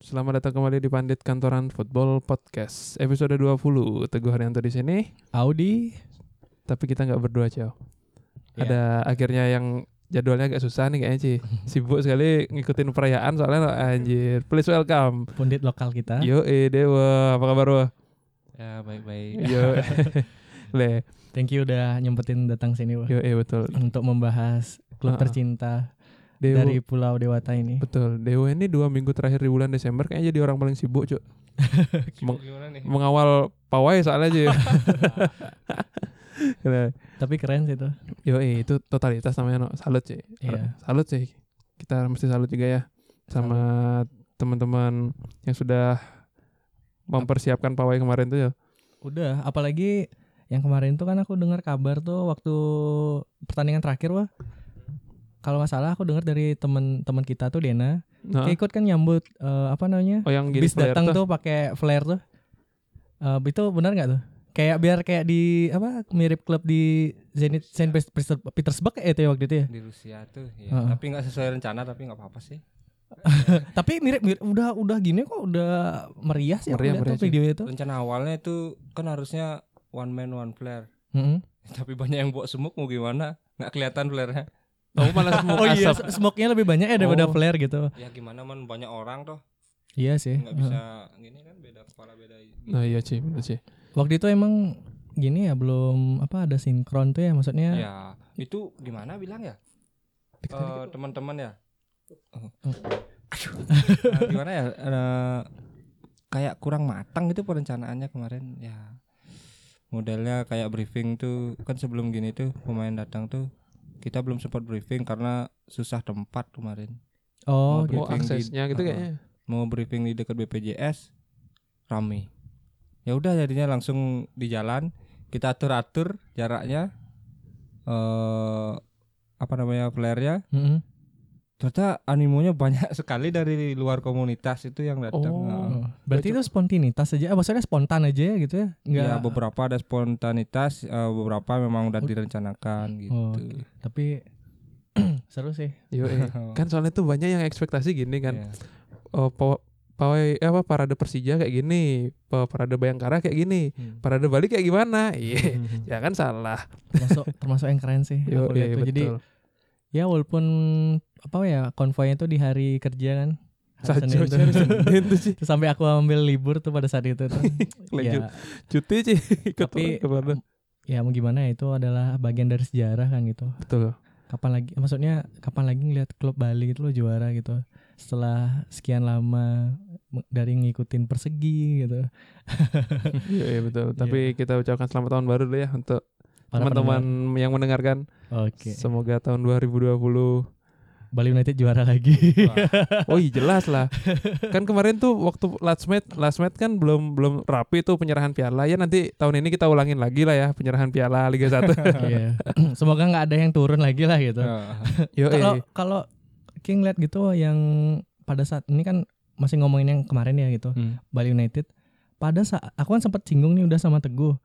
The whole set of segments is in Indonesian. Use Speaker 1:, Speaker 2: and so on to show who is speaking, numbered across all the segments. Speaker 1: Selamat datang kembali di Pandit Kantoran Football Podcast episode 20. Teguh Haryanto di sini,
Speaker 2: Audi
Speaker 1: tapi kita nggak berdua, Cio.
Speaker 2: Iya.
Speaker 1: Ada akhirnya yang jadwalnya agak susah nih kayaknya, Ci. Sibuk sekali ngikutin perayaan soalnya anjir. Please welcome.
Speaker 2: pundit lokal kita.
Speaker 1: Yo, Dewa. Apa kabar, Dewa?
Speaker 3: Ya baik-baik.
Speaker 1: Yo. Le,
Speaker 2: Thank you udah nyempetin datang sini Wak.
Speaker 1: yo eh betul.
Speaker 2: untuk membahas
Speaker 1: Ah,
Speaker 2: klub
Speaker 1: ah.
Speaker 2: tercinta
Speaker 1: Dewa.
Speaker 2: dari Pulau Dewata ini.
Speaker 1: betul. Dewa ini dua minggu terakhir di bulan Desember kayaknya jadi orang paling sibuk, Cuk. Meng-
Speaker 3: Gimana nih?
Speaker 1: mengawal pawai soalnya, Ci. Le.
Speaker 2: Tapi keren sih itu.
Speaker 1: Yo itu totalitas namanya no. Salut sih.
Speaker 2: Iya.
Speaker 1: Salut sih. Kita mesti salut juga ya sama teman-teman yang sudah mempersiapkan pawai kemarin tuh ya.
Speaker 2: Udah, apalagi yang kemarin tuh kan aku dengar kabar tuh waktu pertandingan terakhir wah. Kalau nggak salah aku dengar dari teman-teman kita tuh Dena,
Speaker 1: Nah,
Speaker 2: dia ikut kan nyambut eh, apa namanya?
Speaker 1: oh yang gini
Speaker 2: Bis
Speaker 1: flare
Speaker 2: datang tuh, pakai flare tuh. Eh, itu benar nggak tuh? Kayak biar kayak di apa mirip klub di Zenit Saint Pes- Pes- Petersburg ya itu ya waktu itu ya.
Speaker 3: Di Rusia tuh ya.
Speaker 2: Heeh.
Speaker 3: Tapi nggak sesuai rencana tapi nggak apa-apa sih.
Speaker 2: Tapi mirip, mirip udah udah gini kok udah meriah sih aku
Speaker 1: Meriah,
Speaker 2: lihat
Speaker 1: meriah
Speaker 2: tuh
Speaker 1: sih.
Speaker 2: video itu.
Speaker 3: Rencana awalnya itu kan harusnya one man one flare.
Speaker 2: Heeh.
Speaker 3: Tapi banyak yang bawa semut mau gimana? Nggak kelihatan flare-nya.
Speaker 1: Kamu malah semua
Speaker 2: Oh iya,
Speaker 1: asap.
Speaker 2: s- smoke-nya lebih banyak ya
Speaker 1: Oh.
Speaker 2: daripada flare gitu.
Speaker 3: Ya gimana man banyak orang toh.
Speaker 2: Iya sih.
Speaker 3: Nggak bisa gini kan beda kepala beda.
Speaker 1: Nah iya sih, bener sih.
Speaker 2: Waktu itu emang gini ya belum apa ada sinkron tuh ya
Speaker 1: Iya.
Speaker 2: maksudnya.
Speaker 3: Ya itu gimana bilang ya?
Speaker 2: Dikit
Speaker 3: Eh,
Speaker 2: lagi.
Speaker 3: teman-teman ya. Oh.
Speaker 2: Oh.
Speaker 3: Aduh. Eh, gimana ya? Eh, kayak kurang matang gitu perencanaannya kemarin ya. Modelnya kayak briefing tuh kan sebelum gini tuh pemain datang tuh kita belum sempat briefing karena susah tempat kemarin.
Speaker 2: Oh,
Speaker 3: Oh,
Speaker 2: gitu.
Speaker 1: Oh
Speaker 3: briefing di-
Speaker 1: aksesnya gitu
Speaker 3: Heeh.
Speaker 1: kayaknya.
Speaker 3: Mau briefing di dekat BPJS rame. Ya udah jadinya langsung di jalan kita atur-atur jaraknya eh apa namanya flare-nya
Speaker 2: Mm-mm.
Speaker 3: ternyata animonya banyak sekali dari luar komunitas itu yang datang.
Speaker 1: Oh.
Speaker 3: Nah,
Speaker 2: Oh, Berarti itu spontanitas aja. Eh, maksudnya spontan aja ya gitu ya. Enggak.
Speaker 1: iya.
Speaker 3: Ya beberapa ada spontanitas, eh, beberapa
Speaker 1: Oh.
Speaker 3: memang udah direncanakan gitu.
Speaker 2: Oh,
Speaker 1: Iya.
Speaker 2: oke. Tapi seru sih.
Speaker 1: Yo eh. Kan soalnya tuh banyak yang ekspektasi gini kan.
Speaker 2: Iya.
Speaker 3: Ya.
Speaker 1: Oh, paw- pawai eh, apa parade Persija kayak gini, pa- parade Bayangkara kayak gini,
Speaker 3: Hmm.
Speaker 1: parade Bali kayak gimana?
Speaker 2: Hmm.
Speaker 1: Iya. ya kan salah.
Speaker 2: Termasuk termasuk yang keren sih.
Speaker 1: Yo
Speaker 2: aku
Speaker 1: eh,
Speaker 2: lihat Iya, tuh. Jadi
Speaker 1: betul.
Speaker 2: ya walaupun apa ya konvoynya tuh di hari kerja kan.
Speaker 1: Sajo
Speaker 2: Hari Senin tuh.
Speaker 1: cari Senin tuh sih.
Speaker 2: Terus sampai aku ambil libur tuh pada saat itu tuh.
Speaker 1: Lanjut.
Speaker 2: ya,
Speaker 1: Cuti sih ikut
Speaker 2: Tapi-
Speaker 1: orang kemana.
Speaker 2: ya mau gimana ya, itu adalah bagian dari sejarah kan gitu.
Speaker 1: Betul.
Speaker 2: Kapan lagi maksudnya kapan lagi ngelihat klub Bali itu lo juara gitu. Setelah sekian lama m- dari ngikutin persegi gitu.
Speaker 1: Iya iya, betul. Tapi kita ucapkan selamat tahun baru dulu ya untuk
Speaker 2: Para
Speaker 1: teman-teman yang mendengarkan.
Speaker 2: pendengar. Oke.
Speaker 1: Semoga tahun 2020.
Speaker 2: Bali United juara lagi.
Speaker 1: Oh iya jelas lah. kan kemarin tuh waktu last match, last match kan belum belum rapi tuh penyerahan piala. Ya nanti tahun ini kita ulangin lagi lah ya penyerahan piala Liga 1.
Speaker 2: Iya. Semoga nggak ada yang turun lagi lah gitu.
Speaker 1: Yo
Speaker 2: Kalau kalau King lihat gitu yang pada saat ini kan masih ngomongin yang kemarin ya gitu.
Speaker 3: Hmm.
Speaker 2: Bali United pada saat aku kan sempat singgung nih udah sama Teguh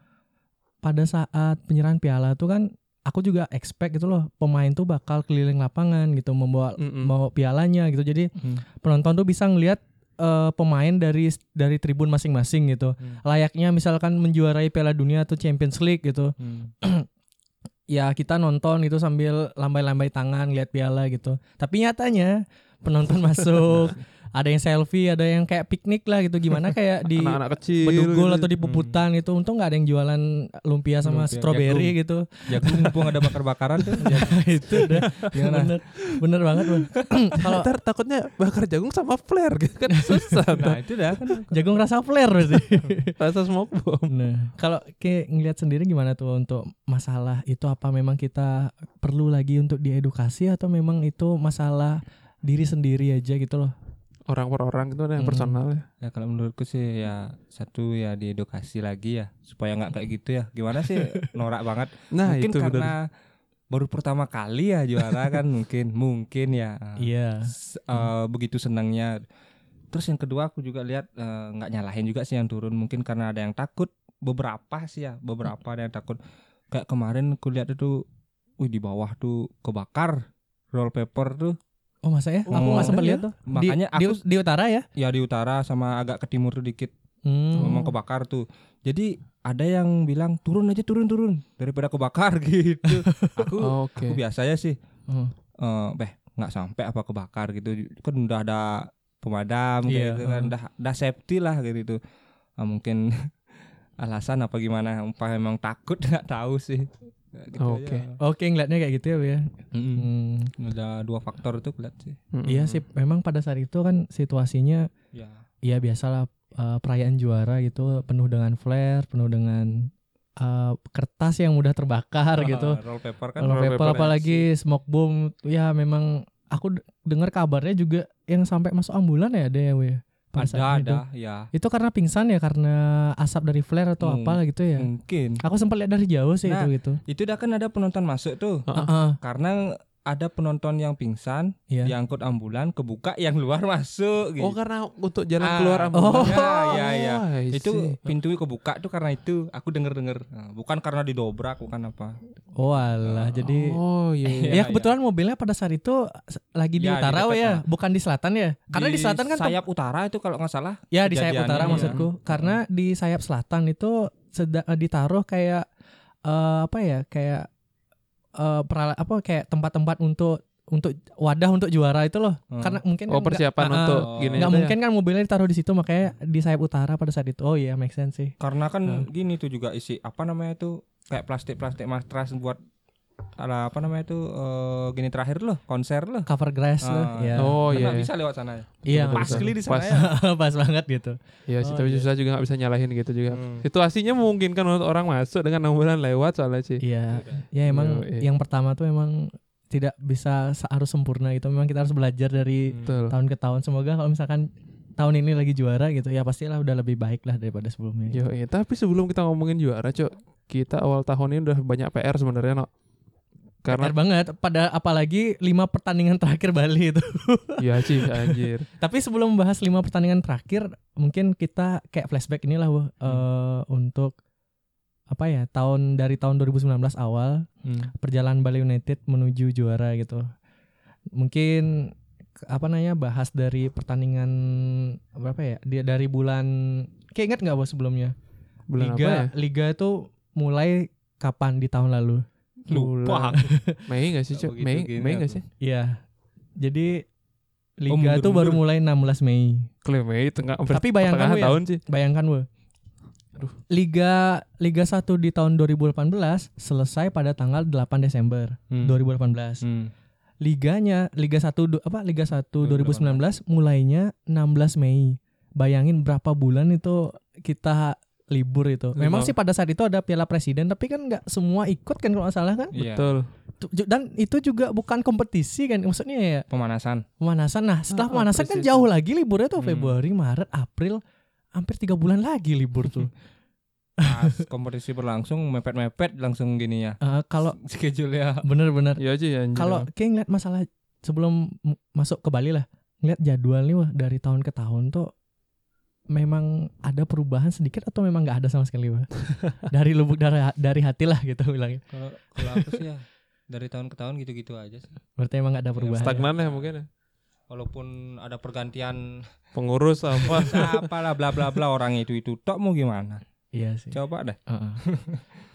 Speaker 2: pada saat penyerahan piala tuh kan aku juga expect gitu loh pemain tuh bakal keliling lapangan gitu membawa mau pialanya gitu jadi
Speaker 3: Hmm.
Speaker 2: penonton tuh bisa ngelihat eh, pemain dari dari tribun masing-masing gitu
Speaker 3: Hmm.
Speaker 2: layaknya misalkan menjuarai Piala Dunia atau Champions League gitu
Speaker 3: Hmm.
Speaker 2: ya kita nonton gitu sambil lambai-lambai tangan lihat piala gitu. Tapi nyatanya penonton masuk, ada yang selfie, ada yang kayak piknik lah gitu. Gimana kayak di
Speaker 1: anak-anak kecil.
Speaker 2: Bedugul
Speaker 1: gitu.
Speaker 2: atau di Puputan gitu. Untung nggak ada yang jualan lumpia sama
Speaker 3: Lumpia,
Speaker 2: stroberi gitu.
Speaker 3: Jagung Ya, mumpung ada bakar-bakaran tuh.
Speaker 1: Ya,
Speaker 3: Nah,
Speaker 2: itu udah
Speaker 3: Gimana?
Speaker 2: bener, bener banget. Bang. Kalau
Speaker 1: Ntar takutnya bakar jagung sama flare gitu kan susah.
Speaker 3: Nah, itu dah kan.
Speaker 2: jagung rasa flare berarti.
Speaker 1: Rasa smoke bomb.
Speaker 2: Nah, kalau kayak ngelihat sendiri gimana tuh untuk masalah itu apa memang kita perlu lagi untuk diedukasi atau memang itu masalah diri sendiri aja gitu loh.
Speaker 1: Orang per orang itu ada yang
Speaker 2: Mm-mm.
Speaker 1: personal ya.
Speaker 3: Ya kalau menurutku sih ya satu ya diedukasi lagi ya supaya nggak kayak gitu ya. Gimana sih norak banget.
Speaker 1: Nah,
Speaker 3: mungkin
Speaker 1: itu bener.
Speaker 3: karena baru pertama kali ya juara kan mungkin mungkin ya.
Speaker 2: Iya.
Speaker 3: S- eh, begitu senangnya. Terus yang kedua aku juga lihat eh, nggak nyalahin juga sih yang turun mungkin karena ada yang takut beberapa sih ya beberapa ada yang takut kayak kemarin aku lihat itu, wih di bawah tuh kebakar roll paper tuh
Speaker 2: Oh masa ya? Aku
Speaker 3: Oh.
Speaker 2: nggak sempat lihat tuh. Di-
Speaker 3: Makanya
Speaker 2: di,
Speaker 3: aku-
Speaker 2: di utara ya?
Speaker 3: ya di utara sama agak ke timur tuh dikit
Speaker 2: Hmm.
Speaker 3: memang kebakar tuh jadi ada yang bilang turun aja turun turun daripada kebakar gitu aku
Speaker 2: Oh,
Speaker 1: Oh, Oke.
Speaker 3: aku biasanya sih
Speaker 2: Hmm.
Speaker 3: eh beh nggak sampai apa kebakar gitu kan udah ada pemadam kayak
Speaker 2: Iya,
Speaker 3: gitu kan udah udah safety lah gitu Ah, mungkin alasan apa gimana apa emang takut nggak tahu sih Ya, gitu
Speaker 1: Oke.
Speaker 3: aja.
Speaker 2: Oke, ngeliatnya kayak gitu ya, Bu ya.
Speaker 3: Mm-mm.
Speaker 2: Hmm.
Speaker 3: ada dua faktor itu keliat sih
Speaker 1: Mm-mm.
Speaker 2: Iya sih, memang pada saat itu kan situasinya
Speaker 3: ya
Speaker 2: ya biasalah eh, perayaan juara gitu penuh dengan flare, penuh dengan eh, kertas yang mudah terbakar gitu.
Speaker 3: roll paper kan
Speaker 2: Kalau
Speaker 1: roll
Speaker 2: paper
Speaker 1: paper
Speaker 2: apalagi smoke bomb ya memang aku d- dengar kabarnya juga yang sampai masuk ambulan ya ada ya, Bu ya. Pada
Speaker 3: ada
Speaker 2: saat
Speaker 3: ada
Speaker 2: itu.
Speaker 3: ya
Speaker 2: Itu karena pingsan ya karena asap dari flare atau
Speaker 3: Hmm.
Speaker 2: apalah gitu ya.
Speaker 3: mungkin
Speaker 2: Aku sempat lihat dari jauh sih
Speaker 3: Nah,
Speaker 2: itu gitu.
Speaker 3: itu udah kan ada penonton masuk tuh
Speaker 1: Ah.
Speaker 2: Heeh,
Speaker 3: karena ada penonton yang pingsan
Speaker 2: iya.
Speaker 3: diangkut ambulan kebuka yang luar masuk gitu.
Speaker 1: Oh karena untuk jalan
Speaker 3: Ah.
Speaker 1: keluar
Speaker 3: Oh.
Speaker 1: ambulan.
Speaker 3: Ya,
Speaker 2: iya,
Speaker 3: ya, ya.
Speaker 1: I see.
Speaker 3: itu pintu kebuka tuh karena itu aku denger denger bukan karena didobrak bukan apa
Speaker 2: Oh alah, jadi
Speaker 1: Oh iya.
Speaker 2: Ya,
Speaker 3: Iya,
Speaker 2: kebetulan mobilnya pada saat itu s- lagi di
Speaker 3: Ya, di
Speaker 2: utara
Speaker 3: dekat
Speaker 2: ya,
Speaker 3: lah.
Speaker 2: bukan di selatan ya. Karena di, selatan kan tem-
Speaker 3: sayap utara itu kalau nggak salah
Speaker 2: ya di sayap
Speaker 3: kejadiannya,
Speaker 2: utara
Speaker 3: iya.
Speaker 2: maksudku. Karena di sayap selatan itu seda- eh, ditaruh kayak eh, apa ya? Kayak eh perala- apa kayak tempat-tempat untuk untuk wadah untuk juara itu loh.
Speaker 3: Hmm.
Speaker 2: Karena mungkin
Speaker 1: Oh
Speaker 2: kan nggak-
Speaker 1: persiapan
Speaker 2: Ah,
Speaker 1: untuk
Speaker 3: oh.
Speaker 1: gini. itu
Speaker 2: nggak
Speaker 1: ya.
Speaker 2: mungkin kan mobilnya ditaruh di situ makanya di sayap utara pada saat itu. Oh iya, make sense sih.
Speaker 3: karena kan
Speaker 2: Hmm.
Speaker 3: gini tuh juga isi apa namanya itu kayak plastik plastik matras buat ala apa namanya itu eh, gini terakhir loh konser loh
Speaker 2: Cover grass loh.
Speaker 3: Ah,
Speaker 2: Iya.
Speaker 1: Oh
Speaker 3: Kan
Speaker 1: iya.
Speaker 3: nggak bisa lewat sana ya
Speaker 2: iya,
Speaker 1: betul,
Speaker 3: pas
Speaker 1: betul.
Speaker 3: kali di sana
Speaker 1: Pas.
Speaker 3: ya
Speaker 2: pas banget gitu.
Speaker 1: Iya sih
Speaker 2: Oh,
Speaker 1: tapi
Speaker 2: iya.
Speaker 1: susah juga nggak bisa nyalahin gitu juga.
Speaker 3: Hmm.
Speaker 1: Situasinya memungkinkan untuk orang masuk dengan ambulan lewat soalnya sih. kan?
Speaker 2: Iya. Ya emang
Speaker 1: Yoi.
Speaker 2: yang pertama tuh emang tidak bisa se- harus sempurna gitu. Memang kita harus belajar dari
Speaker 1: Betul.
Speaker 2: tahun ke tahun. Semoga kalau misalkan tahun ini lagi juara gitu ya pastilah udah lebih baik lah daripada sebelumnya.
Speaker 1: Yo, eh, tapi sebelum kita ngomongin juara, Cok, kita awal tahun ini udah banyak PR sebenarnya, Nok. Karena
Speaker 2: Benar banget. Pada apalagi lima pertandingan terakhir Bali itu.
Speaker 1: ya sih anjir.
Speaker 2: Tapi sebelum membahas lima pertandingan terakhir, mungkin kita kayak flashback inilah
Speaker 1: Hmm.
Speaker 2: Wah, eh, untuk apa ya tahun dari tahun 2019 awal
Speaker 3: Hmm.
Speaker 2: perjalanan Bali United menuju juara gitu. Mungkin ke- apa namanya bahas dari pertandingan berapa ya? Dia dari bulan kayak ingat nggak bos sebelumnya?
Speaker 1: Bulan
Speaker 2: Liga
Speaker 1: apa ya?
Speaker 2: Liga itu mulai kapan di tahun lalu?
Speaker 1: Bulan-
Speaker 3: lupa
Speaker 1: Mei gak sih, Cok?
Speaker 2: gitu
Speaker 3: Begitu
Speaker 1: Mei,
Speaker 3: gini
Speaker 1: Mei gak
Speaker 3: aku.
Speaker 1: sih?
Speaker 2: Iya. Jadi
Speaker 3: Oh,
Speaker 2: Liga itu baru mulai 16 Mei.
Speaker 1: Klaim Mei tengah
Speaker 2: Tapi bayangkan
Speaker 1: pertengahan
Speaker 2: lu ya.
Speaker 1: tahun sih.
Speaker 2: Bayangkan Wah.
Speaker 1: Aduh.
Speaker 2: Liga Liga 1 di tahun 2018 selesai pada tanggal 8 Desember
Speaker 3: Hmm.
Speaker 2: 2018.
Speaker 3: Hmm.
Speaker 2: liganya Liga 1 du- apa Liga 1 2019 mulainya 16 Mei. Bayangin berapa bulan itu kita libur itu. Memang
Speaker 3: Memang.
Speaker 2: sih pada saat itu ada Piala Presiden tapi kan nggak semua ikut kan kalau nggak salah kan.
Speaker 3: Iya.
Speaker 1: Betul.
Speaker 2: Tu- ju- Dan itu juga bukan kompetisi kan maksudnya ya
Speaker 3: pemanasan
Speaker 2: pemanasan. Nah,
Speaker 1: Ah,
Speaker 2: setelah pemanasan kan
Speaker 1: preseason.
Speaker 2: jauh lagi liburnya tuh
Speaker 3: Hmm.
Speaker 2: Februari, Maret, April hampir tiga bulan lagi libur tuh.
Speaker 3: pas kompetisi berlangsung mepet-mepet langsung gini ya
Speaker 2: Eh, kalau
Speaker 3: schedule ya
Speaker 2: bener-bener
Speaker 1: Iya sih anjir.
Speaker 2: kalau kayak ngeliat masalah sebelum m- masuk ke Bali lah ngeliat jadwal nih wah dari tahun ke tahun tuh memang ada perubahan sedikit atau memang nggak ada sama sekali wah dari lubuk dari dari hati lah gitu bilangnya
Speaker 3: kalau kalau aku sih ya dari tahun ke tahun gitu-gitu aja sih
Speaker 2: berarti emang nggak ada perubahan
Speaker 1: stagnan ya mungkin ya.
Speaker 3: walaupun ada pergantian
Speaker 1: Pengurus apa?
Speaker 3: apalah bla bla bla orang itu itu tok mau gimana
Speaker 2: iya sih
Speaker 3: coba deh
Speaker 2: Heeh.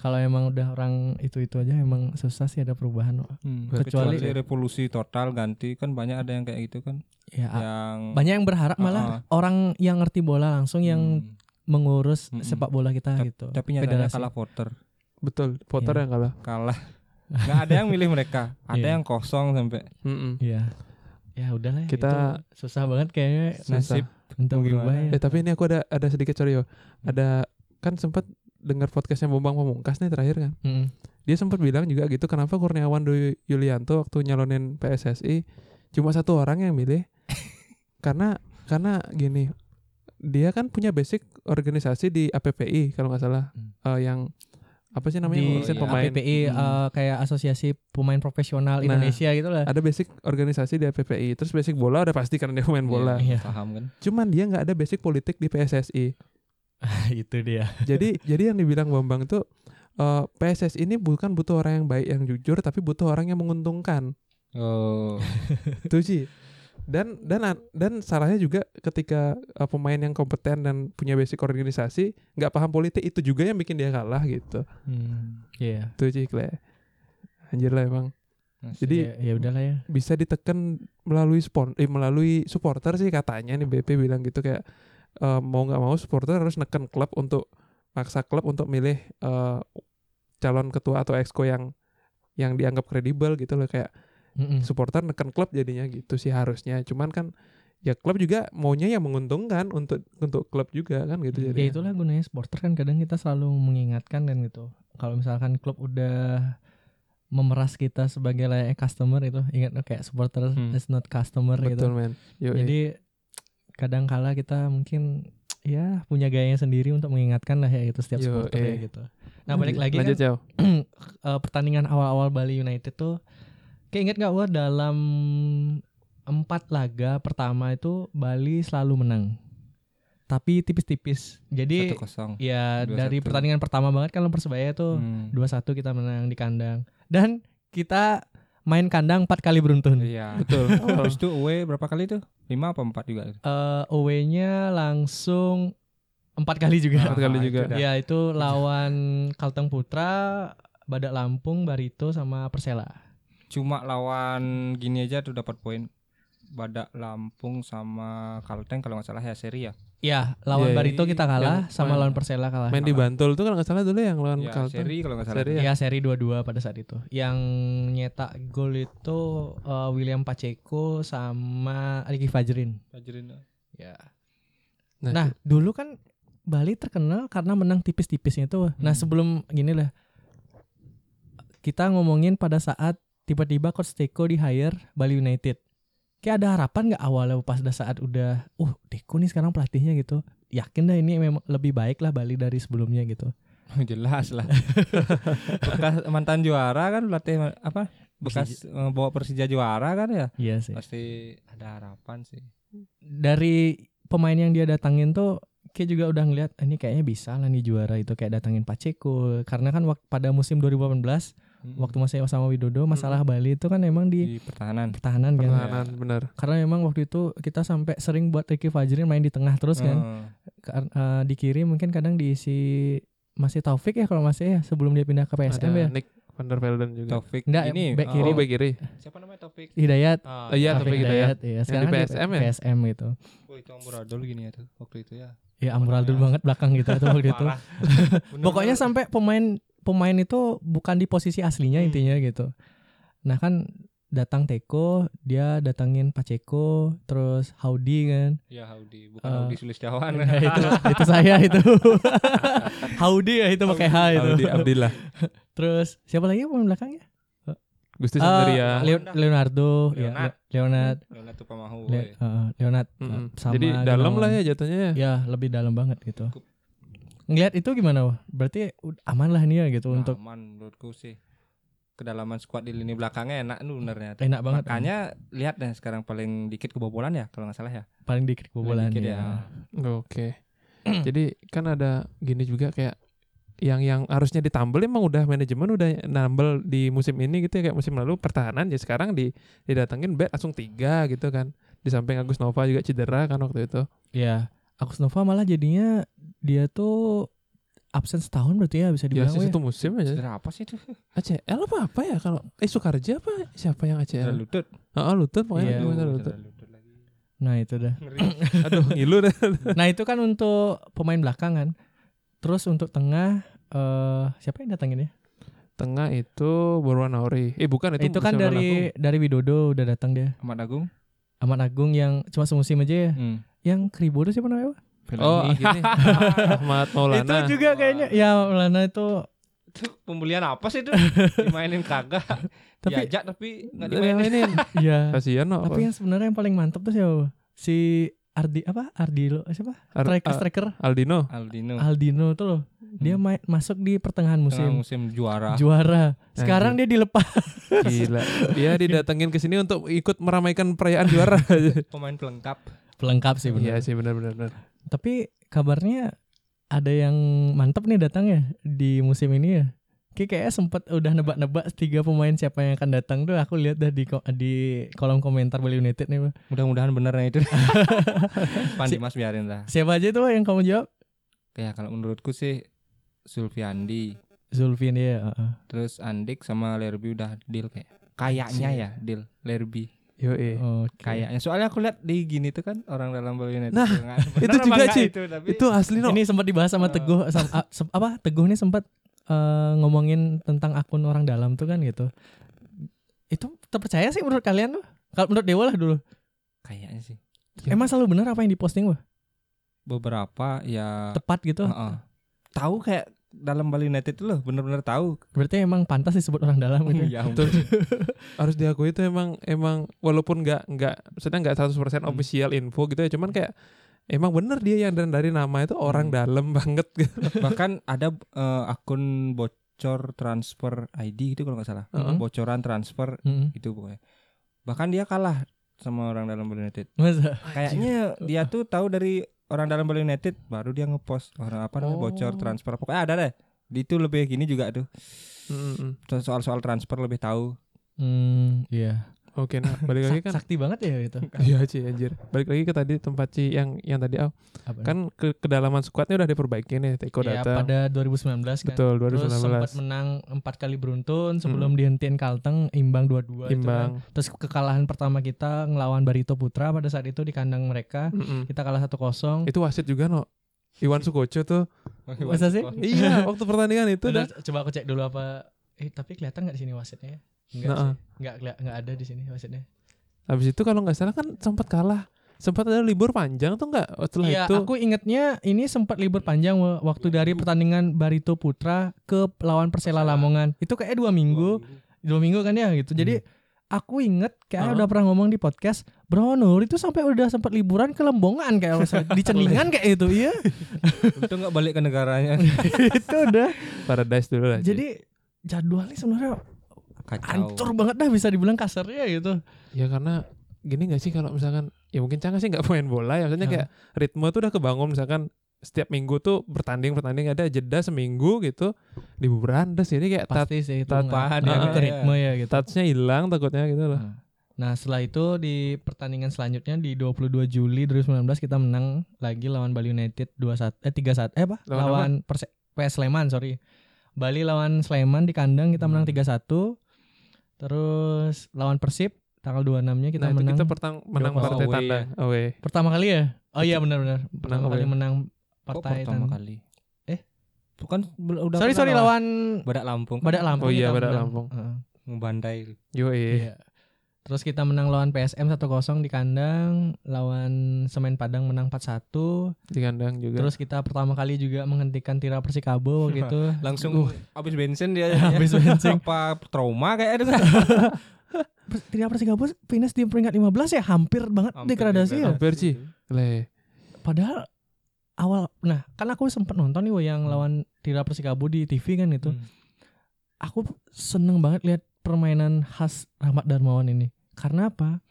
Speaker 2: kalau emang udah orang itu itu aja emang susah sih ada perubahan Wak.
Speaker 3: kecuali,
Speaker 2: Hmm, Kecuali-
Speaker 3: revolusi total ganti kan banyak ada yang kayak gitu kan
Speaker 2: ya a-
Speaker 3: yang
Speaker 2: banyak yang berharap malah orang yang ngerti bola langsung yang
Speaker 3: Hmm.
Speaker 2: mengurus
Speaker 3: Mm-mm.
Speaker 2: sepak bola kita
Speaker 3: Tap-
Speaker 2: gitu
Speaker 3: tapi nyatanya
Speaker 2: Federasi.
Speaker 3: kalah voter
Speaker 1: Betul, voter
Speaker 2: Iya.
Speaker 1: yang kalah.
Speaker 3: kalah nggak ada yang milih mereka ada
Speaker 2: Iya.
Speaker 3: yang kosong sampai
Speaker 1: Mm-mm.
Speaker 2: Iya. Ya udahlah ya,
Speaker 1: Kita-
Speaker 2: itu susah banget kayaknya
Speaker 1: Susah.
Speaker 3: nasib
Speaker 2: untuk
Speaker 3: mau gimana?
Speaker 2: berubah ya.
Speaker 1: Eh tapi ini aku ada ada sedikit sorry yo. Ada kan sempat dengar podcastnya Bombang Pamungkas nih terakhir kan.
Speaker 2: Mm.
Speaker 1: Dia sempat bilang juga gitu kenapa Kurniawan Dwi Yulianto waktu nyalonin PSSI cuma satu orang yang milih. karena karena gini dia kan punya basic organisasi di APPI kalau nggak salah
Speaker 2: Hmm.
Speaker 1: Eh, yang apa sih namanya
Speaker 2: Di
Speaker 1: ngurusin
Speaker 3: iya,
Speaker 1: pemain
Speaker 2: APPI
Speaker 3: Hmm.
Speaker 2: eh, kayak asosiasi pemain profesional
Speaker 1: Nah.
Speaker 2: Indonesia gitu lah.
Speaker 1: ada basic organisasi di APPI terus basic bola udah pasti karena dia main bola
Speaker 2: Iya.
Speaker 3: paham kan
Speaker 1: cuman dia nggak ada basic politik di PSSI
Speaker 2: itu dia.
Speaker 1: jadi jadi yang dibilang Bambang tuh eh PSSI ini bukan butuh orang yang baik yang jujur tapi butuh orang yang menguntungkan
Speaker 3: Oh.
Speaker 1: Itu sih. Dan dan dan salahnya juga ketika uh, pemain yang kompeten dan punya basic organisasi nggak paham politik itu juga yang bikin dia kalah gitu.
Speaker 3: Hmm.
Speaker 2: Iya.
Speaker 1: Itu sih Kle. Anjir lah emang.
Speaker 3: Masih.
Speaker 1: Jadi
Speaker 2: Ya, ya udahlah ya.
Speaker 1: bisa ditekan melalui spon eh, melalui supporter sih katanya nih BP bilang gitu kayak eh, mau nggak mau supporter harus neken klub untuk maksa klub untuk milih eh, calon ketua atau exco yang yang dianggap kredibel gitu loh kayak
Speaker 2: Mm-mm.
Speaker 1: supporter neken klub jadinya gitu sih harusnya cuman kan ya klub juga maunya yang menguntungkan untuk untuk klub juga kan gitu
Speaker 2: ya
Speaker 1: jadi
Speaker 2: itulah gunanya supporter kan kadang kita selalu mengingatkan kan gitu kalau misalkan klub udah memeras kita sebagai layaknya customer itu ingat oh, kayak supporter
Speaker 3: Hmm.
Speaker 2: is not customer gitu
Speaker 1: betul men Yoi.
Speaker 2: jadi kadang kala kita mungkin ya punya gayanya sendiri untuk mengingatkan lah ya gitu setiap
Speaker 1: Yo,
Speaker 2: supporter ya
Speaker 1: eh.
Speaker 2: gitu nah balik lagi
Speaker 1: lanjut
Speaker 2: kan
Speaker 1: jauh
Speaker 2: eh, pertandingan awal-awal Bali United tuh kayak inget gak gua dalam empat laga pertama itu Bali selalu menang tapi tipis-tipis jadi
Speaker 3: satu kosong.
Speaker 2: Ya
Speaker 3: 2-1.
Speaker 2: dari pertandingan pertama banget kalau Persebaya tuh
Speaker 3: Hmm.
Speaker 2: 2-1 kita menang di kandang dan kita main kandang 4 kali beruntun.
Speaker 3: Iya.
Speaker 1: betul
Speaker 3: Terus itu away berapa kali tuh? 5 apa 4 juga?
Speaker 2: Eh away-nya langsung 4 kali
Speaker 1: Empat
Speaker 2: juga.
Speaker 1: kali
Speaker 3: itu
Speaker 1: juga.
Speaker 3: dah.
Speaker 2: ya itu lawan Kalteng Putra, Badak Lampung, Barito sama Persela.
Speaker 3: Cuma lawan gini aja tuh dapat poin. Badak Lampung sama Kalteng kalau nggak salah ya seri ya.
Speaker 2: Ya, lawan
Speaker 1: Iya,
Speaker 2: Barito kita
Speaker 1: yang
Speaker 2: kalah sama
Speaker 1: main-
Speaker 2: lawan Persela kalah.
Speaker 1: main iya. di Bantul tuh kalau nggak salah dulu yang lawan
Speaker 3: Ya,
Speaker 1: Kalteng
Speaker 3: seri kalau nggak salah.
Speaker 1: Kan Seri.
Speaker 2: Ya seri 2-2 pada saat itu. Yang nyetak gol itu eh, William Pacheco sama Ricky Fajrin.
Speaker 3: Fajrin.
Speaker 2: Ya.
Speaker 1: Nah,
Speaker 2: Nah, dulu kan Bali terkenal karena menang tipis-tipisnya itu. Nah,
Speaker 3: Hmm.
Speaker 2: sebelum gini lah. Kita ngomongin pada saat tiba-tiba coach Teko di hire Bali United. Kayak ada harapan nggak awalnya pas pada saat udah, uh Teko nih sekarang pelatihnya gitu. Yakin dah ini memang lebih baik lah Bali dari sebelumnya gitu.
Speaker 3: Jelas lah. Bekas mantan juara kan pelatih ma- apa? Bekas eh, bawa Persija juara kan ya.
Speaker 2: Iya sih.
Speaker 3: Pasti ada harapan sih.
Speaker 2: Dari pemain yang dia datangin tuh kayak juga udah ngeliat "Ah, ini kayaknya bisa lah nih juara itu kayak datangin Pacheco karena kan wak- pada musim 2018
Speaker 3: Mm.
Speaker 2: waktu masih sama Widodo masalah Bali itu kan emang di
Speaker 3: di pertahanan.
Speaker 2: pertahanan
Speaker 1: Hmm.
Speaker 2: kan
Speaker 1: Iya. pertahanan benar
Speaker 2: karena memang waktu itu kita sampai sering buat Ricky Fajrin main di tengah terus
Speaker 1: Hmm.
Speaker 2: kan
Speaker 3: Eh,
Speaker 2: Kar- eh, di kiri mungkin kadang diisi masih Taufik ya kalau masih ya sebelum dia pindah ke PSM
Speaker 1: ada
Speaker 2: ya
Speaker 1: Nick Van der Velden juga
Speaker 3: Taufik
Speaker 2: Nggak,
Speaker 3: ini
Speaker 2: back
Speaker 3: oh,
Speaker 2: kiri.
Speaker 1: Oh, back kiri.
Speaker 3: siapa namanya Taufik?
Speaker 2: Hidayat
Speaker 3: Ah,
Speaker 1: Oh, iya,
Speaker 3: Taufik.
Speaker 1: Taufik Hidayat.
Speaker 2: ya sekarang
Speaker 1: di
Speaker 2: kan
Speaker 1: PSM ya?
Speaker 2: PSM gitu
Speaker 3: Wah, itu amburadul gini ya tuh waktu itu ya.
Speaker 2: ya amburadul
Speaker 3: Parah.
Speaker 2: banget belakang kita tuh waktu itu
Speaker 3: Parah. Bener-bener.
Speaker 2: pokoknya sampai pemain pemain itu bukan di posisi aslinya
Speaker 3: Hmm.
Speaker 2: intinya gitu nah kan datang Teko dia datangin Pacheco terus Howdy kan
Speaker 3: ya Haudi, bukan
Speaker 2: Eh,
Speaker 3: Haudi Sulistiawan.
Speaker 2: Nah, itu, itu saya itu. Howdy ya itu pakai H itu.
Speaker 1: Abdi Abdillah.
Speaker 2: Terus siapa lagi pemain belakangnya?
Speaker 1: Gusti
Speaker 2: Eh,
Speaker 1: Sandaria.
Speaker 2: Leo- Leonardo, ya,
Speaker 3: Leonard.
Speaker 2: Le- Leonard,
Speaker 3: Leonard Tupamahu.
Speaker 2: Le-
Speaker 3: woy.
Speaker 2: eh, Leonard Nah,
Speaker 1: Mm-mm.
Speaker 2: sama
Speaker 1: Hmm. Jadi dalam
Speaker 2: Gunawan.
Speaker 1: lah ya jatuhnya ya.
Speaker 2: Ya, lebih dalam banget gitu. Ngelihat itu gimana? Wah? Berarti ud- aman lah nih ya gitu
Speaker 1: Nah.
Speaker 2: untuk
Speaker 3: Aman menurutku sih. Kedalaman squad di lini belakangnya enak lu benernya. tuh.
Speaker 2: enak banget.
Speaker 3: Makanya lihat deh sekarang paling dikit kebobolan ya kalau nggak salah ya.
Speaker 2: paling dikit kebobolan
Speaker 3: dikit
Speaker 2: ya.
Speaker 3: ya.
Speaker 1: Iya. Oke. Jadi kan ada gini juga kayak yang yang harusnya ditambel emang udah manajemen udah nambel di musim ini gitu ya kayak musim lalu pertahanan ya sekarang di didatengin back langsung tiga gitu kan di samping Agus Nova juga cedera kan waktu itu
Speaker 2: Ya, Agus Nova malah jadinya dia tuh absen setahun berarti ya bisa
Speaker 1: ya
Speaker 2: dibilang.
Speaker 1: sih
Speaker 2: weh.
Speaker 1: satu musim aja
Speaker 3: Cedera apa sih itu?
Speaker 1: ACL apa apa ya kalau eh Sukarja apa siapa yang
Speaker 3: Cedera
Speaker 1: ACL
Speaker 3: lutut.
Speaker 1: ah lutut pokoknya
Speaker 2: Iya.
Speaker 1: cedera
Speaker 3: Aduh,
Speaker 1: lutut.
Speaker 3: cedera lutut lagi.
Speaker 2: Nah, itu dah.
Speaker 3: Ngeri.
Speaker 1: aduh ngilu dah
Speaker 2: Nah itu kan untuk pemain belakangan. Terus untuk tengah eh siapa yang datangin ya?
Speaker 1: tengah itu Borwan Auri eh bukan itu
Speaker 2: Itu, kan
Speaker 1: musim lalu aku.
Speaker 2: dari dari Widodo udah datang dia.
Speaker 3: Ahmad Agung.
Speaker 2: Ahmad Agung yang cuma semusim aja ya.
Speaker 3: Hmm.
Speaker 2: Yang Kribodo siapa namanya? Pak?
Speaker 1: Oh,
Speaker 3: Fellaini.
Speaker 1: gini. Ahmad
Speaker 2: Itu
Speaker 1: Maulana.
Speaker 2: juga kayaknya. Ya Maulana itu.
Speaker 3: Itu pembelian apa sih itu? Dimainin kagak.
Speaker 2: Tapi
Speaker 3: Diajak tapi nggak
Speaker 1: Ada yang
Speaker 3: dimainin.
Speaker 1: ini.
Speaker 2: ya.
Speaker 1: Eh, Kasihan no.
Speaker 2: Tapi yang sebenarnya yang paling mantap tuh siapa? Pak? Si Ardi apa? Ardilo eh, siapa?
Speaker 1: Ar- eh,
Speaker 2: Striker
Speaker 1: Al-
Speaker 2: striker
Speaker 1: Aldino.
Speaker 3: Aldino.
Speaker 2: Hmm. Aldino tuh loh. Dia main, masuk di Hmm. pertengahan
Speaker 3: Tengah
Speaker 2: musim.
Speaker 3: Ah, musim juara.
Speaker 2: Juara. Sekarang dia dilepas.
Speaker 1: Gila. Dia didatengin ke sini untuk ikut meramaikan perayaan juara.
Speaker 3: Pemain pelengkap.
Speaker 2: Pelengkap sih Iya benar.
Speaker 1: Iya sih benar-benar. benar.
Speaker 2: Tapi kabarnya ada yang mantep nih datang ya di musim ini ya. Ki kayaknya sempet udah nebak-nebak tiga pemain siapa yang akan datang tuh aku lihat dah di ko- di kolom komentar Bali United nih. Bang.
Speaker 3: Mudah-mudahan bener nah itu. Pandi Mas biarin lah.
Speaker 2: Siapa aja tuh yang kamu jawab?
Speaker 3: Kayak kalau menurutku sih Sulfiandi,
Speaker 2: Zulfin ya. heeh.
Speaker 3: terus Andik sama Lerby udah deal kayak. Kayaknya ya deal Lerby.
Speaker 1: Yo
Speaker 2: Oke.
Speaker 3: Kayaknya soalnya aku lihat di gini tuh kan orang dalam Bali United.
Speaker 1: Nah,
Speaker 3: juga nggak- bener
Speaker 1: itu
Speaker 3: apa
Speaker 1: juga,
Speaker 3: nggak
Speaker 1: Ci.
Speaker 3: Itu, tapi
Speaker 1: Itu asli no. Eh.
Speaker 2: Ini sempat dibahas sama Teguh sam- a- se- apa Teguh nih sempat eh, ngomongin tentang akun orang dalam tuh kan gitu. Itu terpercaya sih menurut kalian tuh? Kalau menurut Dewa lah dulu.
Speaker 3: kayaknya sih
Speaker 1: Ya.
Speaker 2: Emang selalu benar apa yang diposting wah?
Speaker 3: beberapa
Speaker 1: Ah.
Speaker 3: ya
Speaker 2: Tepat gitu.
Speaker 3: Heeh. tahu kayak dalam Bali United itu loh bener-bener tahu.
Speaker 2: Berarti emang pantas disebut orang dalam gitu.
Speaker 3: ya, ampun.
Speaker 1: Betul. harus diakui itu emang emang walaupun nggak nggak maksudnya nggak 100%
Speaker 3: Hmm.
Speaker 1: official info gitu ya cuman kayak emang bener dia yang dan dari nama itu orang
Speaker 3: Hmm.
Speaker 1: dalam banget gitu.
Speaker 3: bahkan ada eh, akun bocor transfer ID itu kalau nggak salah Hmm,
Speaker 1: Heeh.
Speaker 3: bocoran transfer
Speaker 2: Mm-mm.
Speaker 3: itu pokoknya bahkan dia kalah sama orang dalam Bali United
Speaker 2: Masa?
Speaker 3: kayaknya dia tuh tahu dari orang dalam Bali United baru dia ngepost orang apa namanya
Speaker 1: Oh.
Speaker 3: bocor transfer pokoknya ada deh di itu lebih gini juga tuh
Speaker 1: Mm-mm.
Speaker 3: soal-soal transfer lebih tahu
Speaker 2: Hmm, iya.
Speaker 1: Oke nah balik lagi
Speaker 2: Sak-
Speaker 1: kan
Speaker 2: Sakti banget ya itu.
Speaker 1: Iya Ci anjir. Balik lagi ke tadi tempat Ci yang yang tadi oh,
Speaker 2: Apa?
Speaker 1: kan ke kedalaman squadnya udah diperbaiki nih Teko
Speaker 2: ya,
Speaker 1: datang.
Speaker 2: pada 2019 kan.
Speaker 1: Betul
Speaker 2: Terus sempat
Speaker 1: 2019
Speaker 2: menang empat kali beruntun sebelum dihentiin Kalteng imbang 2-2 itu kan.
Speaker 1: Hmm. imbang.
Speaker 2: Terus kekalahan pertama kita ngelawan Barito Putra pada saat itu di kandang mereka.
Speaker 1: Mm-mm.
Speaker 2: Kita kalah 1-0.
Speaker 1: Itu wasit juga no. Iwan Sukoco tuh.
Speaker 2: Masa sih?
Speaker 1: iya, waktu pertandingan itu
Speaker 2: Udah,
Speaker 1: udah
Speaker 2: coba aku cek dulu apa eh tapi kelihatan nggak di sini wasitnya? ya? Enggak
Speaker 1: Nah,
Speaker 2: sih. Enggak enggak ada di sini wasitnya.
Speaker 1: Habis itu kalau nggak salah kan sempat kalah. Sempat ada libur panjang tuh nggak setelah
Speaker 2: Iya,
Speaker 1: itu.
Speaker 2: aku ingetnya ini sempat libur panjang wa- waktu dari pertandingan Barito Putra ke lawan Persela
Speaker 3: Persela.
Speaker 2: Lamongan. Itu kayaknya dua minggu,
Speaker 3: iya.
Speaker 2: dua minggu kan ya gitu. Jadi aku inget kayaknya udah pernah ngomong di podcast, Bro Nur itu sampai udah sempat liburan ke Lembongan kayak di Ceningan kayak itu, iya.
Speaker 3: itu nggak balik ke negaranya
Speaker 2: itu udah.
Speaker 1: Paradise dulu lah. Ci.
Speaker 2: Jadi jadwalnya sebenarnya
Speaker 3: kacau
Speaker 2: hancur banget dah bisa dibilang kasarnya gitu.
Speaker 1: ya karena gini nggak sih kalau misalkan ya mungkin Cangga sih nggak main bola ya maksudnya
Speaker 2: Ya.
Speaker 1: kayak ritme tuh udah kebangun misalkan setiap minggu tuh bertanding bertanding ada jeda seminggu gitu liburan terus jadi kayak tat-
Speaker 2: Pasti sih itu
Speaker 1: tat-
Speaker 2: nggak-
Speaker 3: paham
Speaker 2: nggak
Speaker 1: ya,
Speaker 2: ikut
Speaker 3: iya.
Speaker 2: ritme ya gitu.
Speaker 1: touchnya hilang takutnya gitu loh
Speaker 2: Nah, Nah setelah itu di pertandingan selanjutnya di 22 Juli 2019 kita menang lagi lawan Bali United 2-1 eh 3-1 eh apa?
Speaker 1: Lawan
Speaker 2: Lawan, Perse- PS Sleman sorry. Bali lawan Sleman di kandang kita menang 3-1. Terus lawan Persib tanggal 26-nya kita
Speaker 1: nah itu
Speaker 2: menang.
Speaker 1: kita pertang menang partai
Speaker 3: Dua-nol
Speaker 1: Oh,
Speaker 3: away
Speaker 1: tandang away
Speaker 2: pertama kali ya? Oh iya benar-benar. Pertama
Speaker 1: away.
Speaker 2: kali menang
Speaker 3: Kok
Speaker 2: partai
Speaker 3: pertama
Speaker 2: tandang.
Speaker 3: kali
Speaker 2: Eh?
Speaker 3: bukan bel- udah
Speaker 2: Sorry
Speaker 3: pernah
Speaker 2: sorry lawan
Speaker 3: Badak Lampung kan
Speaker 2: Badak Lampung.
Speaker 1: Oh iya,
Speaker 2: kita
Speaker 1: Badak
Speaker 2: menang.
Speaker 1: Lampung.
Speaker 2: Heeh.
Speaker 3: membandai
Speaker 1: yo eh
Speaker 2: Iya. Terus kita menang lawan PSM 1-0 di kandang, lawan Semen Padang menang 4-1.
Speaker 1: di kandang juga
Speaker 2: Terus kita pertama kali juga menghentikan Tira Persikabo gitu. waktu itu.
Speaker 3: langsung
Speaker 1: Uh.
Speaker 3: habis bensin dia
Speaker 2: Habis bensin.
Speaker 3: apa trauma kayak gitu. itu
Speaker 2: Pers- Tira Persikabo finish di peringkat 15 ya, hampir banget degradasi ya.
Speaker 1: Hampir, Ci. Leh.
Speaker 2: Padahal awal nah, kan aku sempat nonton nih woy, yang lawan Tira Persikabo di TV kan itu.
Speaker 3: Hmm.
Speaker 2: Aku seneng banget lihat permainan khas Rahmat Darmawan ini. Karena apa?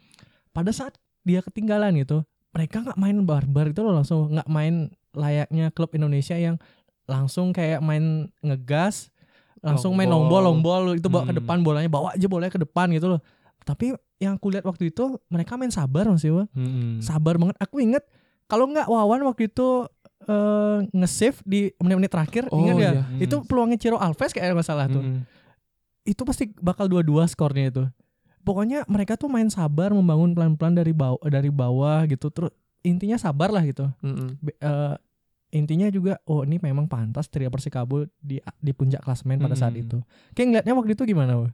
Speaker 2: Pada saat dia ketinggalan gitu, mereka nggak main barbar itu loh langsung nggak main layaknya klub Indonesia yang langsung kayak main ngegas langsung main
Speaker 3: Longball.
Speaker 2: longbol longbol itu bawa ke
Speaker 3: Hmm.
Speaker 2: depan bolanya bawa aja bolanya ke depan gitu loh tapi yang aku lihat waktu itu mereka main sabar masih Wa.
Speaker 1: Hmm.
Speaker 2: sabar banget aku inget kalau nggak Wawan waktu itu eh, nge-save di menit-menit terakhir
Speaker 1: oh
Speaker 2: ingat ya
Speaker 1: iya Hmm.
Speaker 2: itu peluangnya Ciro Alves kayak masalah tuh itu pasti bakal dua-dua skornya itu. Pokoknya mereka tuh main sabar membangun pelan-pelan dari bawah dari bawah gitu. Terus intinya sabar lah gitu.
Speaker 1: Mm-mm.
Speaker 2: Be- eh, intinya juga oh ini memang pantas Tria Persikabo di di puncak klasemen pada saat
Speaker 3: Hmm.
Speaker 2: itu. Kayak ngeliatnya waktu itu gimana? Wo?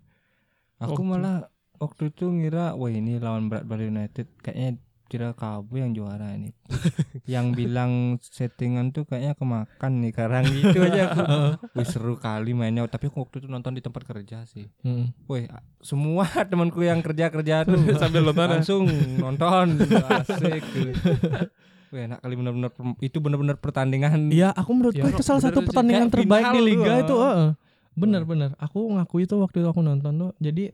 Speaker 1: Waktu-
Speaker 3: aku malah waktu itu ngira wah ini lawan berat Bali United kayaknya Tira Kabu yang juara ini yang bilang settingan tuh kayaknya kemakan nih karang gitu aja aku Wih, seru kali mainnya tapi aku waktu itu nonton di tempat kerja sih
Speaker 1: Hmm.
Speaker 3: Wih, a- semua temanku yang kerja-kerja tuh
Speaker 1: sambil nonton ya.
Speaker 3: langsung nonton asik Wih, enak kali bener-bener per- itu bener-bener pertandingan
Speaker 2: Iya, aku menurutku
Speaker 1: Ya,
Speaker 2: itu salah
Speaker 1: bener
Speaker 2: satu
Speaker 1: sih.
Speaker 2: pertandingan
Speaker 3: Kayak
Speaker 2: terbaik
Speaker 3: final
Speaker 2: di liga
Speaker 3: tuh,
Speaker 2: itu.
Speaker 3: ah.
Speaker 2: Bener-bener. Aku ngakui itu waktu itu aku nonton tuh. Jadi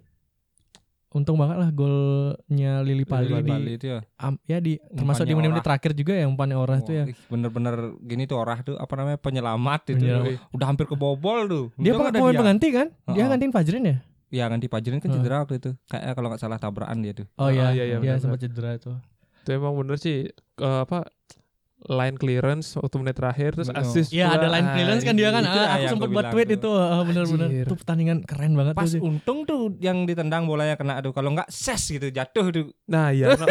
Speaker 2: untung banget lah golnya Lili Pali,
Speaker 3: Bali,
Speaker 2: di
Speaker 3: Bali itu ya.
Speaker 2: am- ya di termasuk di
Speaker 3: Umpannya
Speaker 2: menit-menit
Speaker 3: Orah.
Speaker 2: terakhir juga ya umpannya Orah itu ya.
Speaker 3: Wah, ih, bener-bener gini tuh orang tuh apa namanya penyelamat itu.
Speaker 2: Penyelamat.
Speaker 3: Udah hampir kebobol tuh.
Speaker 2: Dia
Speaker 3: Untung
Speaker 2: peng-
Speaker 3: ada
Speaker 2: pemain
Speaker 3: dia.
Speaker 2: pengganti kan? Dia
Speaker 3: Heeh.
Speaker 2: gantiin Fajrin ya?
Speaker 3: Ya kan dipajerin kan
Speaker 2: Heeh.
Speaker 3: cedera waktu itu. Kayak kalau nggak salah tabrakan dia tuh.
Speaker 1: Ah,
Speaker 2: Oh iya,
Speaker 1: iya, iya,
Speaker 2: iya,
Speaker 1: benar-benar.
Speaker 2: sempat cedera itu.
Speaker 1: Itu emang bener sih eh, apa line clearance waktu menit terakhir terus
Speaker 3: Betul.
Speaker 1: assist.
Speaker 2: Iya
Speaker 1: pula. Nah,
Speaker 2: ada line clearance kan dia kan.
Speaker 3: Itu
Speaker 2: Ah,
Speaker 3: lah
Speaker 2: aku
Speaker 3: yang
Speaker 2: sempat
Speaker 3: gua
Speaker 2: buat
Speaker 3: bilang
Speaker 2: tweet
Speaker 3: tuh.
Speaker 2: itu ah, benar-benar.
Speaker 1: Anjir.
Speaker 2: Itu pertandingan keren banget
Speaker 3: Pas
Speaker 2: tuh sih.
Speaker 3: untung tuh yang ditendang bolanya kena aduh kalau nggak ses gitu jatuh tuh.
Speaker 1: Nah, iya. no.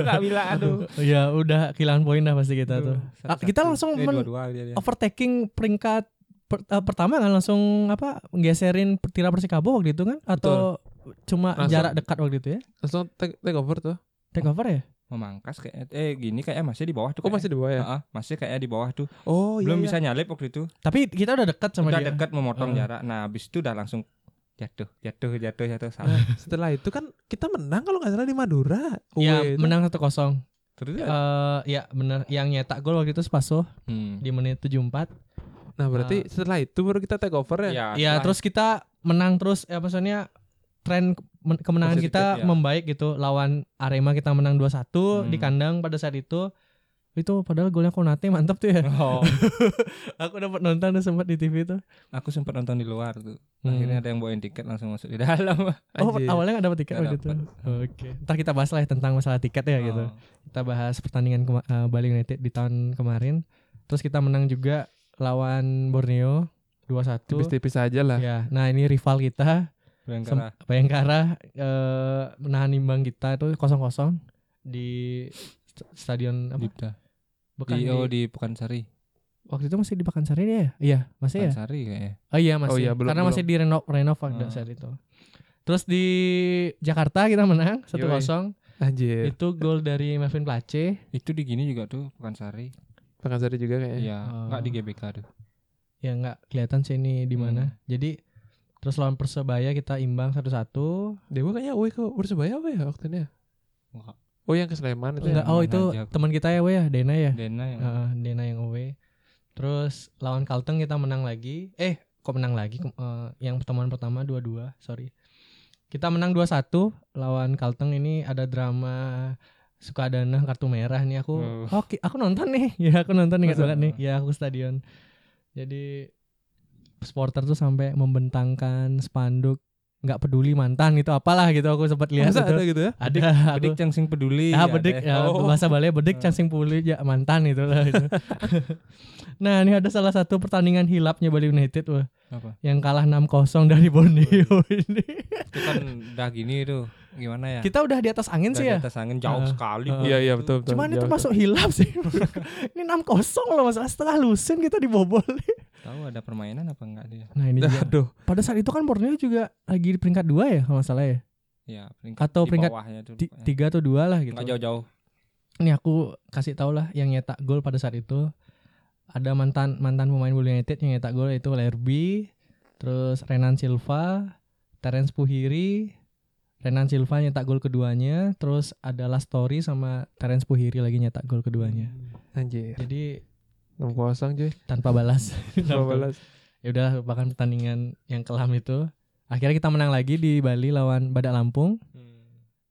Speaker 3: Enggak bilang aduh.
Speaker 2: Ya udah kehilangan poin dah pasti kita tuh. Ah, kita langsung men-
Speaker 3: dua-dua dia, dia.
Speaker 1: Iya.
Speaker 2: Overtaking peringkat per- eh, pertama kan langsung apa nggeserin Tira Persikabo waktu itu kan atau cuma
Speaker 1: Langsung.
Speaker 2: jarak dekat waktu itu ya?
Speaker 1: Langsung take, take over tuh.
Speaker 2: Take over ya?
Speaker 3: memangkas kayak eh gini kayak masih di bawah tuh.
Speaker 2: Oh,
Speaker 1: Kok masih di bawah ya?
Speaker 2: Ah.
Speaker 3: Heeh, masih kayak di bawah tuh.
Speaker 1: Oh,
Speaker 3: Belum bisa nyalip waktu itu.
Speaker 2: Tapi kita udah dekat iya, sama
Speaker 3: udah
Speaker 2: dia.
Speaker 3: dekat memotong
Speaker 2: Heeh.
Speaker 3: jarak. Nah, habis itu udah langsung jatuh, jatuh, jatuh, jatuh salah.
Speaker 1: Setelah itu kan kita menang kalau nggak salah di Madura.
Speaker 2: Ya,
Speaker 1: Weh, itu. Iya.
Speaker 2: menang 1-0.
Speaker 3: Terus
Speaker 2: Eh
Speaker 3: ya.
Speaker 2: ya benar yang nyetak gol waktu itu Spaso
Speaker 3: Hmm.
Speaker 2: di menit 74.
Speaker 1: Nah, berarti
Speaker 2: Ah.
Speaker 1: setelah itu baru kita take over ya.
Speaker 2: Ya
Speaker 3: setelah-
Speaker 2: terus kita menang terus ya maksudnya tren kemen- kemenangan
Speaker 3: Positif,
Speaker 2: kita
Speaker 1: iya.
Speaker 3: ya.
Speaker 2: membaik gitu lawan Arema kita menang 2-1 di
Speaker 3: Hmm.
Speaker 2: kandang pada saat itu itu padahal golnya Konate mantap tuh ya
Speaker 3: Oh,
Speaker 2: aku dapat nonton tuh sempat di TV tuh
Speaker 3: aku sempat nonton di luar tuh.
Speaker 2: Hmm.
Speaker 3: Akhirnya ada yang bawain tiket langsung masuk di dalam.
Speaker 2: oh
Speaker 1: Anjir.
Speaker 2: awalnya nggak dapat tiket
Speaker 3: Nggak
Speaker 2: waktu itu oke ntar kita bahas lah ya tentang masalah tiket ya gitu
Speaker 3: Oh.
Speaker 2: kita bahas pertandingan kema- eh, Bali United di tahun kemarin terus kita menang juga lawan Borneo 2-1
Speaker 1: tipis-tipis aja lah.
Speaker 2: ya nah ini rival kita Sem-
Speaker 3: Bayangkara.
Speaker 2: Bayangkara eh, menahan imbang kita itu kosong-kosong di st- stadion apa?
Speaker 3: Dipta.
Speaker 2: Bukan
Speaker 3: Di,
Speaker 2: di-
Speaker 3: oh, di Pekansari.
Speaker 2: waktu itu masih di Pekansari dia ya? Iya, masih ya?
Speaker 3: Pekansari kayaknya.
Speaker 2: Oh iya masih.
Speaker 1: Oh iya, belum-
Speaker 2: Karena masih di renov renov pada
Speaker 3: Ah.
Speaker 2: saat itu. Terus di Jakarta kita menang 1-0.
Speaker 1: Anjir.
Speaker 2: Itu gol dari Melvin Place.
Speaker 3: Itu di gini juga tuh Pekansari.
Speaker 1: Pekansari juga kayaknya.
Speaker 3: Iya,
Speaker 2: Oh.
Speaker 3: enggak di GBK tuh.
Speaker 2: Ya nggak kelihatan sih ini di mana. Jadi terus lawan Persebaya kita imbang 1-1.
Speaker 1: Dewa kayaknya Weh ke Persebaya apa ya waktu itu ya?
Speaker 3: Wah.
Speaker 1: Oh, yang ke Sleman itu. Ya?
Speaker 2: Enggak,
Speaker 3: Nggak.
Speaker 2: oh
Speaker 3: mana
Speaker 2: itu
Speaker 3: aja.
Speaker 2: teman kita ya, we ya, Dena ya.
Speaker 3: Dena yang
Speaker 1: Hmm.
Speaker 2: Heeh, Dena yang away. Terus lawan Kalteng kita menang lagi. Eh, kok menang lagi? Kem- eh, yang pertemuan pertama 2-2, sorry. Kita menang 2-1 lawan Kalteng ini ada drama Sukadana kartu merah nih
Speaker 1: Uh.
Speaker 2: aku.
Speaker 3: Oh.
Speaker 2: Oke, aku nonton nih. Ya, aku nonton ingat
Speaker 3: Masa?
Speaker 2: banget nih. Ya, aku ke stadion. Jadi supporter tuh sampai membentangkan spanduk nggak peduli mantan gitu apalah gitu aku sempat lihat
Speaker 1: Masa ada
Speaker 2: itu.
Speaker 1: gitu ya?
Speaker 2: Ada, aku-
Speaker 3: Bedik yang sing peduli.
Speaker 2: Ah
Speaker 3: ada.
Speaker 2: bedik ya,
Speaker 1: Oh.
Speaker 2: bahasa Bali bedik
Speaker 3: Ah.
Speaker 2: cang sing puli ja, mantan itu lah. gitu. nah, ini ada salah satu pertandingan hilapnya Bali United wah,
Speaker 3: Apa?
Speaker 2: yang kalah 6-0 dari Borneo ini.
Speaker 3: Itu kan udah gini tuh. Gimana ya?
Speaker 2: Kita udah di atas angin
Speaker 3: Udah
Speaker 2: sih
Speaker 3: di
Speaker 2: ya.
Speaker 3: atas angin jauh
Speaker 2: Ah.
Speaker 3: sekali.
Speaker 2: Ah.
Speaker 3: Bro.
Speaker 1: Iya, iya betul betul.
Speaker 2: Cuman itu
Speaker 1: Jauh,
Speaker 2: masuk hilap sih. ini 6-0 loh masalah setelah lusin kita dibobol.
Speaker 3: Tahu ada permainan apa enggak dia?
Speaker 2: Nah, ini
Speaker 1: jauh.
Speaker 2: juga.
Speaker 1: Aduh.
Speaker 2: Pada saat itu kan Borneo juga lagi di peringkat 2 ya kalau nggak salah ya.
Speaker 3: Ya, peringkat
Speaker 2: Atau
Speaker 3: di
Speaker 2: peringkat
Speaker 3: bawahnya tuh.
Speaker 2: Ti-
Speaker 3: pokoknya.
Speaker 2: Tiga atau dua lah gitu.
Speaker 3: Enggak Nah. jauh-jauh.
Speaker 2: ini aku kasih tau lah yang nyetak gol pada saat itu ada mantan mantan pemain Bali United yang nyetak gol itu Lerby terus Renan Silva Terence Puhiri Renan Silva nyetak gol keduanya terus ada Lastori sama Terence Puhiri lagi nyetak gol keduanya
Speaker 1: Anjir.
Speaker 2: jadi
Speaker 1: 6-0 cuy.
Speaker 2: tanpa balas
Speaker 1: Dua balas.
Speaker 2: ya udah bahkan pertandingan yang kelam itu akhirnya kita menang lagi di Bali lawan Badak Lampung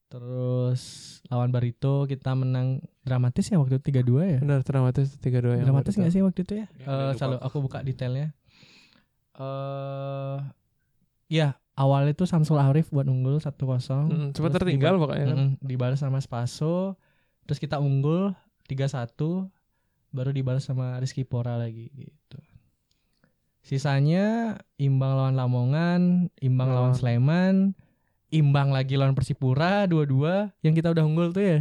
Speaker 2: terus lawan Barito kita menang dramatis ya waktu itu 3-2 ya
Speaker 1: Benar dramatis 3-2 yang.
Speaker 2: dramatis
Speaker 1: baru
Speaker 2: nggak sih waktu itu ya?
Speaker 3: Ya,
Speaker 2: Eh,
Speaker 3: udah lupa
Speaker 2: selalu
Speaker 3: aku.
Speaker 2: aku buka detailnya. Eh ya awalnya tuh Samsul Arif buat unggul 1-0.
Speaker 1: tahu. Mm,
Speaker 2: Terus
Speaker 1: Cepat tertinggal
Speaker 2: diba-
Speaker 1: pokoknya kan.
Speaker 2: Mm-mm, dibalas sama Spaso, terus kita unggul 3-1 baru dibalas sama Rizky Pora lagi gitu. Sisanya imbang lawan Lamongan, imbang
Speaker 1: Lawan-
Speaker 2: lawan Sleman, imbang lagi lawan Persipura dua-dua yang kita udah unggul tuh ya.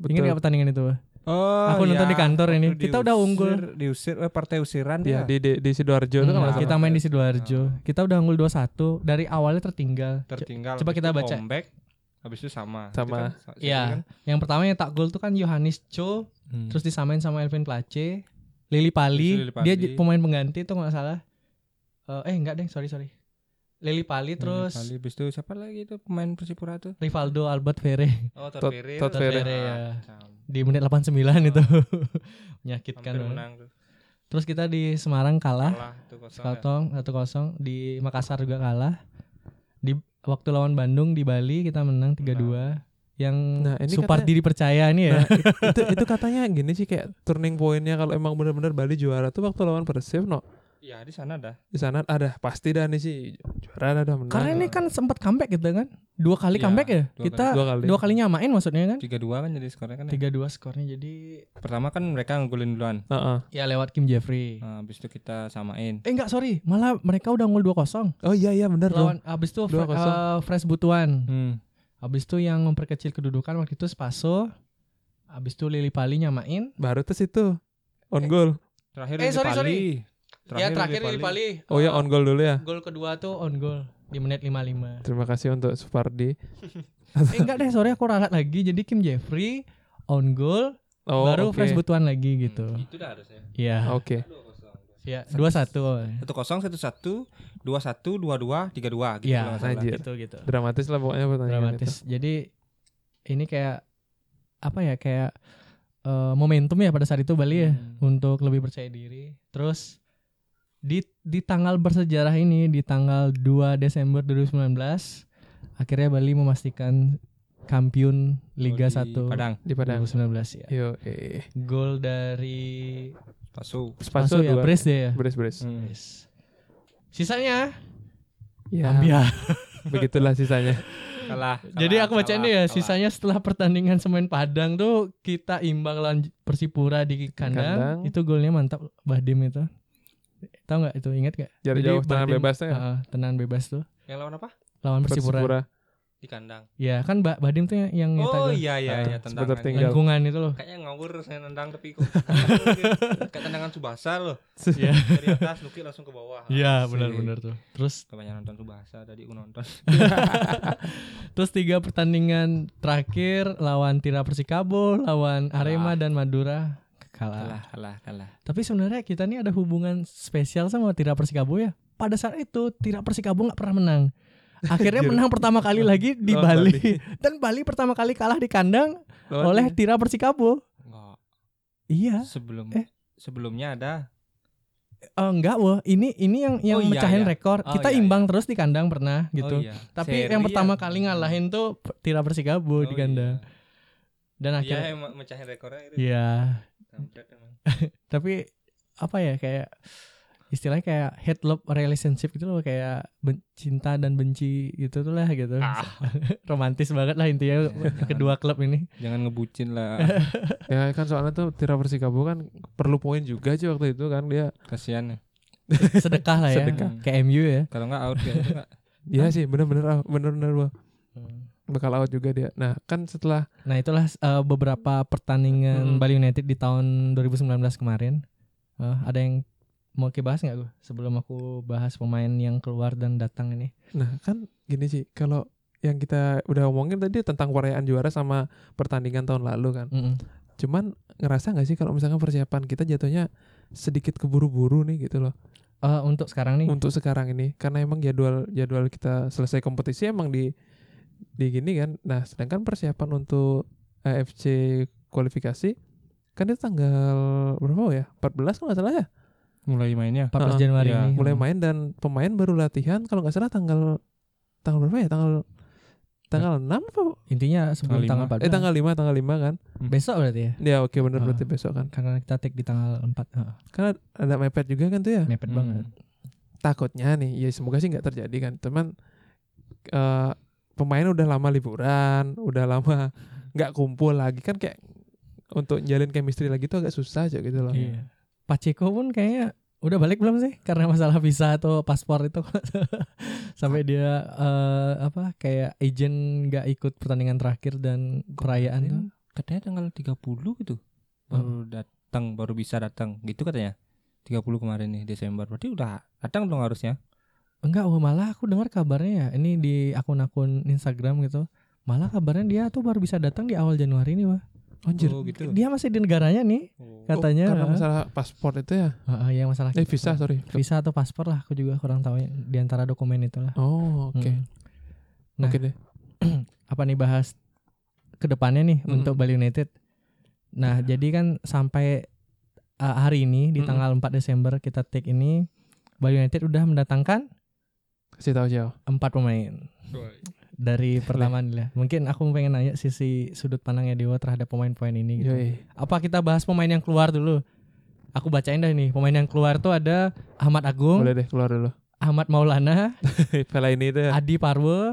Speaker 1: Betul.
Speaker 2: Ingat nggak pertandingan itu?
Speaker 3: Oh,
Speaker 2: Aku nonton
Speaker 3: ya.
Speaker 2: di kantor ini.
Speaker 3: Waktu
Speaker 2: Kita udah unggul.
Speaker 3: diusir- Diusir eh, partai usiran
Speaker 1: Ya,
Speaker 3: dia.
Speaker 1: di di, di Sidoarjo itu
Speaker 2: Hmm,
Speaker 1: kan
Speaker 3: nggak
Speaker 2: kita
Speaker 1: masalah.
Speaker 3: salah.
Speaker 2: main di sidoarjo.
Speaker 3: Ah.
Speaker 2: Kita udah unggul 2-1 dari awalnya tertinggal. Co-
Speaker 3: tertinggal.
Speaker 2: Coba
Speaker 3: habis
Speaker 2: kita
Speaker 3: itu
Speaker 2: baca.
Speaker 3: Comeback. Habis itu sama.
Speaker 1: Sama.
Speaker 3: Itu kan, sa-
Speaker 2: Iya.
Speaker 3: seri kan?
Speaker 2: Yang pertama yang tak gol tuh kan Yohanes Cho,
Speaker 3: Hmm.
Speaker 2: terus disamain sama Elvin Place, Lili Pali.
Speaker 3: Terus Lili Pali.
Speaker 2: Dia j- pemain pengganti tuh nggak salah. Eh, eh enggak deh, sorry sorry. Lili Pali terus
Speaker 3: Kali habis itu siapa lagi itu pemain Persipura tuh? Ah,
Speaker 2: Rivaldo Albert Ferre
Speaker 3: Oh,
Speaker 1: Todd Tot- Ferry. Todd Ferry,
Speaker 3: iya.
Speaker 2: ya. di menit 89 itu. Menyakitkan. banget.
Speaker 3: tuh.
Speaker 2: Terus kita di Semarang kalah
Speaker 3: Kalah tuh kosong.
Speaker 2: Kaltong 1-0 di Makassar juga kalah. Di waktu lawan Bandung di Bali kita menang 3-2 yang
Speaker 1: Nah, ini
Speaker 2: support
Speaker 1: katanya-
Speaker 2: diri percaya ini
Speaker 1: Nah,
Speaker 2: ya.
Speaker 1: itu itu katanya gini sih kayak turning pointnya kalau emang benar-benar Bali juara tuh waktu lawan Persib no
Speaker 3: ya di sana dah
Speaker 1: di sana ada pasti dah nih sih juara dah dah menang
Speaker 2: Karena ini kan sempat comeback gitu kan. Dua kali
Speaker 3: Iya,
Speaker 2: comeback ya.
Speaker 3: dua
Speaker 2: kita
Speaker 1: nah. dua kali
Speaker 2: dua kali nyamain maksudnya kan.
Speaker 3: tiga dua kan jadi skornya kan ya.
Speaker 2: 3-2 skornya jadi
Speaker 3: pertama kan mereka ngegolin duluan
Speaker 1: Heeh.
Speaker 2: ya lewat Kim Jeffrey.
Speaker 3: nah, habis itu kita samain
Speaker 2: Eh enggak sorry, malah mereka udah ngul 2-0.
Speaker 1: oh iya iya benar dong
Speaker 2: Lawan abis itu
Speaker 1: 2-0.
Speaker 2: eh, Fresh Butuan.
Speaker 3: hmm.
Speaker 2: Abis itu yang memperkecil kedudukan waktu itu Spaso. Abis itu Lili Pali nyamain.
Speaker 1: baru tes itu on goal
Speaker 3: terakhir
Speaker 2: Eh,
Speaker 3: di
Speaker 2: sorry,
Speaker 3: Bali.
Speaker 2: sorry.
Speaker 3: terakhir
Speaker 2: ya terakhir Lili Pali.
Speaker 1: oh ya
Speaker 2: Eh,
Speaker 1: on goal dulu ya
Speaker 2: Gol kedua tuh on goal di menit 55.
Speaker 1: terima kasih untuk Supardi
Speaker 2: eh enggak deh, sorry aku ralat lagi. Jadi Kim Jeffrey on goal,
Speaker 1: oh oke. Oh.
Speaker 2: baru Fresh Butuan lagi gitu.
Speaker 3: itu dah harusnya
Speaker 2: Iya.
Speaker 1: oke
Speaker 2: Iya, 2-1.
Speaker 3: satu kosong satu satu dua satu dua dua tiga dua gitu
Speaker 2: Iya,
Speaker 3: kalau nggak salah.
Speaker 1: anjir.
Speaker 2: Gitu gitu.
Speaker 1: dramatis lah pokoknya pertandingan itu.
Speaker 2: Dramatis. Jadi ini kayak apa ya? Kayak eh, momentum ya pada saat itu Bali ya
Speaker 3: Hmm.
Speaker 2: untuk lebih percaya diri. Terus di di tanggal bersejarah ini di tanggal 2 Desember 2019 akhirnya Bali memastikan kampiun Liga
Speaker 3: Di
Speaker 2: 1
Speaker 3: Padang
Speaker 1: di Padang
Speaker 2: 2019 ya.
Speaker 1: yo eh
Speaker 2: Gol dari
Speaker 3: Pasu
Speaker 1: Spaso
Speaker 2: Paso ya,
Speaker 1: dua
Speaker 2: Bres dia ya.
Speaker 1: Brace Brace
Speaker 3: hmm.
Speaker 2: Bres. Sisanya
Speaker 1: ya
Speaker 2: Gambia.
Speaker 1: begitulah sisanya
Speaker 3: kalah, kalah,
Speaker 2: Jadi aku bacain
Speaker 3: kalah,
Speaker 2: deh ya,
Speaker 3: kalah.
Speaker 2: sisanya setelah pertandingan Semen Padang tuh kita imbang lawan Persipura di
Speaker 1: Kandang.
Speaker 2: kandang. Itu golnya mantap Bahdim itu. Tahu nggak itu? Ingat nggak?
Speaker 1: Jarak
Speaker 2: Jadi
Speaker 1: jauh tendangan
Speaker 2: Bahdim-
Speaker 1: bebasnya ya?
Speaker 2: Heeh, tendangan bebas tuh
Speaker 3: yang lawan apa
Speaker 2: lawan Persipura.
Speaker 1: Persipura
Speaker 3: di kandang
Speaker 2: Ya, kan Mbak Bahdim tuh yang, yang Nah, nyetak
Speaker 3: oh
Speaker 2: gol.
Speaker 3: iya iya
Speaker 1: Ah,
Speaker 3: iya tendang
Speaker 1: sebentar
Speaker 3: kan.
Speaker 1: tinggal.
Speaker 2: lingkungan itu loh.
Speaker 3: kayaknya ngawur saya nendang tapi kok kayak tendangan Subasa loh
Speaker 2: Iya.
Speaker 3: dari atas Luki langsung ke bawah
Speaker 2: Iya,
Speaker 3: Asik.
Speaker 2: benar-benar tuh. Terus
Speaker 3: kebanyakan nonton Subasa tadi aku nonton
Speaker 2: terus tiga pertandingan terakhir lawan Tira Persikabo, lawan Arema dan Madura kalah.
Speaker 3: kalah kalah kalah
Speaker 2: Tapi sebenarnya kita nih ada hubungan spesial sama Tira Persikabo ya. Pada saat itu Tira Persikabo nggak pernah menang. Akhirnya
Speaker 1: Anjir.
Speaker 2: menang pertama kali lagi
Speaker 3: Oh,
Speaker 2: di
Speaker 1: Lawan
Speaker 2: Bali.
Speaker 1: Bali.
Speaker 2: Dan Bali pertama kali kalah di kandang
Speaker 1: Lawan
Speaker 3: Oh,
Speaker 2: oleh
Speaker 3: iya.
Speaker 1: ini.
Speaker 2: Tira Persikabo.
Speaker 3: Enggak.
Speaker 2: Iya.
Speaker 3: sebelum
Speaker 2: Eh.
Speaker 3: sebelumnya ada
Speaker 2: Eh, enggak wah, ini ini yang yang
Speaker 3: Oh, iya,
Speaker 2: mecahin
Speaker 3: iya.
Speaker 2: rekor.
Speaker 3: Oh,
Speaker 2: kita
Speaker 3: iya,
Speaker 2: imbang terus di kandang pernah
Speaker 3: Oh,
Speaker 2: gitu.
Speaker 3: iya.
Speaker 2: Tapi
Speaker 3: Seri
Speaker 2: yang pertama
Speaker 3: ya.
Speaker 2: kali ngalahin tuh Tira Persikabo
Speaker 3: Oh,
Speaker 2: di kandang. Dan
Speaker 3: iya.
Speaker 2: akhirnya
Speaker 3: Iya, emang mecahin rekornya itu.
Speaker 2: Iya.
Speaker 3: Kampret emang.
Speaker 2: tapi apa ya kayak istilahnya kayak head love relationship gitu loh kayak ben- cinta dan benci gitu tuh lah gitu
Speaker 1: Ah.
Speaker 2: romantis banget lah intinya
Speaker 3: Ya,
Speaker 2: kedua klub ini
Speaker 3: Jangan ngebucin lah.
Speaker 1: ya kan soalnya tuh Tira Persikabo kan perlu poin juga sih waktu itu kan dia
Speaker 3: Kasihan. ya.
Speaker 2: sedekah lah ya
Speaker 1: Sedekah.
Speaker 2: ke MU ya
Speaker 3: Kalau enggak out kayak itu enggak.
Speaker 1: Iya sih bener-bener bener-bener gua. bakal out juga dia. Nah kan setelah
Speaker 2: nah itulah eh, beberapa pertandingan
Speaker 1: Mm-mm.
Speaker 2: Bali United di tahun 2019 kemarin Eh, ada yang mau kita bahas nggak gue sebelum aku bahas pemain yang keluar dan datang ini
Speaker 1: nah kan gini sih kalau yang kita udah omongin tadi tentang perayaan juara sama pertandingan tahun lalu kan.
Speaker 2: Mm-mm.
Speaker 1: Cuman ngerasa nggak sih kalau misalkan persiapan kita jatuhnya sedikit keburu-buru nih gitu loh
Speaker 2: Eh, untuk sekarang nih
Speaker 1: untuk sekarang ini karena emang jadwal jadwal kita selesai kompetisi emang di di gini kan. Nah sedangkan persiapan untuk AFC kualifikasi kan itu tanggal berapa ya? 14 kalau nggak salah ya?
Speaker 3: Mulai mainnya.
Speaker 2: 14
Speaker 1: Ah,
Speaker 2: Januari
Speaker 3: iya,
Speaker 2: ini
Speaker 1: mulai main dan pemain baru latihan kalau nggak salah tanggal tanggal berapa ya tanggal tanggal 6 apa
Speaker 2: intinya sebelum tanggal 14
Speaker 3: Tanggal
Speaker 1: eh tanggal 5 tanggal 5 kan
Speaker 2: besok berarti ya
Speaker 1: ya oke bener
Speaker 2: Ah.
Speaker 1: berarti besok kan
Speaker 2: karena kita take di tanggal 4 Heeh,
Speaker 1: karena ada mepet juga kan tuh ya
Speaker 2: mepet
Speaker 3: Hmm.
Speaker 2: banget
Speaker 1: takutnya nih ya semoga sih nggak terjadi kan teman eh pemain udah lama liburan udah lama nggak kumpul lagi kan kayak untuk jalin chemistry lagi tuh agak susah aja gitu loh
Speaker 2: Iya. Pacheco pun kayaknya udah balik belum sih karena masalah visa atau paspor itu sampai dia eh, apa kayak agent nggak ikut pertandingan terakhir dan perayaan tuh.
Speaker 3: Katanya tanggal 30 gitu. Baru datang, baru bisa datang. Gitu katanya. 30 kemarin nih Desember. Berarti udah datang dong harusnya.
Speaker 2: enggak oh, malah aku dengar kabarnya ya ini di akun-akun Instagram gitu malah kabarnya dia tuh baru bisa datang di awal Januari nih wah
Speaker 1: anjir
Speaker 3: Oh, gitu.
Speaker 2: dia masih di negaranya nih
Speaker 1: Oh,
Speaker 3: Oh.
Speaker 2: katanya
Speaker 1: karena masalah paspor itu ya
Speaker 2: Heeh, yang masalah
Speaker 1: eh visa sorry
Speaker 2: visa atau paspor lah aku juga kurang tahu ya, di antara dokumen itulah
Speaker 1: oh oke
Speaker 2: Hmm. Nah.
Speaker 1: oke deh
Speaker 2: apa nih bahas kedepannya nih
Speaker 1: Mm-mm. Iya.
Speaker 2: untuk Bali United. Nah jadi kan sampai uh, hari ini di
Speaker 1: Mm-mm.
Speaker 2: tanggal 4 Desember kita take ini Bali United udah mendatangkan
Speaker 1: Si tahu oh. jauh.
Speaker 2: empat pemain dari pertama nih lah. Mungkin aku pengen nanya sisi sudut pandangnya Dewa terhadap pemain-pemain ini gitu.
Speaker 1: Yoi.
Speaker 2: Apa kita bahas pemain yang keluar dulu? Aku bacain dah nih. Pemain yang keluar tuh ada Ahmad Agung,
Speaker 1: Boleh deh keluar dulu.
Speaker 2: Ahmad Maulana,
Speaker 1: Vela ini itu ya.
Speaker 2: Adi Parwo, eh,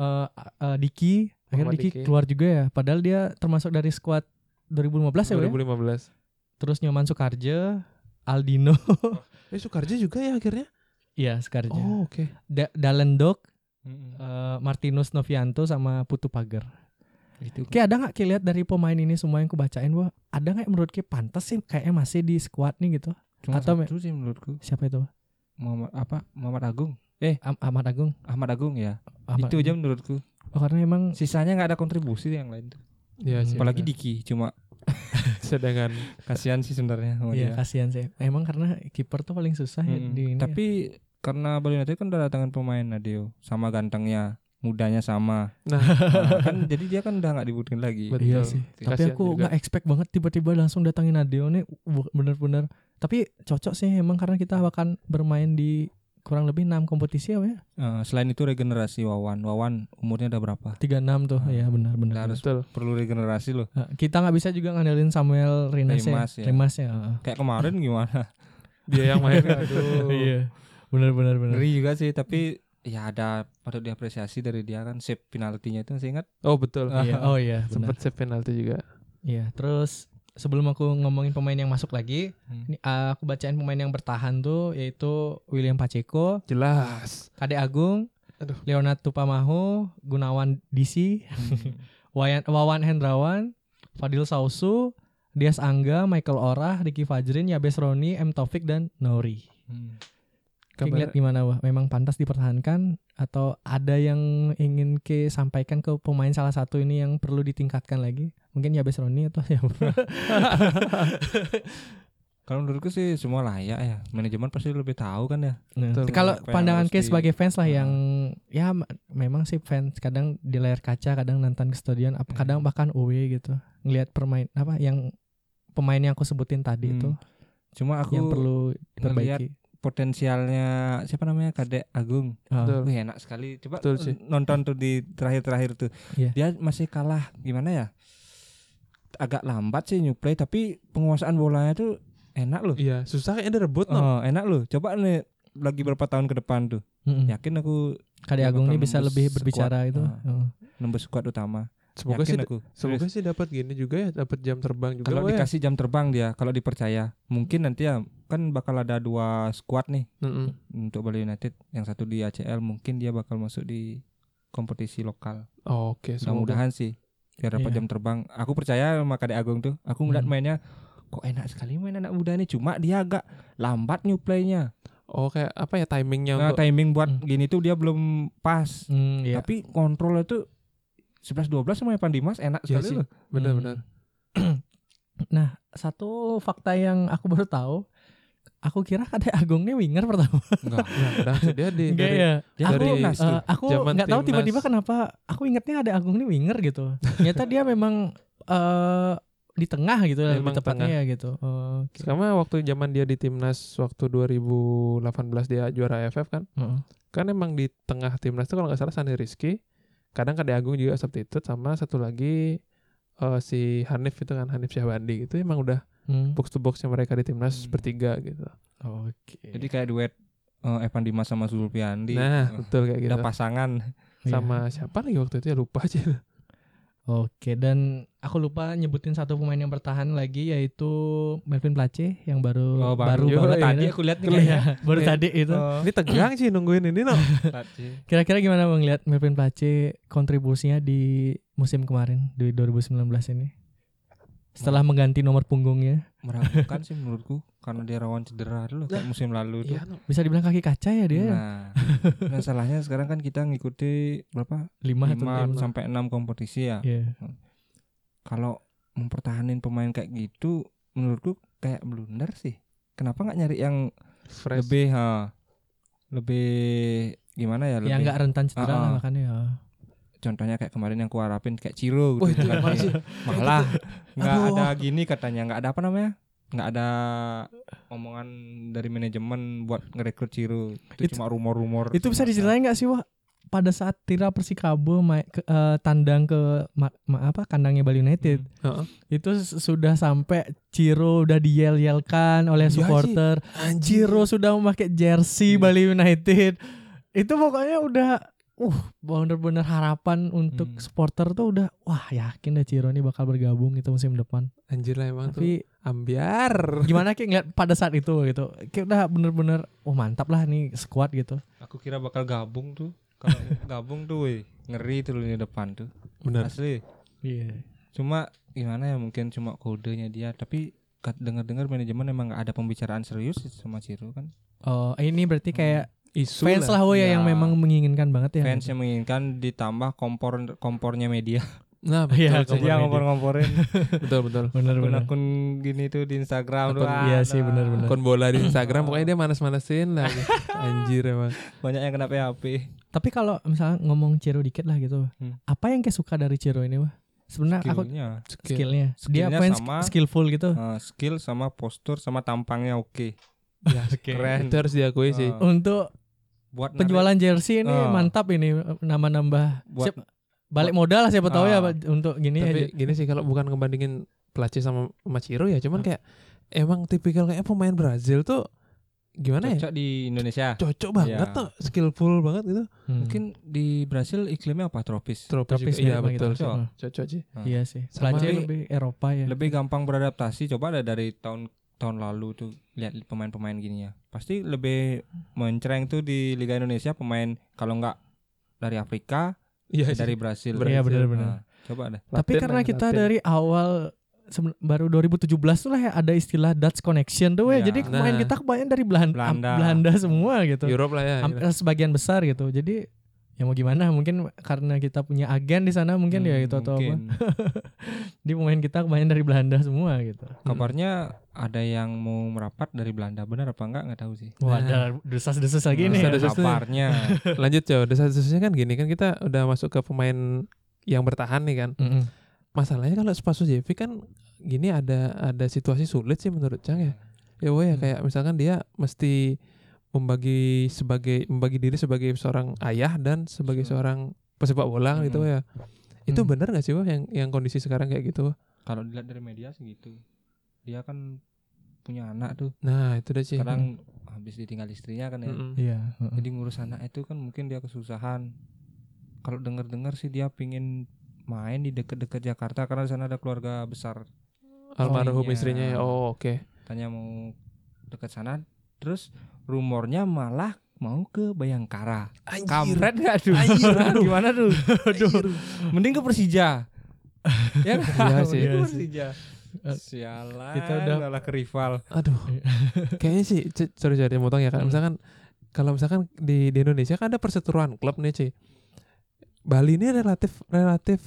Speaker 2: eh, Diki. Akhirnya
Speaker 1: Muhammad
Speaker 2: Diki,
Speaker 1: Diki.
Speaker 2: keluar juga ya. Padahal dia termasuk dari skuad 2015 ya, Bo ya.
Speaker 1: 2015.
Speaker 2: Terus Nyoman Sukarjo, Aldino.
Speaker 1: Eh Sukarja juga ya akhirnya.
Speaker 2: Iya, Sukarjo.
Speaker 1: Oh oke.
Speaker 2: Da- Dalendok, eh, Martinus Novianto sama Putu Pagar.
Speaker 3: itu
Speaker 2: Kayak ada nggak kayak lihat dari pemain ini semua yang kubacain wah ada nggak yang menurut kayak pantas sih kayaknya masih di squad nih gitu
Speaker 3: cuma
Speaker 2: atau me-
Speaker 3: satu sih menurutku
Speaker 2: siapa itu
Speaker 3: Muhammad apa Muhammad Agung
Speaker 2: Am- Ahmad Agung
Speaker 3: Ahmad Agung ya
Speaker 2: Ahmad
Speaker 3: itu aja
Speaker 2: Agung.
Speaker 3: menurutku
Speaker 2: Oh, karena emang
Speaker 3: sisanya nggak ada kontribusi yang lain tuh
Speaker 1: Iya sih.
Speaker 3: apalagi Diki cuma
Speaker 1: sedangkan
Speaker 3: kasihan sih sebenarnya sama
Speaker 2: ya
Speaker 3: dia.
Speaker 2: kasihan sih emang karena kiper tuh paling susah ya
Speaker 3: Mm-mm.
Speaker 2: di ini ya.
Speaker 3: iya. Hmm, tapi karena Bali United kan udah datangan pemain Nadio sama gantengnya mudanya sama
Speaker 1: Nah.
Speaker 3: Nah, kan jadi dia kan udah nggak dibutuhin lagi
Speaker 1: Betul.
Speaker 2: iya sih tapi
Speaker 1: Kasihan
Speaker 2: aku
Speaker 1: juga.
Speaker 2: nggak expect banget tiba-tiba langsung datangin Nadeo nih Wah, bener-bener tapi cocok sih emang karena kita akan bermain di kurang lebih 6 kompetisi ya Bo ya
Speaker 3: Eh, selain itu regenerasi Wawan Wawan umurnya udah berapa
Speaker 2: 36 tuh
Speaker 3: Ah.
Speaker 2: ya benar-benar
Speaker 3: Nah, harus
Speaker 1: betul.
Speaker 3: perlu regenerasi loh
Speaker 2: Nah, kita nggak bisa juga ngandelin Samuel Rinas
Speaker 3: Rimas
Speaker 2: ya
Speaker 3: ya.
Speaker 2: Rimas ya heeh.
Speaker 3: kayak kemarin gimana
Speaker 1: Dia yang main.
Speaker 3: aduh
Speaker 2: iya benar benar benar
Speaker 3: ngeri juga sih tapi ya ada patut diapresiasi dari dia kan save penaltinya itu masih ingat
Speaker 1: Oh betul.
Speaker 2: Iya, oh iya benar
Speaker 1: Sempet save penalti juga.
Speaker 2: iya terus sebelum aku ngomongin pemain yang masuk lagi
Speaker 3: Hmm.
Speaker 2: ini uh, aku bacain pemain yang bertahan tuh yaitu William Pacheco
Speaker 1: Jelas.
Speaker 2: Kade Agung
Speaker 1: Aduh.
Speaker 2: Leonard Tupamaho Gunawan DC
Speaker 3: Hmm.
Speaker 2: Wayan, Wawan Hendrawan Fadil Sausu Dias Angga, Michael Orah, Ricky Fajrin, Yabes Roni, M Taufik dan Nori.
Speaker 3: Hmm.
Speaker 2: Kayak
Speaker 1: Kabar-
Speaker 2: ngeliat gimana wah memang pantas dipertahankan atau ada yang ingin ke sampaikan ke pemain salah satu ini yang perlu ditingkatkan lagi mungkin ya Roni atau ya
Speaker 3: kalau menurutku sih semua layak ya manajemen pasti lebih tahu kan ya
Speaker 2: Nah,
Speaker 1: Betul.
Speaker 2: kalau
Speaker 3: Apa yang
Speaker 2: pandangan
Speaker 3: harus
Speaker 2: ke
Speaker 3: di-
Speaker 2: sebagai fans lah
Speaker 3: Nah.
Speaker 2: yang ya ma- memang sih fans kadang di layar kaca kadang nonton ke stadion apa
Speaker 3: Hmm.
Speaker 2: kadang bahkan away gitu ngelihat permain apa yang pemain yang aku sebutin tadi
Speaker 3: Hmm.
Speaker 2: itu
Speaker 3: cuma aku
Speaker 2: yang perlu diperbaiki
Speaker 3: potensialnya siapa namanya Kadek Agung
Speaker 2: Ah,
Speaker 1: Betul.
Speaker 3: Wih enak sekali. Coba
Speaker 1: Betul sih.
Speaker 3: nonton tuh di terakhir-terakhir tuh.
Speaker 2: Iya.
Speaker 3: Dia masih kalah gimana ya? Agak lambat sih nyuplai tapi penguasaan bolanya tuh enak loh.
Speaker 1: Iya, susah kayaknya direbut no.
Speaker 3: Oh, enak loh. Coba nih lagi berapa tahun ke depan tuh.
Speaker 1: Hmm.
Speaker 2: Mm-mm.
Speaker 1: Ya,
Speaker 3: Yakin aku
Speaker 2: Kade
Speaker 3: dia
Speaker 2: Agung ini
Speaker 3: bakal
Speaker 2: bisa
Speaker 3: nembus
Speaker 2: lebih berbicara
Speaker 3: squad.
Speaker 2: itu
Speaker 3: Ah.
Speaker 2: Oh.
Speaker 3: nembus squad utama.
Speaker 1: Semoga
Speaker 3: Yakin
Speaker 1: sih
Speaker 3: aku.
Speaker 1: semoga
Speaker 3: Serius.
Speaker 1: sih dapat gini juga ya, dapat jam terbang juga.
Speaker 3: Kalau
Speaker 1: Wah, ya.
Speaker 3: dikasih jam terbang dia, kalau dipercaya, mungkin nanti ya kan bakal ada dua squad nih
Speaker 1: Mm-mm.
Speaker 3: untuk Bali United. Yang satu di ACL mungkin dia bakal masuk di kompetisi lokal.
Speaker 1: Oh, Oke, semoga.
Speaker 3: mudah-mudahan sih biar dapat
Speaker 2: Iya.
Speaker 3: jam terbang aku percaya sama Kade Agung tuh aku ngeliat
Speaker 2: Hmm.
Speaker 3: mainnya kok enak sekali main anak muda ini cuma dia agak lambat new playnya
Speaker 1: Oh, kayak apa ya timingnya
Speaker 3: nah,
Speaker 1: untuk
Speaker 3: timing buat
Speaker 2: Hmm.
Speaker 3: gini tuh dia belum pas
Speaker 2: Mm, iya.
Speaker 3: tapi kontrolnya tuh 11 12 sama Evan Dimas enak
Speaker 1: Iya
Speaker 3: sekali
Speaker 1: sih.
Speaker 3: loh
Speaker 1: benar-benar.
Speaker 2: Hmm. nah, satu fakta yang aku baru tahu, aku kira Kade Agung ini winger pertama.
Speaker 3: enggak
Speaker 1: Nah, padahal sih dia di
Speaker 2: Enggak
Speaker 1: dari
Speaker 2: ya.
Speaker 3: dia
Speaker 2: aku
Speaker 1: dari,
Speaker 3: timnas
Speaker 2: eh,
Speaker 3: tuh.
Speaker 2: aku
Speaker 1: Zaman
Speaker 2: nggak tahu
Speaker 1: timnas.
Speaker 2: tiba-tiba kenapa aku ingetnya Kade Agung ini winger gitu. Ternyata dia memang eh di tengah gitu lah, lebih
Speaker 1: Memang
Speaker 2: tepatnya ya gitu. Oh, Oke.
Speaker 1: Sama waktu zaman dia di timnas waktu 2018 dia juara AFF kan,
Speaker 2: Heeh.
Speaker 1: kan emang di tengah timnas tuh kalau nggak salah Sandi Rizky, kadang Kade Agung juga substitute sama satu lagi eh, si Hanif itu kan Hanif Syahbandi itu emang udah
Speaker 2: Hmm.
Speaker 1: box to boxnya mereka di timnas
Speaker 3: Hmm.
Speaker 1: bertiga gitu.
Speaker 2: Oke.
Speaker 3: jadi kayak duet eh, Evan Dimas sama Zulfiandi
Speaker 1: Nah,
Speaker 3: Eh,
Speaker 1: betul kayak gitu.
Speaker 3: udah pasangan
Speaker 2: Iya.
Speaker 1: Sama siapa lagi waktu itu ya lupa aja.
Speaker 2: Oke, dan aku lupa nyebutin satu pemain yang bertahan lagi yaitu Melvin Place yang baru
Speaker 3: Oh,
Speaker 2: baru
Speaker 3: Yo,
Speaker 2: banget
Speaker 3: tadi
Speaker 2: ini.
Speaker 3: aku lihat nih
Speaker 2: Iya,
Speaker 3: kayaknya.
Speaker 2: baru
Speaker 1: Iya.
Speaker 2: tadi itu.
Speaker 3: Oh,
Speaker 1: Ini tegang sih nungguin ini no.
Speaker 3: tadi.
Speaker 2: Kira-kira gimana Bang lihat Melvin Place kontribusinya di musim kemarin di 2019 ini? Setelah
Speaker 3: Hmm.
Speaker 2: mengganti nomor punggungnya,
Speaker 3: meragukan kan sih menurutku karena dia rawan cedera dulu kayak musim lalu tuh
Speaker 1: no.
Speaker 2: bisa dibilang kaki kaca ya dia.
Speaker 3: Nah, masalahnya sekarang kan kita ngikuti berapa?
Speaker 2: 5 atau lima.
Speaker 3: 5 sampai 6 kompetisi ya.
Speaker 2: Iya.
Speaker 3: Kalau mempertahankan pemain kayak gitu menurutku kayak blunder sih. Kenapa nggak nyari yang
Speaker 1: Fresh.
Speaker 3: lebih ha, lebih gimana ya? Lebih,
Speaker 2: Yang enggak rentan cedera lah
Speaker 3: Ah, ah.
Speaker 2: makanya ya.
Speaker 3: Contohnya kayak kemarin yang kuharapin kayak Ciro
Speaker 2: Oh,
Speaker 1: Wah,
Speaker 3: gitu.
Speaker 1: itu
Speaker 3: kan.
Speaker 1: emang sih.
Speaker 3: Malah nggak
Speaker 1: Aduh.
Speaker 3: ada gini katanya, nggak ada apa namanya? nggak ada omongan dari manajemen buat ngerekrut Ciro itu,
Speaker 2: Itu-
Speaker 3: cuma rumor-rumor
Speaker 2: Itu bisa diceritain nggak sih wah pada saat Tira Persikabo ma- ke- eh, tandang ke ma- ma- apa kandangnya Bali United
Speaker 1: Heeh.
Speaker 2: itu s- sudah sampai Ciro udah diyel-yelkan oleh
Speaker 1: Iya sih.
Speaker 2: supporter. Ciro sudah memakai jersey
Speaker 3: Iya.
Speaker 2: Bali United. Itu pokoknya udah uh bener-bener harapan untuk
Speaker 3: Hmm.
Speaker 2: supporter tuh udah wah yakin deh Ciro ini bakal bergabung itu musim depan.
Speaker 1: Anjir lah emang tuh.
Speaker 2: Tapi
Speaker 1: Ambiar.
Speaker 2: gimana Ki ngeliat pada saat itu gitu. Kayak udah bener-bener oh mantap lah nih squad gitu.
Speaker 3: aku kira bakal gabung tuh kalau gabung tuh weh, ngeri tuh lini depan tuh
Speaker 1: Benar.
Speaker 3: asli
Speaker 2: Iya.
Speaker 3: cuma gimana ya mungkin cuma kodenya dia tapi kat- dengar-dengar manajemen emang nggak ada pembicaraan serius sama Ciro kan
Speaker 2: Oh, ini berarti kayak
Speaker 1: Isu
Speaker 2: fans lah woy ya
Speaker 3: Iya.
Speaker 2: yang memang menginginkan banget ya.
Speaker 3: fans yang menginginkan ditambah kompor kompornya media
Speaker 1: Nah,
Speaker 2: Iya,
Speaker 1: betul,
Speaker 2: jadi
Speaker 1: betul,
Speaker 3: dia ngompor-ngomporin
Speaker 1: betul, betul.
Speaker 2: Bener-bener.
Speaker 3: akun-akun gini tuh ah, nah. di Instagram
Speaker 2: Akun- iya sih,
Speaker 3: ada.
Speaker 2: bener-bener.
Speaker 1: Kon bola di Instagram pokoknya dia manas-manasin lah. Anjir emang.
Speaker 3: banyak yang kena PHP
Speaker 2: Tapi kalau misalnya ngomong Ciro dikit lah gitu,
Speaker 3: Hmm.
Speaker 2: apa yang kayak suka dari Ciro ini wah?
Speaker 3: Ah,
Speaker 2: Sebenarnya aku
Speaker 3: skillnya
Speaker 1: Skill.
Speaker 2: skillnya, dia
Speaker 3: Skillnya
Speaker 2: main
Speaker 3: sama.
Speaker 2: sk- skillful gitu.
Speaker 3: Eh, skill sama postur sama tampangnya Ya, oke keren
Speaker 1: Itu harus diakui sih.
Speaker 3: Eh,
Speaker 2: Untuk
Speaker 3: buat narik-
Speaker 2: penjualan jersey ini
Speaker 3: Ah.
Speaker 2: mantap ini nama-nambah.
Speaker 3: buat
Speaker 2: Siap, balik modal lah siapa tahu ya
Speaker 3: Ah.
Speaker 2: Pak, untuk gini
Speaker 1: Tapi
Speaker 2: aja.
Speaker 1: gini sih kalau bukan ngebandingin Pelaci sama Maciro ya, cuman kayak emang tipikal kayak pemain Brazil tuh gimana ya?
Speaker 3: cocok di Indonesia
Speaker 1: Cocok banget
Speaker 3: Iya.
Speaker 1: tuh, skillful banget gitu.
Speaker 3: mungkin di Brasil iklimnya apa tropis
Speaker 1: Tropis
Speaker 2: Hmm. Tropis
Speaker 1: juga. iya
Speaker 2: memang gitu.
Speaker 1: betul. sih.
Speaker 3: Cocok.
Speaker 1: Cocok sih.
Speaker 3: Ah.
Speaker 2: Iya sih.
Speaker 1: Sama
Speaker 2: Pelajar
Speaker 1: kayak-
Speaker 2: lebih Eropa ya.
Speaker 3: lebih gampang beradaptasi coba ada dari tahun tahun lalu tuh lihat pemain-pemain gini ya pasti lebih mencereng tuh di Liga Indonesia pemain kalau nggak dari Afrika
Speaker 1: Iya sih.
Speaker 3: dari Brasil
Speaker 2: Iya benar-benar.
Speaker 3: Nah, coba deh
Speaker 2: Tapi
Speaker 1: Latin
Speaker 2: karena
Speaker 1: lah,
Speaker 2: kita
Speaker 1: Latin.
Speaker 2: dari awal seben- baru 2017 tuh lah ya ada istilah Dutch connection tuh ya.
Speaker 3: Iya.
Speaker 2: Jadi pemain
Speaker 1: Nah.
Speaker 2: kita kebanyakan dari Belanda,
Speaker 3: Belanda.
Speaker 2: Belanda semua gitu.
Speaker 1: Europe lah ya.
Speaker 2: Am-
Speaker 1: gitu.
Speaker 2: sebagian besar gitu. Jadi ya mau gimana mungkin karena kita punya agen di sana mungkin
Speaker 1: Hmm,
Speaker 2: ya gitu atau apa.
Speaker 3: Hmm, mungkin.
Speaker 2: Di pemain kita kebanyakan dari Belanda semua gitu.
Speaker 3: kabarnya ada yang mau merapat dari Belanda benar apa enggak nggak tahu sih
Speaker 2: Wah, ada desas-desas lagi
Speaker 1: Nah,
Speaker 2: nih. ya.
Speaker 1: Desas-desas nih.
Speaker 3: kabarnya
Speaker 1: Lanjut cow, desa-desanya kan gini kan kita udah masuk ke pemain yang bertahan nih kan.
Speaker 2: Mm-mm.
Speaker 1: Masalahnya kalau Spasojevic kan gini ada ada situasi sulit sih menurut
Speaker 2: Iya,
Speaker 1: Cang ya. Ya woy ya
Speaker 2: Hmm.
Speaker 1: kayak misalkan dia mesti membagi sebagai membagi diri sebagai seorang ayah dan sebagai
Speaker 3: Sure.
Speaker 1: seorang pesepak bola gitu
Speaker 3: Hmm.
Speaker 1: ya. Itu
Speaker 2: Hmm.
Speaker 1: benar gak sih wah yang yang kondisi sekarang kayak gitu? Wah?
Speaker 3: kalau dilihat dari media sih gitu dia kan punya anak tuh
Speaker 1: Nah, itu deh sih. Hmm.
Speaker 3: sekarang habis ditinggal istrinya kan ya
Speaker 1: Mm-mm.
Speaker 2: Iya, heeh.
Speaker 3: jadi ngurus anak itu kan mungkin dia kesusahan kalau dengar-dengar sih dia pingin main di deket-deket Jakarta karena di sana ada keluarga besar
Speaker 1: Almarhum
Speaker 3: iya.
Speaker 1: istrinya ya. Oh, oke.
Speaker 3: tanya mau deket sana terus rumornya malah mau ke Bayangkara kampret nggak tuh gimana tuh Aduh. mending ke Persija ya
Speaker 1: Iya
Speaker 3: kan?
Speaker 1: sih.
Speaker 3: Mending
Speaker 2: Iya sih.
Speaker 3: ke Persija
Speaker 2: Eh,
Speaker 3: sialan
Speaker 2: kita udah-
Speaker 3: malah ke rival
Speaker 1: Aduh. Kayaknya sih c- sorry sorry motong ya kan.
Speaker 2: Hmm.
Speaker 1: Misalkan kalau misalkan di di Indonesia kan ada perseteruan klub nih, Ci. Bali ini relatif relatif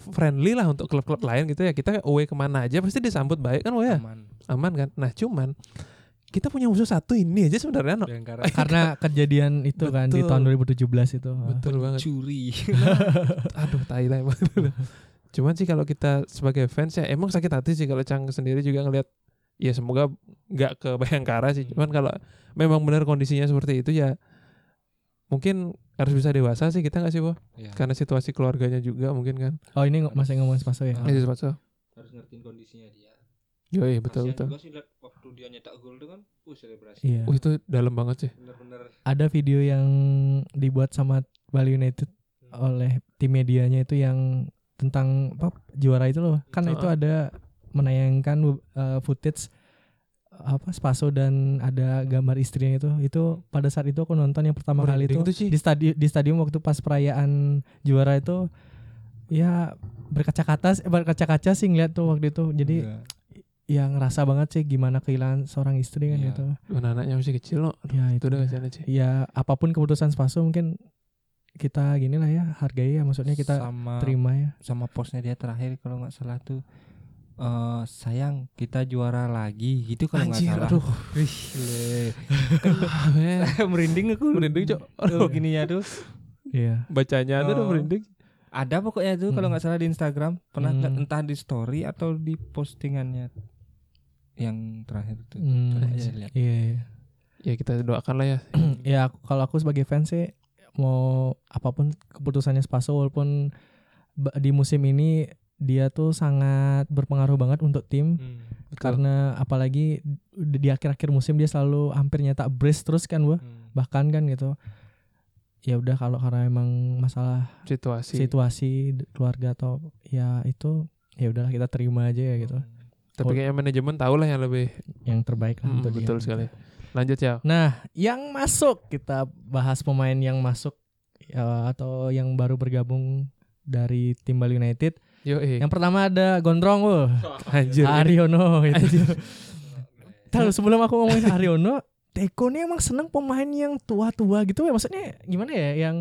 Speaker 1: friendly lah untuk klub-klub lain gitu ya. Kita away kemana aja pasti disambut baik kan, Woy ya.
Speaker 3: aman
Speaker 1: Aman kan? Nah, cuman kita punya musuh satu ini aja sebenarnya. No.
Speaker 3: Bayangkara
Speaker 2: karena kejadian itu kan di
Speaker 1: Betul.
Speaker 2: tahun 2017 itu.
Speaker 1: Betul banget.
Speaker 3: curi
Speaker 1: Aduh, tai lah emang. Cuman sih kalau kita sebagai fans ya emang sakit hati sih kalau Cang sendiri juga ngelihat ya semoga nggak ke Bayangkara sih. Cuman kalau memang benar kondisinya seperti itu ya mungkin harus bisa dewasa sih kita nggak sih, Bo?
Speaker 3: Ya,
Speaker 1: Karena situasi keluarganya juga mungkin kan.
Speaker 2: Oh, ini ngo- masih ngomongin Spaso ya.
Speaker 1: Iya, Spaso.
Speaker 3: harus ngertiin kondisinya dia
Speaker 1: Yoi, betul
Speaker 3: Kasihan
Speaker 1: betul.
Speaker 3: juga sih liat waktu dia nyetak gol itu kan uh selebrasi
Speaker 2: Iya.
Speaker 1: Wih, itu dalam banget sih.
Speaker 3: bener-bener
Speaker 2: Ada video yang dibuat sama Bali United oleh tim medianya itu yang tentang apa juara itu loh. Kan
Speaker 1: Heeh.
Speaker 2: itu ada menayangkan uh, footage apa Spaso dan ada gambar istrinya itu. Itu pada saat itu aku nonton yang pertama kali itu
Speaker 1: Merinding tuh, Ci.
Speaker 2: di stadion di stadion waktu pas perayaan juara itu ya berkaca-kaca berkaca-kaca sih ngeliat tuh waktu itu. Jadi
Speaker 3: Iya.
Speaker 2: yang rasa banget sih gimana kehilangan seorang istri kan
Speaker 3: Iya.
Speaker 2: gitu.
Speaker 1: Mana anaknya masih kecil loh.
Speaker 2: Ya
Speaker 1: Itu udah kasihan sih.
Speaker 2: ya apapun keputusan Spaso mungkin kita gini lah ya hargai ya maksudnya kita
Speaker 3: sama
Speaker 2: terima ya
Speaker 3: sama posnya dia terakhir kalau nggak salah tuh eh sayang kita juara lagi gitu kalau nggak
Speaker 1: Anjir,
Speaker 3: salah Iya.
Speaker 1: aduh.
Speaker 3: Wih, le. merinding aku
Speaker 1: Merinding, Cok.
Speaker 3: Aduh, gini ya tuh
Speaker 2: iya
Speaker 1: Bacanya aja udah
Speaker 3: Oh.
Speaker 1: merinding.
Speaker 3: ada pokoknya tuh
Speaker 2: Hmm.
Speaker 3: kalau Hmm. nggak salah di Instagram pernah nggak-
Speaker 2: Hmm.
Speaker 3: entah di story atau di postingannya yang terakhir itu.
Speaker 2: Hmm,
Speaker 3: Coba aja
Speaker 1: anjir.
Speaker 3: lihat.
Speaker 2: Iya. iya.
Speaker 1: Ya kita doakan lah ya.
Speaker 2: ya aku- kalau aku sebagai fans sih mau apapun keputusannya Spaso walaupun ba- di musim ini dia tuh sangat berpengaruh banget untuk tim
Speaker 3: Iya, Hmm.
Speaker 2: karena apalagi di di akhir-akhir musim dia selalu hampir nyetak brace terus kan bu
Speaker 3: Hmm.
Speaker 2: bahkan kan gitu ya udah kalau karena emang masalah
Speaker 1: situasi.
Speaker 2: situasi d- keluarga atau ya itu ya udahlah kita terima aja ya gitu
Speaker 1: Tapi kayaknya manajemen tahu lah yang lebih
Speaker 2: yang terbaik lah
Speaker 1: Mm,
Speaker 2: untuk dia.
Speaker 1: betul sekali. Lanjut ya.
Speaker 2: Nah, yang masuk kita bahas pemain yang masuk ya, atau yang baru bergabung dari tim Bali United.
Speaker 1: Yo eh.
Speaker 2: Yang pertama ada Gondrong, wah,
Speaker 1: Anjir. ini-
Speaker 2: Aryono itu. Tahu sebelum aku ngomongin Aryono, Teko nih emang seneng pemain yang tua-tua gitu ya. Maksudnya gimana ya yang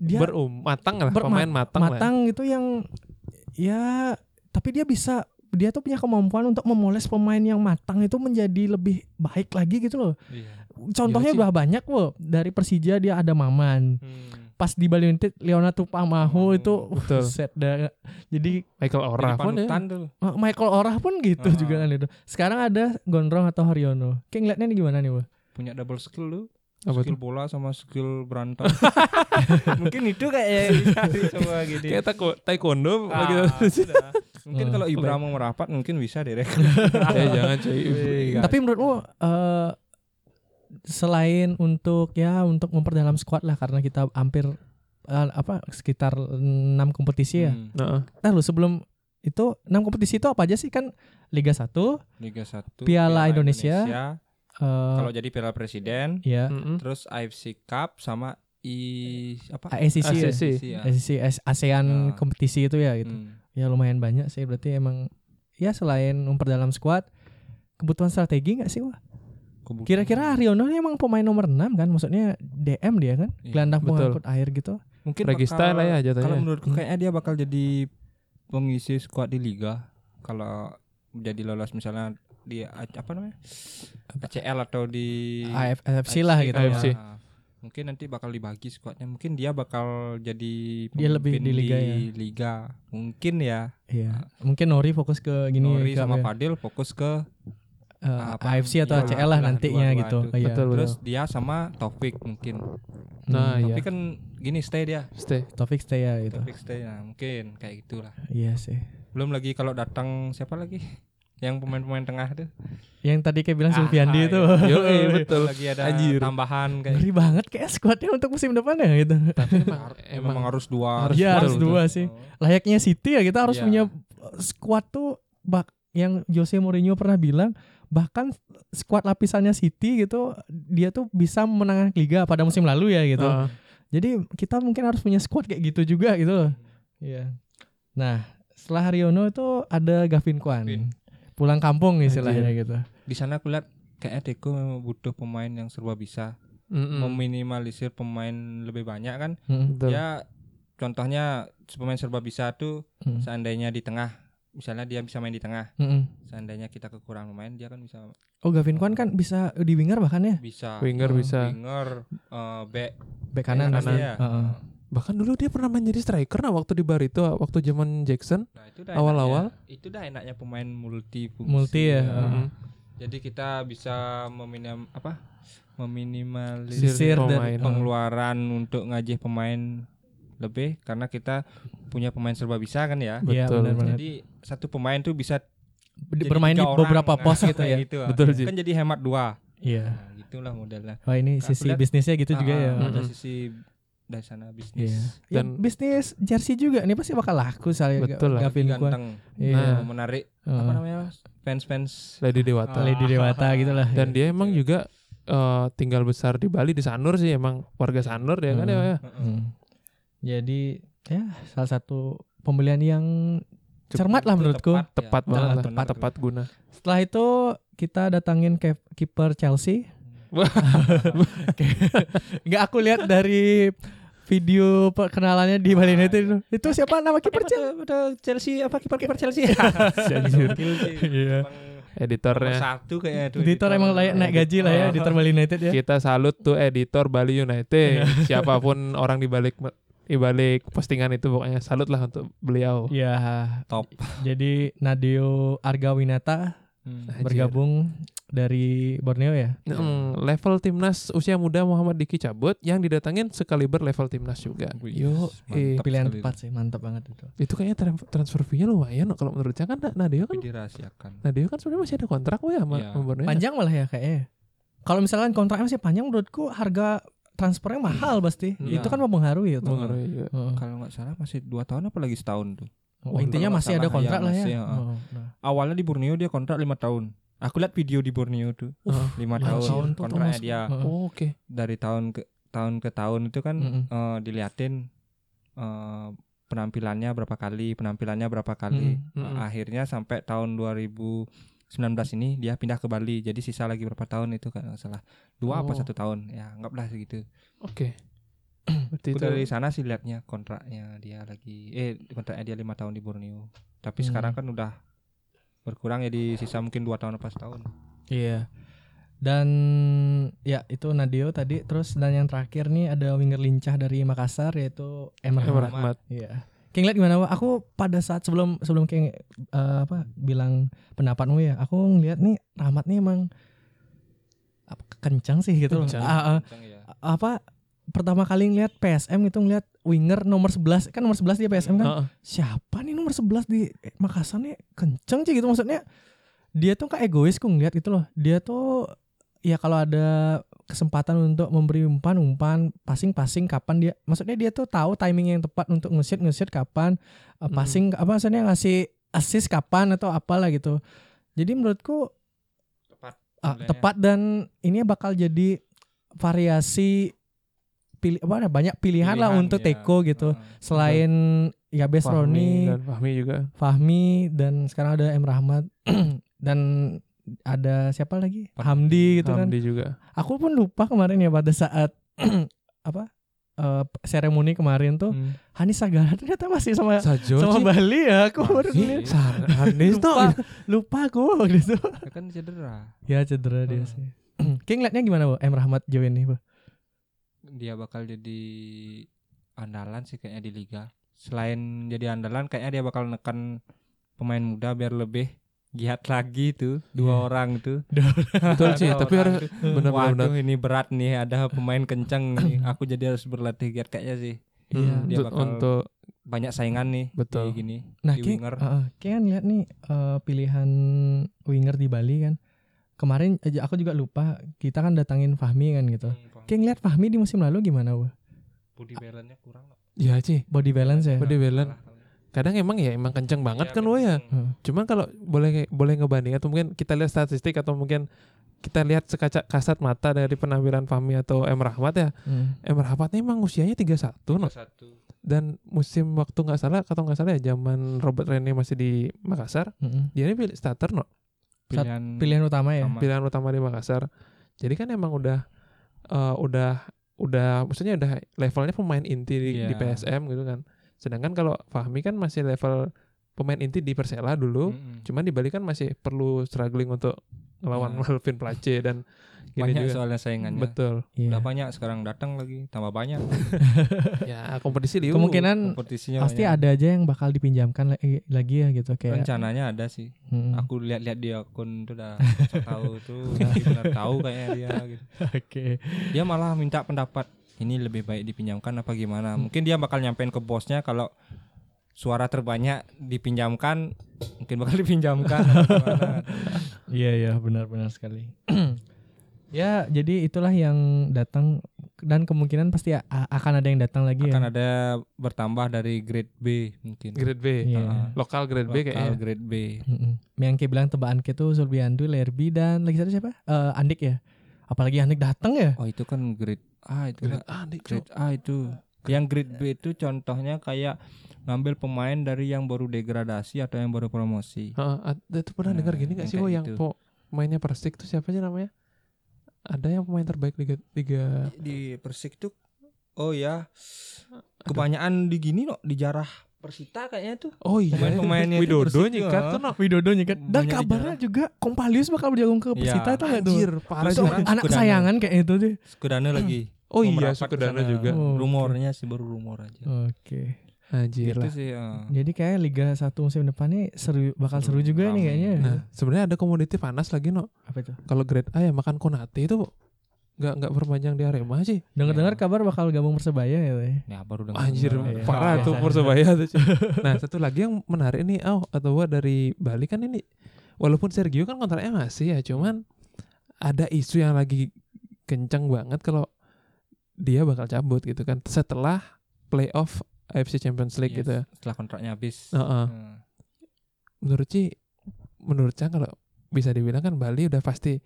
Speaker 2: dia
Speaker 1: berum matang lah
Speaker 2: berma-
Speaker 1: pemain matang, kan? lah.
Speaker 2: matang gitu yang ya tapi dia bisa dia tuh punya kemampuan untuk memoles pemain yang matang itu menjadi lebih baik lagi gitu loh.
Speaker 3: Iya.
Speaker 1: Iya
Speaker 2: Contohnya
Speaker 1: sih.
Speaker 2: udah banyak loh. Dari Persija dia ada Maman. Pas di Bali United Leonardo Pamahu
Speaker 3: Hmm,
Speaker 2: itu uh,
Speaker 1: betul.
Speaker 2: set dah. Jadi
Speaker 1: Michael Orah
Speaker 3: Jadi
Speaker 1: pun ya.
Speaker 3: panutan tuh.
Speaker 2: Ma- Michael Orah pun gitu
Speaker 3: Ah.
Speaker 2: juga kan itu. Sekarang ada Gondrong atau Haryono. Kayak ngeliatnya ini gimana nih, Bu?
Speaker 3: Punya double skill lu.
Speaker 1: Apa
Speaker 3: skill
Speaker 1: tuh?
Speaker 3: bola sama skill berantem. Mungkin itu kayak coba gitu.
Speaker 1: Kayak taiko- taekwondo gitu.
Speaker 3: Ah,
Speaker 1: begitu.
Speaker 3: sudah. Mungkin
Speaker 2: Hmm.
Speaker 3: kalau Ibra mau merapat mungkin bisa direk.
Speaker 1: Ya jangan
Speaker 3: Iya,
Speaker 1: cuy.
Speaker 2: Tapi menurutmu eh selain untuk ya untuk memperdalam squad lah karena kita hampir eh, apa sekitar 6 kompetisi ya.
Speaker 3: Hmm.
Speaker 1: Nah,
Speaker 2: Nah, lu sebelum itu 6 kompetisi itu apa aja sih kan Liga 1 eh
Speaker 3: Liga 1
Speaker 2: Piala Indonesia. Oh.
Speaker 3: Kalau jadi Piala Presiden,
Speaker 2: eh, ya
Speaker 1: mm-mm.
Speaker 3: terus AFC Cup sama I apa?
Speaker 2: ASCC ya.
Speaker 1: ACC.
Speaker 3: ya.
Speaker 2: ASEAN ASEAN
Speaker 3: Ah.
Speaker 2: kompetisi itu ya gitu.
Speaker 3: Hmm.
Speaker 2: Ya lumayan banyak sih berarti emang ya selain memperdalam squad kebutuhan strategi nggak sih wah?
Speaker 3: Kebutuhan.
Speaker 2: Kira-kira Aryono ini emang pemain nomor 6 kan maksudnya DM dia kan?
Speaker 3: Iya.
Speaker 2: Gelandang
Speaker 1: Betul.
Speaker 2: pengangkut air gitu.
Speaker 3: mungkin
Speaker 1: Regista
Speaker 3: bakal-
Speaker 1: lah ya
Speaker 3: Kalau
Speaker 1: jatuhnya.
Speaker 3: menurutku kayaknya dia bakal
Speaker 2: Hmm.
Speaker 3: jadi pengisi skuad di liga kalau jadi lolos misalnya di A- apa namanya? ACL atau di
Speaker 2: AF, AFC lah gitu. ya.
Speaker 1: AFC.
Speaker 3: Ah, Mungkin nanti bakal dibagi skuadnya. Mungkin dia bakal jadi
Speaker 2: Dia lebih
Speaker 3: pemimpin
Speaker 2: di liga ya.
Speaker 3: liga. Mungkin ya.
Speaker 2: Iya. Mungkin Nori fokus ke gini
Speaker 3: Nori
Speaker 2: ke
Speaker 3: sama
Speaker 2: apa ya,
Speaker 3: Fadil fokus ke
Speaker 2: eh,
Speaker 3: apa,
Speaker 2: AFC atau
Speaker 3: iya,
Speaker 2: ACL lah
Speaker 3: dua-
Speaker 2: nantinya
Speaker 3: dua- dua
Speaker 2: gitu.
Speaker 3: itu.
Speaker 2: Iya.
Speaker 1: Betul, betul.
Speaker 3: terus dia sama Taufik mungkin.
Speaker 1: Nah,
Speaker 2: Hmm.
Speaker 1: iya.
Speaker 3: Tapi kan gini stay dia.
Speaker 1: Stay.
Speaker 2: Taufik stay ya gitu.
Speaker 3: Taufik stay nah mungkin kayak gitulah.
Speaker 2: Iya sih.
Speaker 3: Belum lagi kalau datang siapa lagi? Yang pemain-pemain tengah tuh.
Speaker 2: Yang tadi kayak bilang
Speaker 3: Ah,
Speaker 2: Sulfiandi
Speaker 3: iya.
Speaker 2: Kan itu.
Speaker 1: Yoi, betul.
Speaker 3: Lagi ada
Speaker 1: Anjir.
Speaker 3: tambahan kayak
Speaker 2: Ngeri banget kayak squadnya untuk musim depan ya gitu.
Speaker 1: Tapi emang,
Speaker 3: Har-
Speaker 1: emang
Speaker 3: memang harus dua Oh.
Speaker 1: harus
Speaker 2: Iya
Speaker 1: dua,
Speaker 2: harus
Speaker 1: betul.
Speaker 2: dua sih. Layaknya City ya kita harus
Speaker 3: Iya.
Speaker 2: punya squad tuh bak yang Jose Mourinho pernah bilang bahkan squad lapisannya City gitu dia tuh bisa memenangkan liga pada musim lalu ya gitu.
Speaker 1: Ah,
Speaker 2: Jadi kita mungkin harus punya squad kayak gitu juga gitu loh. Iya. Nah, setelah Haryono itu ada Gavin Kwan.
Speaker 3: Gavin.
Speaker 2: Pulang kampung istilahnya gitu.
Speaker 3: di sana aku lihat kayaknya Deco memang butuh pemain yang serba bisa
Speaker 1: mm-mm.
Speaker 3: meminimalisir pemain lebih banyak kan
Speaker 2: Mm,
Speaker 1: Betul.
Speaker 3: ya contohnya pemain serba bisa tuh
Speaker 2: mm,
Speaker 3: seandainya di tengah misalnya dia bisa main di tengah
Speaker 2: mm, mm.
Speaker 3: seandainya kita kekurangan pemain dia kan bisa
Speaker 2: Oh, Gavin Kwan kan bisa di winger bahkan ya,
Speaker 3: bisa
Speaker 1: Winger
Speaker 2: Oh,
Speaker 1: bisa.
Speaker 3: winger eh, back
Speaker 2: bek kanan
Speaker 3: back
Speaker 2: pasti.
Speaker 3: ya.
Speaker 2: Heeh.
Speaker 1: Bahkan dulu dia pernah main jadi striker nah waktu di Barito waktu zaman Jackson.
Speaker 3: nah itu dah
Speaker 1: Awal-awal.
Speaker 3: enaknya- itu dah enaknya pemain multi fungsi
Speaker 2: Multi ya, heeh.
Speaker 3: jadi kita bisa meminim apa meminimalisir
Speaker 2: Sisir dan-
Speaker 1: pemain.
Speaker 3: pengeluaran untuk ngajih pemain lebih karena kita punya pemain serba bisa kan ya.
Speaker 2: Iya,
Speaker 1: Betul.
Speaker 2: benar-benar.
Speaker 3: Jadi satu pemain tuh bisa
Speaker 2: Di-
Speaker 3: jadi
Speaker 2: bermain di
Speaker 3: tiga orang,
Speaker 2: beberapa
Speaker 3: nah,
Speaker 2: pos gitu
Speaker 3: kayak
Speaker 2: ya.
Speaker 3: Gitu, ah.
Speaker 1: Betul sih.
Speaker 3: Kan jadi hemat dua.
Speaker 2: Iya.
Speaker 3: Nah, gitulah modelnya.
Speaker 2: Wah, ini
Speaker 3: Aku
Speaker 2: sisi
Speaker 3: lihat-
Speaker 2: bisnisnya gitu juga
Speaker 3: Nah, Ah,
Speaker 2: ya.
Speaker 1: Mm.
Speaker 3: Ada
Speaker 1: Mm-mm.
Speaker 3: sisi dari sana bisnis.
Speaker 2: Iya. Dan
Speaker 1: Dan-
Speaker 2: bisnis jersey juga nih pasti bakal laku saya
Speaker 1: Betul lah.
Speaker 2: Gavin Ah. Kwan.
Speaker 3: Ganteng.
Speaker 2: Iya.
Speaker 3: Nah, menarik apa
Speaker 2: Heeh.
Speaker 3: namanya? Fans-fans
Speaker 1: Lady Dewata.
Speaker 3: Ah.
Speaker 2: Lady Dewata gitu lah.
Speaker 1: Dan
Speaker 2: ya.
Speaker 1: dia emang juga eh, tinggal besar di Bali di Sanur sih emang warga Sanur ya kan ya.
Speaker 2: Hmm.
Speaker 1: ya.
Speaker 3: Heeh.
Speaker 2: Hmm. Jadi ya salah satu pembelian yang cermat lah
Speaker 3: Itu
Speaker 2: menurutku.
Speaker 3: tepat, ya.
Speaker 1: Tepat
Speaker 3: Nah,
Speaker 1: banget lah,
Speaker 3: benar.
Speaker 1: tepat, guna.
Speaker 2: Setelah itu kita datangin ke kiper Chelsea.
Speaker 3: Hmm.
Speaker 1: Wah.
Speaker 2: Enggak aku lihat dari video perkenalannya di Bali United itu. Itu siapa nama kiper Chelsea?
Speaker 3: Chelsea apa kiper-kiper Chelsea? ya?
Speaker 1: Anjir.
Speaker 3: Gokil Iya, sih.
Speaker 2: Iya.
Speaker 3: Emang Nomor
Speaker 1: Editornya.
Speaker 3: satu kayaknya tuh gitu.
Speaker 2: Editor emang layak naik gaji lah ya editor Bali United ya.
Speaker 1: Kita salut tuh editor Bali United. Siapapun orang di balik di balik postingan itu pokoknya
Speaker 2: Iya.
Speaker 1: salut lah untuk beliau.
Speaker 2: Ya,
Speaker 3: Top.
Speaker 2: jadi Nadio Argawinata
Speaker 1: Hmm.
Speaker 2: bergabung dari Borneo ya.
Speaker 1: Mm, level timnas usia muda Muhammad Diki cabut yang didatangin sekaliber level timnas juga.
Speaker 3: Wih,
Speaker 1: Yo, eh,
Speaker 3: mantap
Speaker 2: Pilihan
Speaker 3: sekali.
Speaker 2: tepat sih, mantap banget itu.
Speaker 1: itu kayaknya tran- transfer fee-nya lumayan loh kalau menurut saya kan Na- Nadeo
Speaker 3: Tapi
Speaker 1: kan
Speaker 3: dirahasiakan.
Speaker 1: Nadeo kan sebenarnya masih ada kontrak weh sama
Speaker 3: Iya.
Speaker 1: sama Borneo.
Speaker 2: Panjang malah ya kayaknya. Kalau misalkan kontraknya masih panjang menurutku harga
Speaker 3: Hmm.
Speaker 2: transfernya mahal pasti.
Speaker 1: Iya.
Speaker 2: Itu kan mempengaruhi itu.
Speaker 1: Mengaruhi juga.
Speaker 2: Heeh.
Speaker 3: Kalau nggak salah masih dua tahun apalagi setahun tuh.
Speaker 2: Oh,
Speaker 1: Wah,
Speaker 2: intinya
Speaker 3: kalau
Speaker 2: masih
Speaker 3: nggak
Speaker 2: ada
Speaker 3: salah
Speaker 2: kontrak
Speaker 3: ya,
Speaker 2: lah ya.
Speaker 3: masih, heeh.
Speaker 2: Oh, nah.
Speaker 3: Awalnya di Borneo dia kontrak lima tahun. Aku lihat video di Borneo tuh
Speaker 1: Heeh.
Speaker 3: lima
Speaker 1: Lima
Speaker 3: Nah, tahun,
Speaker 2: tahun tuh
Speaker 3: kontraknya
Speaker 2: termasuk-
Speaker 3: dia
Speaker 2: Heeh.
Speaker 1: Oh, Oke.
Speaker 3: dari tahun ke tahun ke tahun itu kan
Speaker 2: Mm-mm.
Speaker 3: eh, diliatin eh, penampilannya berapa kali, penampilannya berapa kali. Nah,
Speaker 2: Mm-mm.
Speaker 1: Mm-mm.
Speaker 3: Akhirnya sampai tahun 2019 ini dia pindah ke Bali. Jadi sisa lagi berapa tahun itu kan salah. Dua apa
Speaker 1: Oh.
Speaker 3: satu tahun? Ya, anggaplah segitu.
Speaker 1: Oke. Berarti
Speaker 3: Aku
Speaker 1: itu
Speaker 3: dari sana sih liatnya kontraknya dia lagi eh kontraknya dia lima tahun di Borneo. Tapi
Speaker 2: Hmm.
Speaker 3: sekarang kan udah berkurang ya di sisa mungkin dua tahun apa setahun.
Speaker 2: Iya. Dan ya itu Nadio tadi terus dan yang terakhir nih ada winger lincah dari Makassar yaitu Emre
Speaker 1: Emre
Speaker 2: Rahmat.
Speaker 1: Rahmat.
Speaker 2: Iya. King lihat gimana? Wak? Aku pada saat sebelum sebelum King eh, apa bilang pendapatmu ya, aku ngeliat nih Rahmat nih emang apa, kencang sih gitu loh.
Speaker 1: Kencang.
Speaker 2: Ah, ah.
Speaker 3: Kencang ya.
Speaker 2: apa pertama kali ngeliat PSM itu gitu, ngeliat winger nomor 11 kan nomor 11 dia PSM kan
Speaker 1: Heeh.
Speaker 2: siapa nih nomor 11 di Makassar nih kenceng sih gitu maksudnya dia tuh kayak egois ku ngeliat gitu loh dia tuh ya kalau ada kesempatan untuk memberi umpan umpan passing passing kapan dia maksudnya dia tuh tahu timing yang tepat untuk ngesit ngesit kapan eh,
Speaker 1: Hmm.
Speaker 2: passing apa maksudnya ngasih assist kapan atau apalah gitu jadi menurutku
Speaker 3: Tepat.
Speaker 2: ah,
Speaker 3: Sebenarnya.
Speaker 2: tepat dan ini bakal jadi variasi pilih apa banyak pilihan, lah
Speaker 3: Pilihan,
Speaker 2: untuk
Speaker 3: ya.
Speaker 2: teko gitu
Speaker 3: Heeh.
Speaker 2: selain ya Bes
Speaker 1: Fahmi
Speaker 2: Roni
Speaker 1: dan Fahmi juga.
Speaker 2: Fahmi dan sekarang ada M Rahmat dan ada siapa lagi Hamdi gitu
Speaker 1: Hamdi juga.
Speaker 2: kan aku pun lupa kemarin ya pada saat apa eh, seremoni kemarin tuh
Speaker 3: Hmm.
Speaker 2: Hanis Sagara ternyata masih sama
Speaker 1: Sajo.
Speaker 2: sama Bali ya aku
Speaker 3: Masih.
Speaker 2: baru
Speaker 1: Iya.
Speaker 2: ngeliat.
Speaker 1: Hamdi itu.
Speaker 2: lupa lupa aku gitu
Speaker 3: Ya kan cedera.
Speaker 2: ya cedera dia
Speaker 1: Hmm.
Speaker 2: sih King liatnya gimana bu M Rahmat jauh ini bu
Speaker 3: dia bakal jadi andalan sih kayaknya di liga. Selain jadi andalan kayaknya dia bakal nekan pemain muda biar lebih giat lagi tuh dua orang tuh.
Speaker 1: Betul Iya, sih,
Speaker 3: Dua
Speaker 1: tapi
Speaker 3: orang
Speaker 1: harus
Speaker 3: tuh.
Speaker 2: Eh,
Speaker 1: benar-benar Iya. benar.
Speaker 3: Waduh ini berat nih ada pemain kenceng nih. Aku jadi harus berlatih giat kayaknya sih.
Speaker 2: Iya.
Speaker 1: Hmm,
Speaker 3: Dia
Speaker 1: untuk-
Speaker 3: bakal-
Speaker 1: untuk
Speaker 3: Banyak saingan nih
Speaker 1: Betul. ah,
Speaker 3: di gini.
Speaker 2: Nah,
Speaker 3: di
Speaker 2: Ki,
Speaker 3: winger.
Speaker 2: heeh, Ki kan lihat nih eh, pilihan winger di Bali kan. Kemarin aja aku juga lupa kita kan datangin Fahmi kan gitu. Ki lihat Fahmi di musim lalu gimana, Wah?
Speaker 3: Hmm, Body balance-nya kurang.
Speaker 1: ya sih.
Speaker 2: Body balance ya.
Speaker 1: Body balance. Kadang emang ya emang kenceng banget kan lo ya. Cuman kalau boleh boleh ngebanding atau mungkin kita lihat statistik atau mungkin kita lihat sekacak kasat mata dari penampilan Fahmi atau M Rahmat ya.
Speaker 2: Hmm.
Speaker 1: M Rahmat nih emang usianya 31 no.
Speaker 3: Satu.
Speaker 1: dan musim waktu nggak salah atau nggak salah ya zaman Robert Rene masih di Makassar,
Speaker 2: Mm-mm.
Speaker 1: dia ini pilih starter no,
Speaker 2: Sat-
Speaker 3: Pilihan,
Speaker 2: hmm, Pilihan utama ya.
Speaker 3: utama.
Speaker 1: pilihan utama di Makassar. Jadi kan emang udah eh, udah udah maksudnya udah levelnya pemain inti di, di
Speaker 3: Iya.
Speaker 1: PSM gitu kan. Sedangkan kalau Fahmi kan masih level pemain inti di Persela dulu.
Speaker 3: Mm-mm.
Speaker 1: Cuman di Bali kan masih perlu struggling untuk ngelawan
Speaker 3: Nah.
Speaker 1: Melvin Place dan gini
Speaker 3: banyak
Speaker 1: juga.
Speaker 3: soalnya saingannya.
Speaker 1: Betul.
Speaker 2: Iya.
Speaker 3: Udah banyak sekarang datang lagi, tambah banyak.
Speaker 1: Ya, kompetisi liu.
Speaker 2: Kemungkinan
Speaker 3: Kompetisinya
Speaker 2: pasti
Speaker 3: banyak.
Speaker 2: ada aja yang bakal dipinjamkan lagi, lagi ya gitu kayak.
Speaker 3: rencananya ada sih
Speaker 2: Mm.
Speaker 3: aku lihat-lihat di akun tuh udah sok tahu tuh tapi benar tahu kayaknya dia gitu.
Speaker 2: Oke.
Speaker 3: dia malah minta pendapat ini lebih baik dipinjamkan apa gimana mungkin dia bakal nyampein ke bosnya kalau suara terbanyak dipinjamkan mungkin bakal dipinjamkan apa gimana.
Speaker 2: Iya iya benar-benar sekali. ya jadi itulah yang datang dan kemungkinan pasti a- a- akan ada yang datang lagi
Speaker 3: akan
Speaker 2: ya.
Speaker 3: Kan ada bertambah dari grade B mungkin
Speaker 1: grade B.
Speaker 2: Iya.
Speaker 3: Ah,
Speaker 1: Lokal grade B
Speaker 3: bakal
Speaker 1: kayaknya.
Speaker 3: grade B
Speaker 2: Mm-mm. Yang kayak bilang tebaan itu Zulbiandu, Lerbi dan lagi satu siapa? Eh, Andik ya. Apalagi Andik datang ya.
Speaker 3: oh itu kan grade A itu kan?
Speaker 1: Grade
Speaker 3: Kak.
Speaker 1: A nih, Cok.
Speaker 3: grade A itu yang grade B itu contohnya kayak ngambil pemain dari yang baru degradasi atau yang baru promosi
Speaker 1: Heeh, ada tuh pernah
Speaker 3: Nah,
Speaker 1: dengar gini gak
Speaker 3: yang
Speaker 1: sih
Speaker 3: kayak
Speaker 1: wo yang
Speaker 3: gitu.
Speaker 1: po mainnya Persik tuh siapa sih namanya? Ada yang pemain terbaik Liga Liga
Speaker 3: di Persik tuh oh ya kebanyakan di gini no di jarah Persita kayaknya tuh
Speaker 1: Oh iya.
Speaker 3: Pemain-pemainnya itu
Speaker 1: Widodo
Speaker 3: Persik
Speaker 1: nyikat
Speaker 3: juga.
Speaker 1: tuh no.
Speaker 2: Widodo nyikat. Dan
Speaker 3: Banyak
Speaker 2: kabarnya juga Kompalius bakal berjagung ke Persita
Speaker 3: Iya.
Speaker 2: itu nggak tuh?
Speaker 1: Anjir, parah
Speaker 3: Terus
Speaker 1: juga.
Speaker 3: orang-
Speaker 2: Anak
Speaker 3: Sukudana.
Speaker 2: sayangan kayak itu deh.
Speaker 3: Sukudana lagi
Speaker 1: Oh
Speaker 3: Mau
Speaker 1: iya,
Speaker 3: merapat ke
Speaker 1: Sukedana
Speaker 3: sana.
Speaker 1: juga.
Speaker 2: Oh, oke.
Speaker 3: rumornya sih baru rumor aja
Speaker 2: Oke.
Speaker 1: Anjir iya
Speaker 3: gitu
Speaker 1: lah.
Speaker 3: sih eh.
Speaker 2: Jadi kayak Liga 1 musim depan nih seru bakal seru juga nih
Speaker 3: Rame.
Speaker 2: kayaknya.
Speaker 1: Nah, sebenarnya ada komoditi panas lagi no.
Speaker 2: Apa itu?
Speaker 1: Kalau grade A ya makan Konate itu nggak nggak perpanjang di Arema sih.
Speaker 2: Dengar-dengar
Speaker 3: Iya.
Speaker 2: kabar bakal gabung Persebaya ya. Boy.
Speaker 3: ya baru dengar
Speaker 1: Anjir,
Speaker 2: Iya.
Speaker 1: parah
Speaker 2: Iya.
Speaker 1: tuh
Speaker 2: Iya.
Speaker 1: Persebaya tuh. cuy. nah, satu lagi yang menarik nih, oh atau gua dari Bali kan ini walaupun Sergio kan kontraknya masih ya, cuman ada isu yang lagi kencang banget kalau dia bakal cabut gitu kan setelah playoff AFC Champions League
Speaker 3: Yes,
Speaker 1: gitu ya.
Speaker 3: setelah kontraknya habis
Speaker 1: Heeh.
Speaker 3: Eh.
Speaker 1: Menurut Ci, menurut Cang kalau bisa dibilang kan Bali udah pasti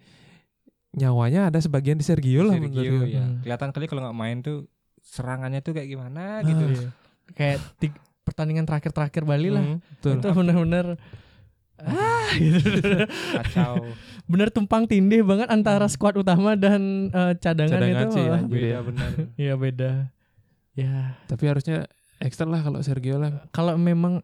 Speaker 1: nyawanya ada sebagian di Sergio Iya lah menurut
Speaker 3: Sergio
Speaker 1: gua.
Speaker 3: ya.
Speaker 2: Hmm.
Speaker 3: Kelihatan kali kalau nggak main tuh serangannya tuh kayak gimana
Speaker 1: Ah,
Speaker 3: gitu.
Speaker 2: Iya. Kayak ti- pertandingan terakhir-terakhir Bali lah.
Speaker 1: Hmm, betul.
Speaker 2: Itu benar-benar ah gitu.
Speaker 3: Kacau.
Speaker 2: bener tumpang tindih banget antara squad utama dan eh, cadangan,
Speaker 1: Cadangan
Speaker 2: itu
Speaker 1: sih,
Speaker 2: malah.
Speaker 1: anjir.
Speaker 3: Beda benar.
Speaker 2: Iya beda. Ya
Speaker 1: Tapi harusnya extern lah kalau Sergio lah.
Speaker 2: kalau memang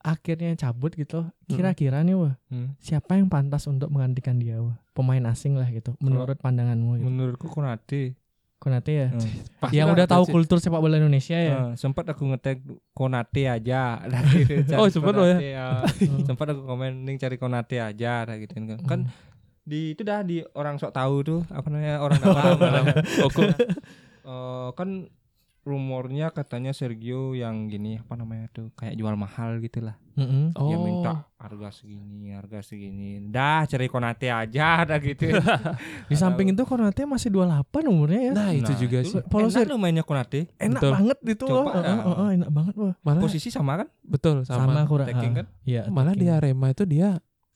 Speaker 2: akhirnya cabut gitu, kira-kira nih wah
Speaker 3: Hmm.
Speaker 2: siapa yang pantas untuk menggantikan dia wah? Pemain asing lah gitu.
Speaker 1: Oh,
Speaker 2: Menurut pandanganmu gitu.
Speaker 3: Menurutku Konate.
Speaker 2: Konate ya.
Speaker 3: Hmm. Pasti
Speaker 2: Yang udah
Speaker 3: Konate
Speaker 2: tahu
Speaker 3: sih.
Speaker 2: kultur sepak bola Indonesia
Speaker 1: Iya.
Speaker 2: ya.
Speaker 3: Eh, sempat aku ngetek Konate aja. Nah, gitu, cari
Speaker 1: Oh, sempat lo ya?
Speaker 3: Konate, eh.
Speaker 2: Hmm.
Speaker 3: sempat aku komen "Ning cari Konate aja nah, gitu kan. Kan
Speaker 1: Hmm.
Speaker 3: di itu dah di orang sok tahu tuh apa namanya orang dalam.
Speaker 1: Oke.
Speaker 3: Eh, kan rumornya katanya Sergio yang gini apa namanya tuh kayak jual mahal gitu lah.
Speaker 2: Mm-mm.
Speaker 1: Oh.
Speaker 3: Dia minta harga segini, harga segini. Dah cari konate aja ada gitu.
Speaker 2: Di samping itu Konate masih 28 umurnya ya.
Speaker 1: Nah, itu juga sih. Eh,
Speaker 2: Polo
Speaker 3: Polo
Speaker 2: Ser-
Speaker 3: enak lu mainnya konate.
Speaker 2: enak
Speaker 1: betul.
Speaker 2: banget itu
Speaker 3: Coba,
Speaker 2: loh. Oh,
Speaker 3: ya.
Speaker 2: oh, oh, enak banget wah.
Speaker 1: Malah
Speaker 3: Posisi sama kan?
Speaker 1: betul
Speaker 2: Sama,
Speaker 1: sama.
Speaker 2: kurang.
Speaker 3: Attacking
Speaker 2: ah.
Speaker 3: kan?
Speaker 2: Iya.
Speaker 1: Malah di
Speaker 2: attacking.
Speaker 1: Arema itu dia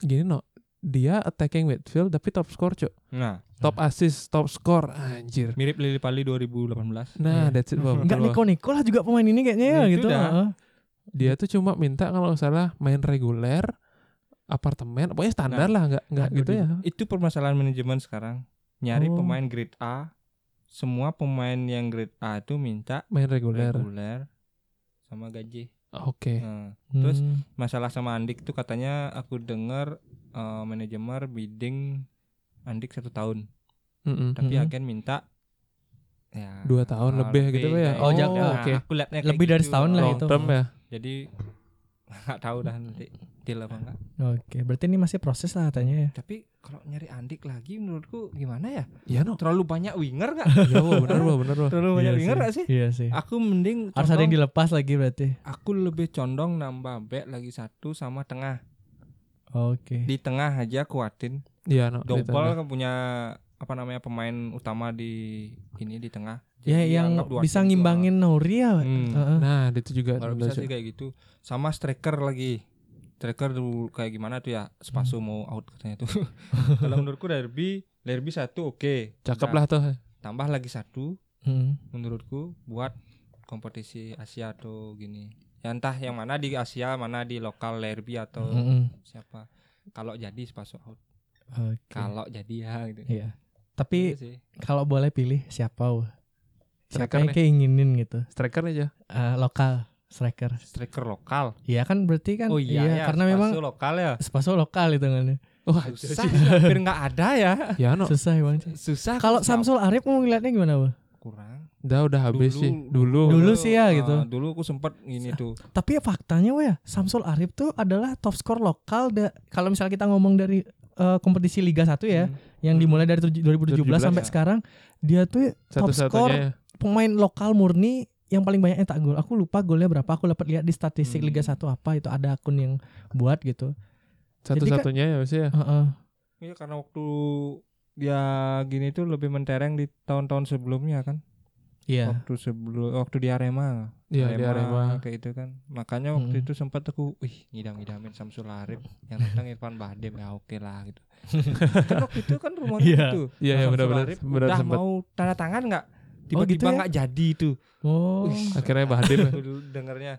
Speaker 1: gini no. Dia attacking midfield tapi top score, Cuk.
Speaker 3: Nah,
Speaker 1: Top assist, top score. Anjir.
Speaker 3: mirip Lili Pali 2018.
Speaker 1: Nah,
Speaker 2: Iya.
Speaker 1: that's it. Bang.
Speaker 2: Enggak Niko Niko lah juga pemain ini kayaknya ya
Speaker 3: Nah, Itu
Speaker 2: gitu.
Speaker 3: dah.
Speaker 2: heeh.
Speaker 1: Dia tuh cuma minta kalau nggak salah main reguler apartemen, pokoknya standar lah nggak nggak
Speaker 3: Nah,
Speaker 2: Aduh,
Speaker 1: gitu
Speaker 2: di-
Speaker 1: ya.
Speaker 3: Itu permasalahan manajemen sekarang. Nyari
Speaker 2: Oh.
Speaker 3: pemain grade A. Semua pemain yang grade A itu minta
Speaker 1: Main reguler.
Speaker 3: reguler sama gaji.
Speaker 1: Oke. Hmm,
Speaker 3: Nah,
Speaker 2: Terus
Speaker 3: Terus masalah sama Andik itu katanya aku dengar eh, manajemen bidding Andik satu tahun.
Speaker 1: Mm-mm.
Speaker 3: tapi
Speaker 2: Mhm.
Speaker 3: agen minta ya
Speaker 1: Mm-hmm. Dua tahun
Speaker 3: ah,
Speaker 1: lebih gitu ya?
Speaker 3: kayak
Speaker 2: Oh,
Speaker 3: gitu.
Speaker 2: jago,
Speaker 3: Nah,
Speaker 1: oke.
Speaker 3: aku liatnya kayak
Speaker 2: Lebih dari
Speaker 3: gitu.
Speaker 2: setahun lah
Speaker 1: Long
Speaker 2: itu.
Speaker 1: term ya.
Speaker 3: jadi nggak tahu dah nanti deal apa enggak
Speaker 2: Oke, berarti ini masih proses lah katanya ya.
Speaker 3: tapi kalau nyari Andik lagi menurutku gimana ya
Speaker 1: Iya no.
Speaker 3: terlalu banyak winger nggak
Speaker 1: Iya Wo, bener Wo, bener Wo.
Speaker 3: terlalu banyak
Speaker 2: Ya, Iya
Speaker 3: winger nggak sih Ah,
Speaker 2: Iya sih.
Speaker 3: aku mending
Speaker 2: Harus ada yang
Speaker 3: condong-
Speaker 2: dilepas lagi berarti.
Speaker 3: aku lebih condong nambah back lagi satu sama tengah
Speaker 2: Oke.
Speaker 3: di tengah aja kuatin
Speaker 1: Iya no.
Speaker 2: Oh,
Speaker 1: di
Speaker 3: double
Speaker 1: tengah.
Speaker 3: kan punya apa namanya pemain utama di ini di tengah
Speaker 2: Ya
Speaker 3: Jadi
Speaker 2: yang
Speaker 3: anggap dua
Speaker 2: bisa
Speaker 3: tim, dua-
Speaker 2: ngimbangin Nauri ya.
Speaker 3: Hmm.
Speaker 2: Heeh.
Speaker 1: Nah, itu juga.
Speaker 3: Kalau
Speaker 1: bener,
Speaker 3: bisa sih
Speaker 1: Cuk.
Speaker 3: kayak gitu. Sama striker lagi. Striker dulu kayak gimana tuh ya? Spaso
Speaker 2: Hmm.
Speaker 3: mau out katanya tuh. Kalau menurutku derby, derby satu oke.
Speaker 1: Cakep
Speaker 3: Nah,
Speaker 1: lah tuh.
Speaker 3: Tambah lagi satu
Speaker 2: Hmm.
Speaker 3: menurutku buat kompetisi Asia atau gini. Ya entah yang mana di Asia, mana di lokal derby atau
Speaker 2: Mm-mm.
Speaker 3: siapa. Kalau jadi Spaso out.
Speaker 2: Mm-hmm. Oke.
Speaker 3: Kalau jadi ya gitu.
Speaker 2: Iya.
Speaker 3: Gitu
Speaker 2: Tapi
Speaker 3: sih.
Speaker 2: kalau boleh pilih siapa? Wah? Siapa
Speaker 1: Striker
Speaker 2: yang keinginin gitu?
Speaker 1: Striker aja.
Speaker 2: Eh, lokal striker.
Speaker 3: Striker lokal.
Speaker 2: Iya kan berarti kan
Speaker 3: Oh iya, ya,
Speaker 2: karena memang Ah,
Speaker 3: Spaso lokal ya.
Speaker 2: Spaso lokal kan hitungannya.
Speaker 1: Wah,
Speaker 3: Susah, hampir nggak ada ya.
Speaker 1: Oh, Iya no.
Speaker 2: Susah Bang.
Speaker 3: Susah.
Speaker 2: Kalau
Speaker 3: siapa?
Speaker 2: Samsul Arif mau ngeliatnya gimana, Bang?
Speaker 3: kurang.
Speaker 1: Udah udah habis
Speaker 3: Dulu-
Speaker 1: sih. Dulu
Speaker 2: Dulu sih ya,
Speaker 3: eh,
Speaker 2: gitu.
Speaker 3: dulu aku sempet ini tuh
Speaker 2: Tapi ya faktanya weh, Samsul Arif tuh adalah top skor lokal da- kalau misalnya kita ngomong dari eh, kompetisi Liga 1 ya,
Speaker 3: Hmm.
Speaker 2: yang dimulai dari tuj- 2017 sampai
Speaker 3: ya.
Speaker 2: sekarang, dia tuh top skor
Speaker 1: satu-satunya. ya.
Speaker 2: pemain lokal murni yang paling banyak tak gol. Aku lupa golnya berapa, aku dapat lihat di statistik
Speaker 3: Hmm.
Speaker 2: Liga 1 apa itu ada akun yang buat gitu.
Speaker 1: Satu-satunya ya maksudnya.
Speaker 2: Heeh.
Speaker 3: Iya karena waktu dia gini tuh lebih mentereng di tahun-tahun sebelumnya kan
Speaker 2: Iya.
Speaker 3: waktu sebelum waktu di Arema
Speaker 1: Iya di Arema.
Speaker 3: kayak itu kan makanya waktu
Speaker 2: Mm-mm.
Speaker 3: itu sempat aku wih ngidam-ngidamin Samsul Arif yang datang Irfan Bahdim ya oke lah gitu kan waktu itu kan rumornya
Speaker 2: Iya.
Speaker 3: gitu
Speaker 1: Iya iya
Speaker 3: Samsul
Speaker 1: benar-benar
Speaker 3: Arif
Speaker 1: benar
Speaker 3: udah
Speaker 1: sempat.
Speaker 3: mau tanda tangan nggak
Speaker 2: Oh, gitu
Speaker 3: tiba-tiba
Speaker 2: ya?
Speaker 3: nggak jadi itu
Speaker 2: Oh.
Speaker 3: Wih,
Speaker 1: Akhirnya Bahdim ya.
Speaker 3: Aku dulu dengernya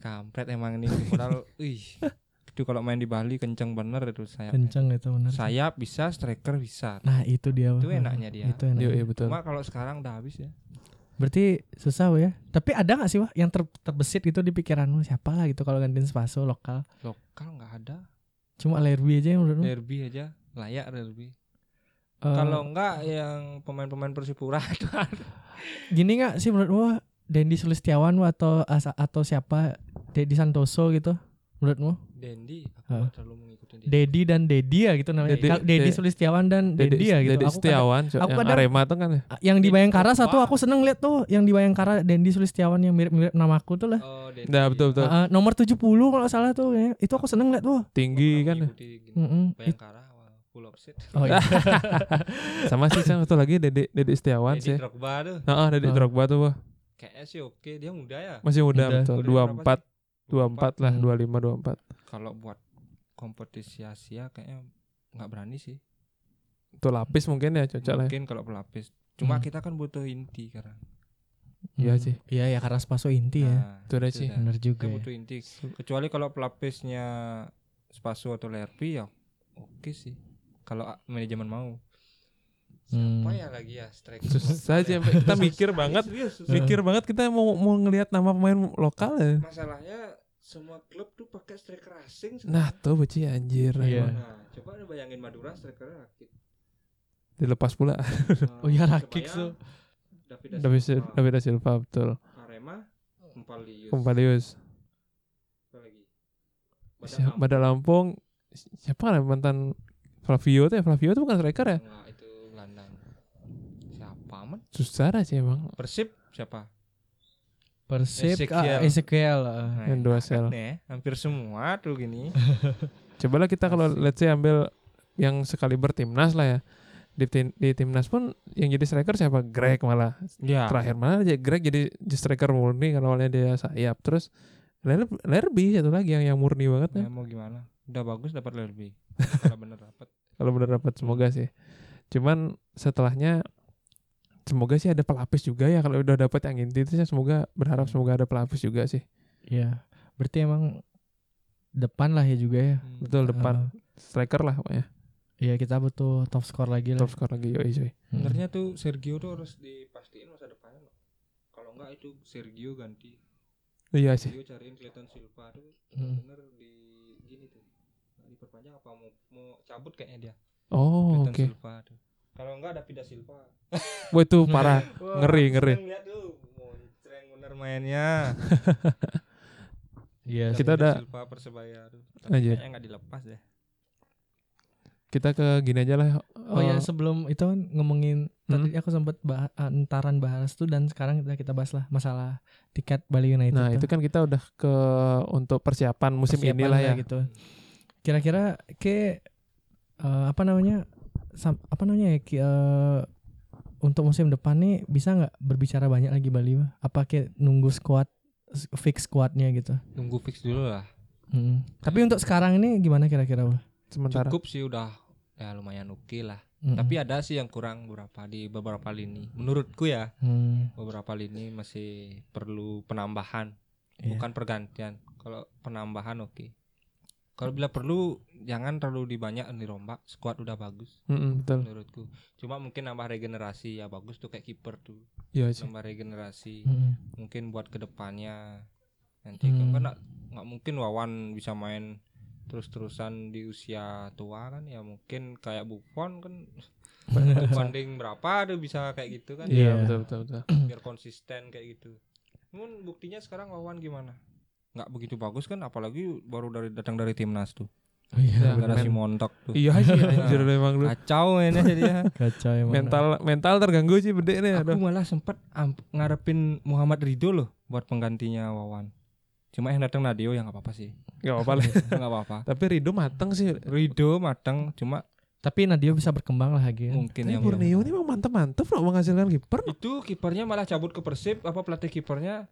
Speaker 3: kampret emang ini modal ih itu kalau main di Bali kenceng bener itu sayap
Speaker 2: Kenceng itu benar.
Speaker 3: sayap bisa striker bisa
Speaker 2: Nah, itu dia.
Speaker 3: itu
Speaker 2: Bang.
Speaker 3: enaknya dia
Speaker 2: Itu enaknya.
Speaker 1: Iya iya betul.
Speaker 3: cuma kalau sekarang udah habis ya
Speaker 2: Berarti susah Wak, ya. Tapi ada nggak sih wah yang ter- terbesit gitu di pikiranmu siapa lah gitu kalau gantiin Spaso lokal?
Speaker 3: lokal nggak ada
Speaker 2: Cuma Lerby aja yang
Speaker 1: Hmm?
Speaker 2: menurutmu.
Speaker 3: derby aja layak derby
Speaker 2: Eh,
Speaker 3: kalau nggak yang pemain-pemain Persipura itu
Speaker 2: gini nggak sih menurutmu Wak, Dendi Sulistiawan atau as- atau siapa Dedi Santoso gitu menurutmu
Speaker 3: Dendi aku
Speaker 2: Hah?
Speaker 3: nggak terlalu mengikuti Dendi.
Speaker 2: Dedi dan Dedi ya gitu namanya
Speaker 1: Dedi-
Speaker 2: Kalau Dedi
Speaker 1: De-
Speaker 2: Sulistiawan dan Dedi ya gitu
Speaker 1: Dedi
Speaker 2: aku kadang-
Speaker 1: Setiawan, cok,
Speaker 2: aku
Speaker 1: yang
Speaker 2: kadang-
Speaker 1: Arema tuh kan ya.
Speaker 2: yang di
Speaker 3: Dedi
Speaker 2: Bayangkara satu
Speaker 3: Setiawan.
Speaker 2: aku seneng lihat tuh yang di Bayangkara Dendi Sulistiawan yang mirip-mirip namaku tuh lah
Speaker 3: Oh, Dendi.
Speaker 1: Nah, betul betul.
Speaker 2: Ah, ah, nomor 70 kalau nggak salah tuh ya. itu aku seneng lihat tuh
Speaker 1: Tinggi kan. ya.
Speaker 2: Mm-mm. It-
Speaker 3: Bayangkara wah, full offset.
Speaker 2: oh iya.
Speaker 1: Sama sih sama satu lagi Dede Dede Setiawan sih.
Speaker 3: Dendi Drogba tuh.
Speaker 1: Heeh, Dede
Speaker 2: Ah.
Speaker 1: Drogba tuh wah.
Speaker 3: Kayaknya sih oke, dia muda ya.
Speaker 1: Masih muda
Speaker 2: Muda.
Speaker 1: betul.
Speaker 3: Udah berapa
Speaker 1: 24
Speaker 3: sih?
Speaker 1: 24 lah,
Speaker 2: Hmm.
Speaker 1: 25 24.
Speaker 3: Kalau buat kompetisi Asia kayaknya nggak berani sih.
Speaker 1: Itu lapis mungkin ya cocok lah. ya.
Speaker 3: Mungkin kalau pelapis. Cuma
Speaker 2: Hmm.
Speaker 3: kita kan butuh inti sekarang.
Speaker 1: Iya sih.
Speaker 2: iya ya karena Spaso inti ya
Speaker 3: Nah,
Speaker 1: Itu deh sih.
Speaker 3: dah.
Speaker 2: bener
Speaker 3: Kita
Speaker 2: juga
Speaker 1: Iya.
Speaker 2: ya.
Speaker 3: butuh inti. Kecuali kalau pelapisnya Spaso atau Lerpi ya oke sih. Kalau a- manajemen mau. Siapa
Speaker 2: Hmm.
Speaker 3: ya lagi ya striker
Speaker 1: Susah
Speaker 3: lokal
Speaker 1: sih
Speaker 3: ya?
Speaker 1: sampai kita mikir banget.
Speaker 3: Serius, susah.
Speaker 1: Mikir banget kita mau mau ngelihat nama pemain lokal ya.
Speaker 3: Masalahnya semua klub tuh pakai striker asing.
Speaker 1: Nah,
Speaker 3: sekarang.
Speaker 1: tuh beci anjir.
Speaker 2: Iya.
Speaker 1: emang.
Speaker 3: Nah, coba lu bayangin Madura striker Rakit.
Speaker 1: Dilepas pula.
Speaker 3: Nah,
Speaker 2: Oh iya,
Speaker 3: Persebaya,
Speaker 2: Rakic tuh.
Speaker 3: David da
Speaker 1: David
Speaker 3: Silva.
Speaker 1: David da Silva betul.
Speaker 3: Arema, Empalius.
Speaker 1: Kompalius.
Speaker 3: Siapa lagi?
Speaker 1: Siapa
Speaker 3: Badak
Speaker 1: Bada Lampung? Siapa kan mantan Flavio tuh ya? Flavio tuh bukan striker ya?
Speaker 3: Lampung. Nah, itu gelandang. Siapa man?
Speaker 1: Susah dah sih emang.
Speaker 3: Persib siapa?
Speaker 2: Persib
Speaker 3: Ezekiel.
Speaker 2: ah, Ezekiel ah.
Speaker 3: Nah,
Speaker 1: Yang dua
Speaker 3: enak
Speaker 1: sel.
Speaker 3: kan ya, hampir semua tuh gini.
Speaker 1: Cobalah kita kalau
Speaker 3: Asik.
Speaker 1: let's say ambil yang sekali bertimnas lah ya. Di, tin- di timnas pun yang jadi striker siapa? Greg malah.
Speaker 3: Iya.
Speaker 1: Terakhir malah aja Greg jadi striker murni kalau awalnya dia sayap. Terus Ler- Lerby satu lagi yang yang murni banget kan.
Speaker 3: Ya, mau gimana? Udah bagus dapat lebih. Kalau bener dapat.
Speaker 1: Kalau benar dapat semoga sih. Cuman setelahnya semoga sih ada pelapis juga ya kalau udah dapat yang inti itu sih semoga berharap semoga ada pelapis juga sih.
Speaker 2: Iya. Berarti emang depan lah ya juga ya.
Speaker 1: Hmm.
Speaker 3: Hmm.
Speaker 1: Betul depan striker lah pokoknya.
Speaker 2: Iya kita butuh top score lagi lah.
Speaker 1: Top skor lagi yoi cuy.
Speaker 2: Hmm.
Speaker 3: Sebenarnya tuh Sergio tuh harus dipastiin masa depannya. loh. Kalau enggak itu Sergio ganti.
Speaker 1: Iya sih.
Speaker 3: Sergio cariin Clayton Silva tuh
Speaker 2: Hmm.
Speaker 3: bener di gini tuh. Nggak Diperpanjang apa mau mau cabut kayaknya dia.
Speaker 1: Oh,
Speaker 3: Clayton
Speaker 1: oke.
Speaker 3: Silva tuh. Kalau enggak ada Vida Silva.
Speaker 1: Wah itu parah.
Speaker 3: Wah,
Speaker 1: Ngeri,
Speaker 3: aku
Speaker 1: ngeri.
Speaker 3: seneng lihat tuh. Moncreng bener mainnya.
Speaker 2: Iya.
Speaker 1: Kita
Speaker 3: Vida
Speaker 1: ada- Iya.
Speaker 3: Silva Persebaya tuh.
Speaker 1: Anjir.
Speaker 3: Kayaknya enggak dilepas deh.
Speaker 1: Kita ke gini aja lah.
Speaker 2: Oh
Speaker 1: Eh,
Speaker 2: ya sebelum itu kan ngomongin tadi
Speaker 1: hmm?
Speaker 2: aku sempat bah- antaran bahas tuh dan sekarang kita kita bahas lah masalah tiket Bali United.
Speaker 1: Nah, itu
Speaker 2: tuh.
Speaker 1: kan kita udah ke untuk persiapan musim
Speaker 2: Persiapan
Speaker 1: inilah ya.
Speaker 2: gitu. Kira-kira ke eh, apa namanya? sam- apa namanya ya? Ki, eh, untuk musim depan nih bisa nggak berbicara banyak lagi Bali? Pak? Apa kayak nunggu squad fix squadnya gitu?
Speaker 3: Nunggu fix dulu lah.
Speaker 1: Hmm.
Speaker 2: Mm. Tapi untuk sekarang ini gimana kira-kira? Bang?
Speaker 1: Sementara.
Speaker 3: Cukup sih udah ya lumayan oke lah.
Speaker 1: Hmm.
Speaker 2: Mm-mm.
Speaker 3: Tapi ada sih yang kurang beberapa di beberapa lini. Menurutku ya,
Speaker 2: Hmm,
Speaker 3: beberapa lini masih perlu penambahan,
Speaker 2: Iya.
Speaker 3: bukan pergantian. Kalau penambahan oke. Kalau bila perlu jangan terlalu dibanyak dirombak, squad udah bagus
Speaker 1: Mm-mm, betul.
Speaker 3: menurutku. Cuma mungkin nambah regenerasi ya bagus tuh kayak kiper tuh.
Speaker 1: Iya sih.
Speaker 3: Nambah regenerasi
Speaker 1: Hmm.
Speaker 2: mm-mm.
Speaker 3: mungkin buat kedepannya nanti
Speaker 2: Hmm.
Speaker 3: kan nggak nggak mungkin Wawan bisa main terus-terusan di usia tua kan ya mungkin kayak Buffon kan banding berapa tuh bisa kayak gitu kan ya,
Speaker 1: Iya,
Speaker 2: Iya.
Speaker 1: betul betul betul.
Speaker 3: biar konsisten kayak gitu. Namun buktinya sekarang Wawan gimana? Nggak begitu bagus kan apalagi baru dari datang dari timnas tuh.
Speaker 2: Oh iya,
Speaker 1: Nah,
Speaker 3: Gara-gara
Speaker 1: men-
Speaker 3: si Montok tuh.
Speaker 1: Iya sih anjir emang lu.
Speaker 3: Kacau mainnya jadinya.
Speaker 2: kacau emang.
Speaker 1: Mental mental terganggu sih bedek nih Iya,
Speaker 3: Aku
Speaker 1: aduh.
Speaker 3: malah sempet am- ngarepin Muhammad Ridho loh buat penggantinya Wawan. Cuma yang datang Nadio yang nggak apa-apa sih.
Speaker 1: Enggak apa-apa lah.
Speaker 3: Nggak apa-apa.
Speaker 1: Tapi Rido mateng sih.
Speaker 3: Rido mateng cuma
Speaker 2: Tapi Nadio bisa berkembang lah lagi.
Speaker 3: mungkin
Speaker 1: Tapi
Speaker 3: yang
Speaker 1: Borneo ini memang mantep-mantep loh menghasilkan kiper. no.
Speaker 3: itu kipernya malah cabut ke Persib apa pelatih kipernya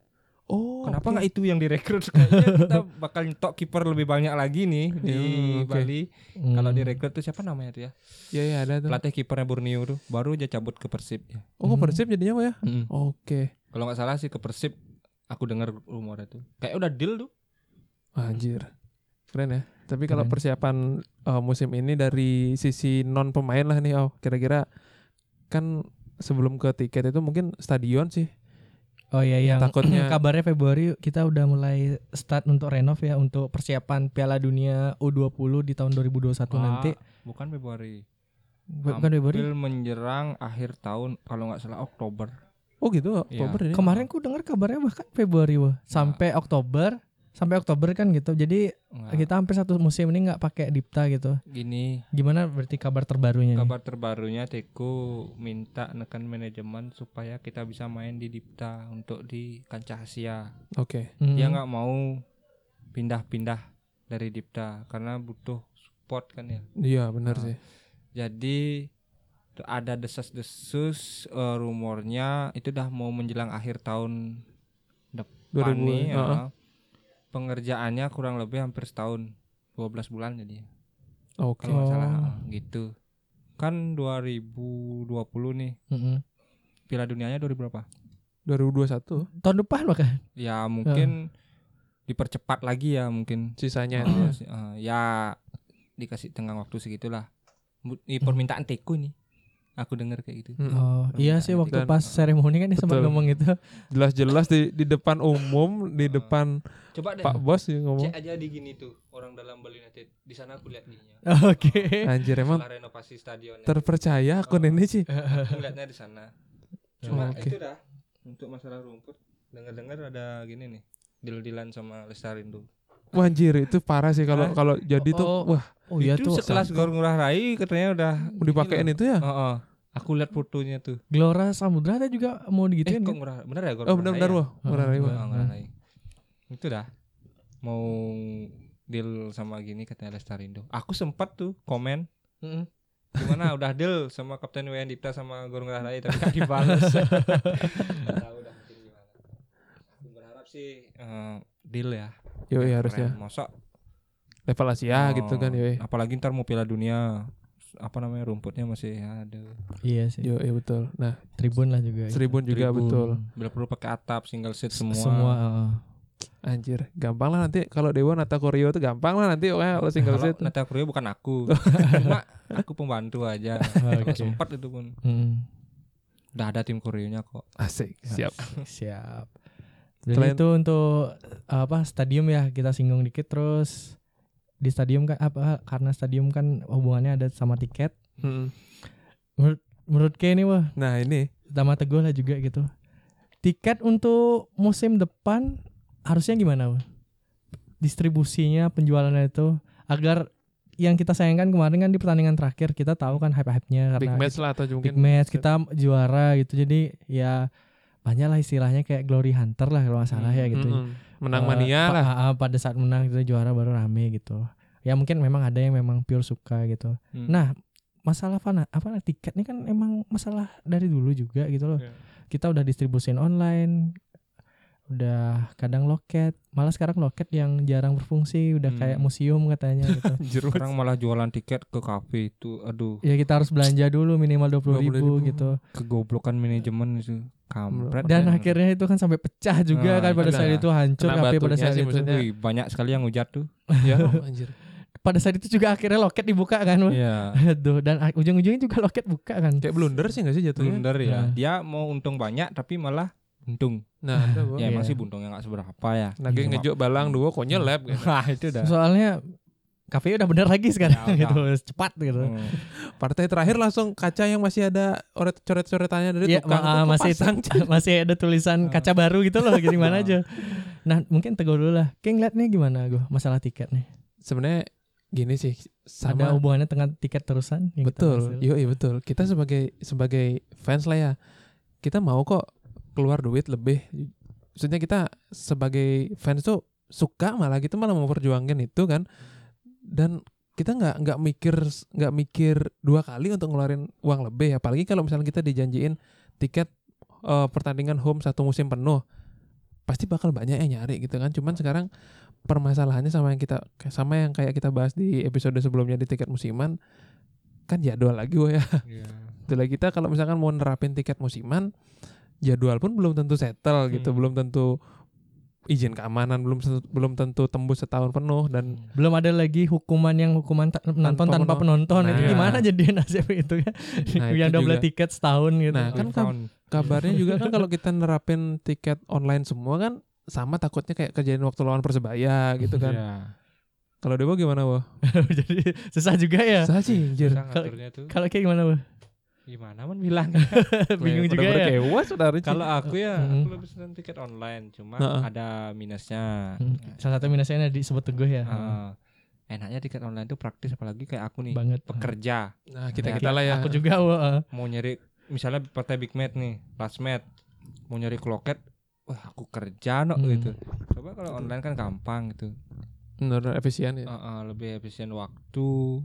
Speaker 1: Oh, oke.
Speaker 3: kenapa nggak itu yang direkrut kayaknya kita bakal nyetok kiper lebih banyak lagi nih di
Speaker 1: Hmm, oke.
Speaker 3: Bali
Speaker 2: Hmm.
Speaker 3: kalau direkrut tuh siapa namanya tuh ya
Speaker 1: Iya iya ada tuh.
Speaker 3: pelatih kipernya Borneo tuh baru aja cabut ke Persib ya
Speaker 1: Oh, kok Persib jadinya apa ya? Oke.
Speaker 3: kalau nggak salah sih ke Persib aku dengar rumornya tuh kayak udah deal tuh
Speaker 1: Anjir. Keren ya. Tapi kalau
Speaker 2: Keren.
Speaker 1: persiapan uh, musim ini dari sisi non pemain lah nih, oh kira-kira kan sebelum ke tiket itu mungkin stadion sih.
Speaker 2: Oh iya yang
Speaker 1: Takutnya-
Speaker 2: kabarnya Februari kita udah mulai start untuk renov ya untuk persiapan Piala Dunia U20 di tahun 2021 nanti.
Speaker 3: Ah, bukan Februari
Speaker 2: Bukan Februari?
Speaker 3: Hampir menjerang akhir tahun kalau nggak salah Oktober
Speaker 1: Oh gitu,
Speaker 3: Iya.
Speaker 1: Oktober ini.
Speaker 2: Kemarin ku dengar kabarnya bahkan Februari wah, sampai Oktober, sampai Oktober kan gitu. Jadi
Speaker 3: Nggak,
Speaker 2: kita hampir satu musim ini nggak pakai Dipta gitu.
Speaker 3: gini
Speaker 2: Gimana berarti kabar terbarunya nih?
Speaker 3: kabar terbarunya Teko minta nekan manajemen supaya kita bisa main di Dipta untuk di kancah Asia.
Speaker 1: Oke.
Speaker 2: Hmm.
Speaker 3: Dia ya nggak mau pindah-pindah dari Dipta karena butuh support kan ya.
Speaker 1: Iya, benar
Speaker 3: Nah.
Speaker 1: sih.
Speaker 3: Jadi ada desas-desus eh, rumornya itu udah mau menjelang akhir tahun
Speaker 1: 2000.
Speaker 3: depan nih.
Speaker 1: heeh.
Speaker 3: eh. Pengerjaannya kurang lebih hampir setahun, 12 bulan jadi.
Speaker 1: Oke.
Speaker 3: Kalau nggak salah
Speaker 2: Oh.
Speaker 3: eh, gitu. Kan 2020 nih.
Speaker 2: Mm-mm.
Speaker 3: Piala dunianya 2000 berapa?
Speaker 1: 2021
Speaker 2: Tahun depan bahkan.
Speaker 3: Ya mungkin dipercepat lagi ya mungkin.
Speaker 1: sisanya.
Speaker 3: Ah,
Speaker 1: ya.
Speaker 3: si- ah, ya dikasih tengah waktu segitulah. Bu- Ini permintaan
Speaker 1: Hmm.
Speaker 3: Teko nih. Aku dengar kayak gitu.
Speaker 1: Mm-mm.
Speaker 2: Oh, iya sih
Speaker 1: Dan-
Speaker 2: waktu pas seremoni kan dia sempat
Speaker 1: Betul.
Speaker 2: ngomong gitu.
Speaker 1: Jelas-jelas di di depan umum, di depan
Speaker 3: Coba deh
Speaker 1: Pak Bos sih ngomong.
Speaker 3: cek aja di gini tuh orang dalam Bali United. Di sana aku lihat ininya.
Speaker 2: Oh, Oke.
Speaker 1: Anjir emang
Speaker 3: Setelah renovasi stadionnya.
Speaker 1: terpercaya akun ini sih.
Speaker 3: Aku ngeliatnya di sana.
Speaker 1: Oh,
Speaker 3: Cuma
Speaker 1: Oke.
Speaker 3: itu dah untuk masalah rumput. Dengar-dengar ada gini nih. Deal-dealan sama Lestarindo.
Speaker 1: Wah anjir itu parah sih kalau
Speaker 3: Ah.
Speaker 1: kalau jadi tuh
Speaker 2: Oh.
Speaker 1: wah
Speaker 2: Oh iya
Speaker 3: itu
Speaker 2: tuh
Speaker 1: kan.
Speaker 3: sekelas Gor Ngurah Rai katanya udah
Speaker 1: mau dipakein itu ya.
Speaker 3: Heeh. Aku lihat fotonya tuh.
Speaker 2: Glora Samudra dia juga mau digituin
Speaker 3: eh, kok
Speaker 2: kan?
Speaker 3: Ngurah Bener ya Gor
Speaker 1: Oh
Speaker 3: Ngurah
Speaker 1: benar-benar
Speaker 3: Rai
Speaker 1: wah, murah
Speaker 2: Ah,
Speaker 1: Rai,
Speaker 3: ya?
Speaker 1: wah.
Speaker 3: Heeh, Ngurah Rai. Itu dah. Mau deal sama gini katanya Lestarindo. Aku sempat tuh komen
Speaker 2: Mm-mm.
Speaker 3: gimana udah deal sama Kapten WN Dipta sama Gor Ngurah Rai tapi kan- gak dibales. Nggak tahu dah mungkin gimana. Aku berharap sih eh, deal ya.
Speaker 1: Yo
Speaker 2: Kan,
Speaker 3: Keren.
Speaker 1: ya harusnya
Speaker 3: Masa
Speaker 1: level Asia
Speaker 3: Oh,
Speaker 1: gitu kan yo.
Speaker 3: Apalagi ntar mau Piala Dunia apa namanya rumputnya masih ya, aduh
Speaker 2: Iya sih.
Speaker 1: Yo ya betul. Nah,
Speaker 2: Tribun lah juga. iya.
Speaker 1: Tribun juga
Speaker 3: Tribun.
Speaker 1: betul.
Speaker 3: bila perlu pakai atap single seat semua,
Speaker 2: Hmm. Semua. heeh.
Speaker 1: Anjir, gampang lah nanti kalau Dewa Nata Koryo tuh gampang lah nanti pokoknya kalau single
Speaker 3: kalau
Speaker 1: seat.
Speaker 3: Nata Kurio bukan aku cuma aku pembantu aja Kalau
Speaker 2: Oke.
Speaker 3: sempat itu pun
Speaker 2: Mm.
Speaker 3: udah ada tim Kurionya kok
Speaker 1: Asik, siap.
Speaker 2: Siap. Jadi
Speaker 1: Selain-
Speaker 2: itu untuk apa stadium ya kita singgung dikit terus di stadium kan apa karena stadium kan hubungannya ada sama tiket.
Speaker 1: Mm.
Speaker 2: Menurut Kay ini wah
Speaker 1: Nah, ini
Speaker 2: sama teguh lah juga gitu. Tiket untuk musim depan harusnya gimana? Wah? Distribusinya penjualannya itu agar yang kita sayangkan kemarin kan di pertandingan terakhir kita tahu kan hype-hype-nya
Speaker 1: big
Speaker 2: karena
Speaker 1: match lah atau mungkin
Speaker 2: big match kita juara gitu jadi ya banyak lah istilahnya kayak glory hunter lah kalau nggak salah ya gitu
Speaker 1: Mm-mm. Hmm, Menang
Speaker 2: Eh,
Speaker 1: mania
Speaker 2: pa-
Speaker 1: lah.
Speaker 2: ah, ah, pada saat menang kita juara baru rame gitu ya mungkin memang ada yang memang pure suka gitu
Speaker 3: Hmm.
Speaker 2: nah masalah fana apa nah, tiket ini kan emang masalah dari dulu juga gitu loh
Speaker 3: Iya.
Speaker 2: kita udah distribusin online udah kadang loket malah sekarang loket yang jarang berfungsi udah
Speaker 3: Hmm.
Speaker 2: kayak museum katanya gitu
Speaker 1: Anjir,
Speaker 3: orang malah jualan tiket ke kafe itu aduh
Speaker 2: ya kita harus belanja dulu minimal
Speaker 1: 20.000.
Speaker 2: 20.000 gitu
Speaker 3: kegoblokan manajemen itu kampret
Speaker 2: dan
Speaker 3: kan.
Speaker 2: akhirnya itu kan sampai pecah juga
Speaker 3: Nah,
Speaker 2: kan pada
Speaker 3: itu
Speaker 2: saat
Speaker 3: lah.
Speaker 2: itu hancur
Speaker 1: iya. Kena
Speaker 2: HP pada
Speaker 1: batunya
Speaker 2: saat
Speaker 1: sih
Speaker 2: itu
Speaker 1: maksudnya.
Speaker 3: Wih, banyak sekali yang hujat tuh
Speaker 1: ya, anjir.
Speaker 2: pada saat itu juga akhirnya loket dibuka kan Wak?
Speaker 3: iya
Speaker 2: aduh dan a- ujung-ujungnya juga loket buka kan
Speaker 1: Kayak blunder sih gak sih jatuhnya?
Speaker 3: blunder ya
Speaker 2: Iya.
Speaker 3: dia mau untung banyak tapi malah untung
Speaker 1: Nah, ada gua.
Speaker 2: Iya.
Speaker 3: ya emang sih untungnya nggak seberapa ya
Speaker 1: Lagi
Speaker 3: Cuma-
Speaker 1: ngejok balang dua kok nyelep
Speaker 2: Iya.
Speaker 1: gitu.
Speaker 3: Wah, itu dah
Speaker 2: soalnya KPI udah bener lagi sekarang
Speaker 3: Ya,
Speaker 2: gitu cepat gitu
Speaker 3: Hmm.
Speaker 1: Partai terakhir langsung kaca yang masih ada oret coret-coretannya dari
Speaker 2: Iya,
Speaker 1: tukang
Speaker 2: ma-
Speaker 1: tuh
Speaker 2: masih
Speaker 1: kepasang, Cik.
Speaker 2: masih ada tulisan
Speaker 1: Hmm.
Speaker 3: Ah.
Speaker 2: kaca baru gitu loh gimana
Speaker 3: Ah.
Speaker 2: aja nah mungkin teguh dulu lah King liat nih gimana gue masalah tiket nih
Speaker 1: Sebenarnya gini sih
Speaker 2: ada
Speaker 1: sama
Speaker 2: hubungannya dengan tiket terusan yang Iya, kita
Speaker 1: betul. Iya.
Speaker 2: hasil.
Speaker 1: Yo, betul. Kita sebagai sebagai fans lah ya. Kita mau kok keluar duit lebih. Maksudnya kita sebagai fans tuh suka malah gitu malah memperjuangkan itu kan. Dan kita nggak nggak mikir nggak mikir dua kali untuk ngeluarin uang lebih apalagi kalau misalnya kita dijanjiin tiket eh, pertandingan home satu musim penuh pasti bakal banyak yang nyari gitu kan cuman sekarang permasalahannya sama yang kita sama yang kayak kita bahas di episode sebelumnya di tiket musiman kan jadwal lagi wah ya
Speaker 3: Iya.
Speaker 1: jadwal kita kalau misalkan mau nerapin tiket musiman jadwal pun belum tentu settle gitu
Speaker 3: Hmm.
Speaker 1: belum tentu izin keamanan belum belum tentu tembus setahun penuh dan
Speaker 2: belum ada lagi hukuman yang hukuman ta- nonton tanpa penonton itu
Speaker 1: Nah.
Speaker 2: gimana jadi nasib itu ya
Speaker 1: Nah,
Speaker 2: yang
Speaker 1: itu
Speaker 2: double
Speaker 1: juga.
Speaker 2: tiket setahun gitu
Speaker 1: Nah, kan
Speaker 3: Refund.
Speaker 1: kabarnya juga kan kalau kita nerapin tiket online semua kan sama takutnya kayak kerjain waktu lawan persebaya gitu kan
Speaker 3: Iya.
Speaker 1: kalau Dewa gimana wah
Speaker 2: jadi susah juga ya
Speaker 3: Iya.
Speaker 1: susah sih anjir
Speaker 3: Susah ngaturnya tuh
Speaker 2: kalau kayak kan- gimana Wak?
Speaker 3: Gimana man bilang?
Speaker 2: Bingung juga ya.
Speaker 1: Kewas udah Rich.
Speaker 3: Iya. Kalau aku ya
Speaker 2: Mm.
Speaker 3: aku lebih senang tiket online, cuma
Speaker 1: Heeh.
Speaker 3: ada minusnya.
Speaker 2: Hmm,
Speaker 3: Nah,
Speaker 2: Salah satu minusnya ada disebut teguh ya.
Speaker 3: Eh, enaknya tiket online itu praktis apalagi kayak aku nih
Speaker 2: Banget.
Speaker 3: pekerja
Speaker 1: Nah,
Speaker 3: Iya,
Speaker 1: kita-kita lah ya.
Speaker 2: Aku juga ah. wah.
Speaker 3: mau nyari misalnya partai big match nih, last match mau nyari kloket, wah aku kerja no
Speaker 2: Hmm.
Speaker 3: gitu. Coba kalau online kan gampang gitu.
Speaker 1: Bener, efisien ya.
Speaker 3: Heeh, lebih efisien waktu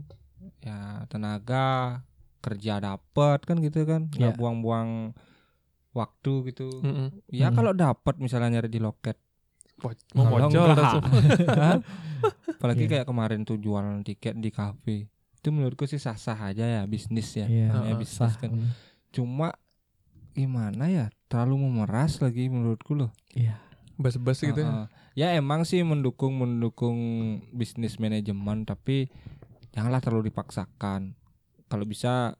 Speaker 3: ya tenaga kerja dapat kan gitu kan
Speaker 2: Ya.
Speaker 3: nggak buang-buang waktu gitu
Speaker 1: Mm-mm.
Speaker 3: ya
Speaker 2: Mm.
Speaker 3: kalau dapat misalnya nyari di loket
Speaker 1: Bo- Mau bocor
Speaker 3: Kalau enggak.
Speaker 1: langsung.
Speaker 3: Hah? apalagi
Speaker 2: Iya.
Speaker 3: kayak kemarin tuh jualan tiket di kafe itu menurutku sih sah-sah aja ya bisnis ya
Speaker 2: Iya.
Speaker 3: Namanya
Speaker 1: Heeh,
Speaker 3: bisnis
Speaker 2: Sah.
Speaker 3: kan cuma gimana ya terlalu memeras lagi menurutku loh
Speaker 1: Bas-bas gitu ya.
Speaker 3: Heeh. ya emang sih mendukung mendukung bisnis manajemen tapi janganlah terlalu dipaksakan kalau bisa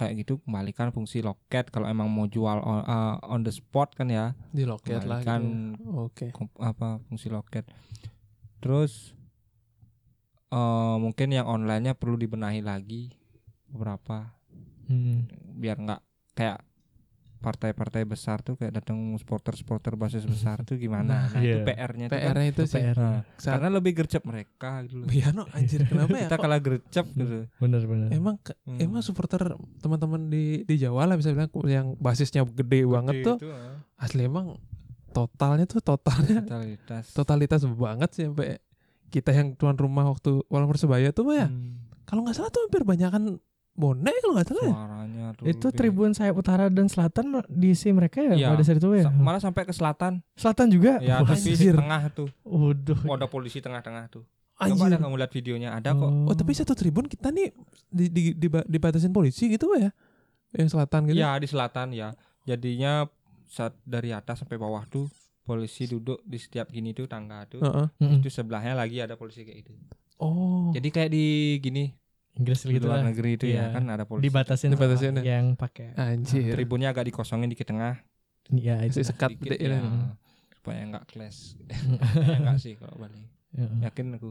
Speaker 3: kayak gitu kembalikan fungsi loket kalau emang mau jual on, eh, on the spot kan ya
Speaker 1: Di loket lah
Speaker 3: kembalikan
Speaker 1: gitu. Oke.
Speaker 3: kom- apa fungsi loket terus eh, mungkin yang onlinenya perlu dibenahi lagi beberapa
Speaker 2: Hmm.
Speaker 3: biar nggak kayak partai-partai besar tuh kayak datang supporter-supporter basis besar tuh gimana nah, itu
Speaker 2: Iya.
Speaker 3: PR-nya itu kan
Speaker 1: PR-nya itu sih.
Speaker 2: PR.
Speaker 3: Nah,
Speaker 1: Saat-
Speaker 3: karena lebih gercep mereka gitu loh.
Speaker 1: Iya no, anjir kenapa ya?
Speaker 3: kita
Speaker 1: Kok
Speaker 3: kalah gercep gitu
Speaker 2: Bener bener.
Speaker 1: emang ke-
Speaker 3: Hmm.
Speaker 1: emang supporter teman-teman di di Jawa lah bisa bilang yang basisnya gede banget
Speaker 3: Gede
Speaker 1: tuh
Speaker 3: itu, ah.
Speaker 1: asli emang totalnya tuh totalnya
Speaker 3: totalitas
Speaker 1: totalitas banget sih sampai kita yang tuan rumah waktu Walau Persebaya tuh ya
Speaker 3: Hmm,
Speaker 1: kalau nggak salah tuh hampir banyakan bonek kalau nggak salah ya.
Speaker 3: suaranya tuh
Speaker 2: itu
Speaker 3: lebih-
Speaker 2: tribun sayap utara dan selatan diisi mereka ya
Speaker 3: Iya.
Speaker 2: pada saat itu ya.
Speaker 3: Sa- malah sampai ke selatan
Speaker 2: Selatan juga.
Speaker 3: ya
Speaker 2: Wah,
Speaker 3: tapi
Speaker 1: anjir.
Speaker 3: tengah tuh
Speaker 2: Waduh.
Speaker 3: Oh, ada polisi tengah-tengah tuh coba
Speaker 1: anjir
Speaker 3: ada kamu lihat videonya ada kok
Speaker 1: oh tapi satu tribun kita nih di, di, diba- dibatasin polisi gitu ya yang selatan gitu
Speaker 3: ya di selatan ya jadinya saat dari atas sampai bawah tuh polisi duduk di setiap gini tuh tangga tuh
Speaker 1: Heeh.
Speaker 2: Mm-mm.
Speaker 3: itu sebelahnya lagi ada polisi kayak gitu
Speaker 1: Hmm. oh
Speaker 3: jadi kayak di gini
Speaker 2: Inggris
Speaker 3: di
Speaker 2: gitu
Speaker 3: luar
Speaker 2: lah.
Speaker 3: negeri itu
Speaker 2: Iya.
Speaker 3: ya kan ada polisi
Speaker 2: Dibatasin.
Speaker 1: Dibatasin ya.
Speaker 2: sama Yang pakai.
Speaker 1: anjir
Speaker 3: tribunnya agak dikosongin dikit tengah
Speaker 2: Ya itu.
Speaker 1: si sekat deh
Speaker 3: dikit
Speaker 1: iya. ini.
Speaker 3: ya, supaya nggak clash ya nggak sih kalau Bali
Speaker 2: Ya.
Speaker 3: yakin aku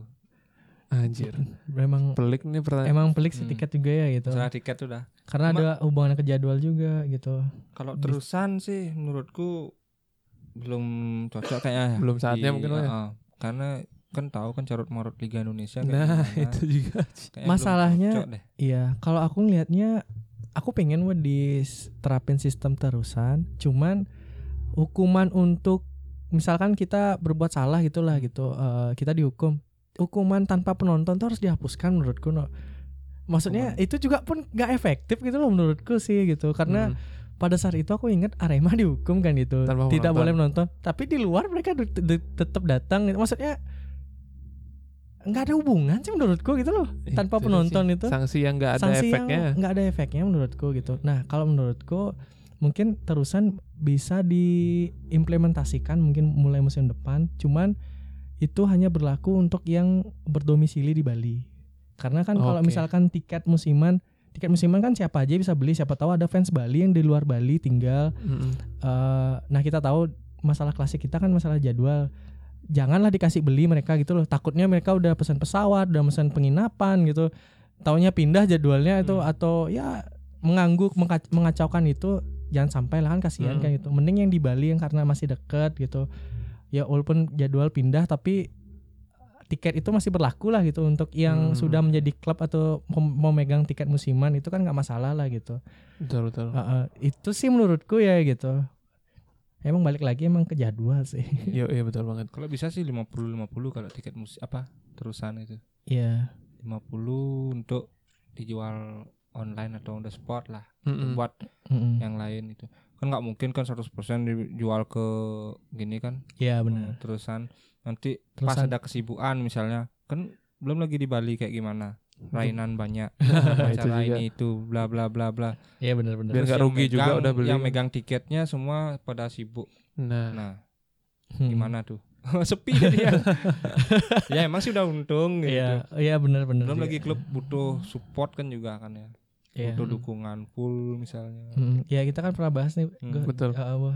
Speaker 1: anjir
Speaker 2: Memang
Speaker 1: pelik nih pertanyaan
Speaker 2: emang pelik sih
Speaker 3: Hmm.
Speaker 2: tiket juga ya gitu.
Speaker 3: salah tiket udah
Speaker 2: Karena
Speaker 3: Ma-
Speaker 2: ada hubungan ke jadwal juga gitu.
Speaker 3: kalau
Speaker 2: Bis-
Speaker 3: terusan sih menurutku belum cocok kayaknya
Speaker 1: Belum saatnya
Speaker 3: Di-
Speaker 1: mungkin lah ya.
Speaker 3: ah, karena kan tahu kan carut marut Liga Indonesia kayak
Speaker 1: nah
Speaker 3: gimana.
Speaker 1: itu juga
Speaker 3: Kayaknya Eh, belum
Speaker 2: Masalahnya-
Speaker 3: cocok deh.
Speaker 2: Iya, kalau aku ngelihatnya aku pengen buat diterapin sistem terusan, cuman hukuman untuk misalkan kita berbuat salah gitulah gitu, eh, kita dihukum. Hukuman tanpa penonton tuh harus dihapuskan menurutku, no. Maksudnya itu juga pun nggak efektif gitu loh menurutku sih gitu, karena
Speaker 1: Hmm.
Speaker 2: pada saat itu aku ingat Arema dihukum kan gitu,
Speaker 1: Tanpa penonton.
Speaker 2: tidak boleh menonton, tapi di luar mereka det- det- tetap datang, maksudnya nggak ada hubungan sih menurutku gitu loh tanpa
Speaker 1: Itu
Speaker 2: penonton
Speaker 1: Iya, sih.
Speaker 2: itu
Speaker 1: sanksi yang nggak ada
Speaker 2: sanksi yang
Speaker 1: efeknya
Speaker 2: nggak ada efeknya menurutku gitu. Nah kalau menurutku mungkin terusan bisa diimplementasikan mungkin mulai musim depan. Cuman itu hanya berlaku untuk yang berdomisili di Bali. Karena kan kalau
Speaker 1: Oke.
Speaker 2: misalkan tiket musiman, tiket musiman kan siapa aja bisa beli. Siapa tahu ada fans Bali yang di luar Bali tinggal.
Speaker 1: Mm-mm.
Speaker 2: Eh, nah kita tahu masalah klasik kita kan masalah jadwal. Janganlah dikasih beli mereka gitu loh. Takutnya mereka udah pesan pesawat, udah pesan penginapan gitu taunya pindah jadwalnya itu
Speaker 1: Hmm.
Speaker 2: atau ya mengangguk mengac- mengacaukan itu jangan sampai lah kan kasihan
Speaker 1: Hmm.
Speaker 2: kan gitu mending yang di Bali yang karena masih deket gitu ya walaupun jadwal pindah tapi tiket itu masih berlaku lah gitu untuk
Speaker 1: Hmm.
Speaker 2: yang sudah menjadi klub atau mem- memegang tiket musiman itu kan nggak masalah lah gitu
Speaker 1: betul betul
Speaker 2: Heeh, itu sih menurutku ya gitu emang balik lagi emang ke jadwal sih
Speaker 1: iya iya betul banget
Speaker 3: kalau bisa sih 50-50 kalau tiket musik apa terusan itu
Speaker 2: ya
Speaker 3: 50 untuk dijual online atau on the spot lah
Speaker 1: Mm-mm.
Speaker 3: buat
Speaker 2: Mm-mm.
Speaker 3: yang lain itu kan nggak mungkin kan 100% dijual ke gini kan
Speaker 2: ya
Speaker 3: Hmm,
Speaker 2: benar
Speaker 3: terusan nanti pas
Speaker 2: Terusan.
Speaker 3: ada kesibukan misalnya kan belum lagi di Bali kayak gimana rainan banyak
Speaker 1: Nah, itu
Speaker 3: acara
Speaker 1: juga.
Speaker 3: ini itu bla bla bla bla
Speaker 2: ya benar benar
Speaker 1: Biar
Speaker 3: Terus
Speaker 1: nggak
Speaker 3: yang
Speaker 1: rugi juga
Speaker 3: megang-
Speaker 1: udah beli.
Speaker 3: yang megang tiketnya semua pada sibuk
Speaker 1: Nah,
Speaker 3: nah
Speaker 2: Hmm.
Speaker 3: gimana tuh sepi jadi ya ya emang sih udah untung gitu
Speaker 2: Iya, iya benar benar
Speaker 3: belum
Speaker 2: juga.
Speaker 3: lagi klub butuh support kan juga kan ya
Speaker 2: Iya.
Speaker 3: butuh dukungan full misalnya
Speaker 2: Mm, ya kita kan pernah bahas nih
Speaker 3: Hmm,
Speaker 2: Go-
Speaker 1: betul.
Speaker 2: uh, wah,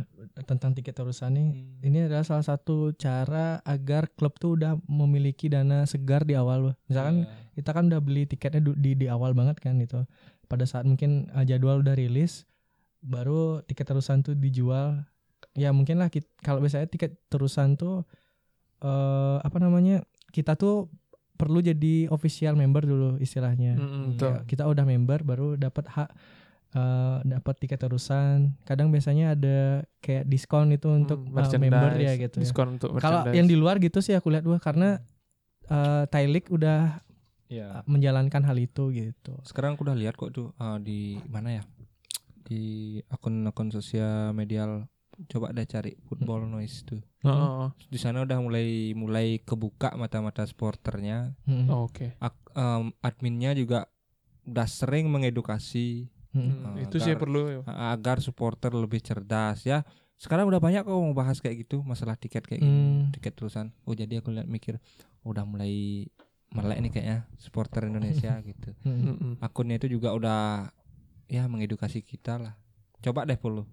Speaker 2: tentang tiket terusan nih.
Speaker 3: Hmm.
Speaker 2: Ini adalah salah satu cara agar klub tuh udah memiliki dana segar di awal. wah. Misalkan
Speaker 3: Iya.
Speaker 2: kita kan udah beli tiketnya du- di di awal banget kan gitu. pada saat mungkin eh, jadwal udah rilis baru tiket terusan tuh dijual ya mungkin lah kit- kalau biasanya tiket terusan tuh eh apa namanya kita tuh perlu jadi official member dulu istilahnya
Speaker 1: Mm-mm,
Speaker 2: Ya,
Speaker 1: Hmm, betul.
Speaker 2: kita udah member baru dapat hak eh, dapat tiket terusan kadang biasanya ada kayak diskon itu untuk
Speaker 1: Mm,
Speaker 2: eh, member
Speaker 1: merchandise,
Speaker 2: ya gitu ya.
Speaker 1: Diskon untuk
Speaker 2: kalau
Speaker 1: merchandise.
Speaker 2: yang di luar gitu sih aku lihat wah karena eh Thailand udah
Speaker 3: Iya.
Speaker 2: menjalankan hal itu gitu
Speaker 3: Sekarang aku udah lihat kok tuh eh, di mana ya? Di akun-akun sosial medial coba deh cari football
Speaker 2: Hmm.
Speaker 3: noise tuh.
Speaker 1: Oh, oh, oh.
Speaker 3: Di sana udah mulai mulai kebuka mata-mata sporternya.
Speaker 2: Mm-mm.
Speaker 1: Oh, Oke.
Speaker 3: Ak- em, adminnya juga udah sering mengedukasi
Speaker 2: Mm-mm.
Speaker 1: Hmm,
Speaker 3: Ah,
Speaker 1: itu sih
Speaker 3: ntar-
Speaker 1: perlu.
Speaker 3: a- agar supporter lebih cerdas ya. Sekarang udah banyak kok mau bahas kayak gitu masalah tiket kayak gitu.
Speaker 2: Mm.
Speaker 3: tiket terusan. Oh jadi aku lihat mikir oh, udah mulai melek nih kayaknya supporter Indonesia gitu.
Speaker 2: Mm-mm.
Speaker 1: Mm-mm.
Speaker 3: akunnya itu juga udah ya mengedukasi kita lah coba deh follow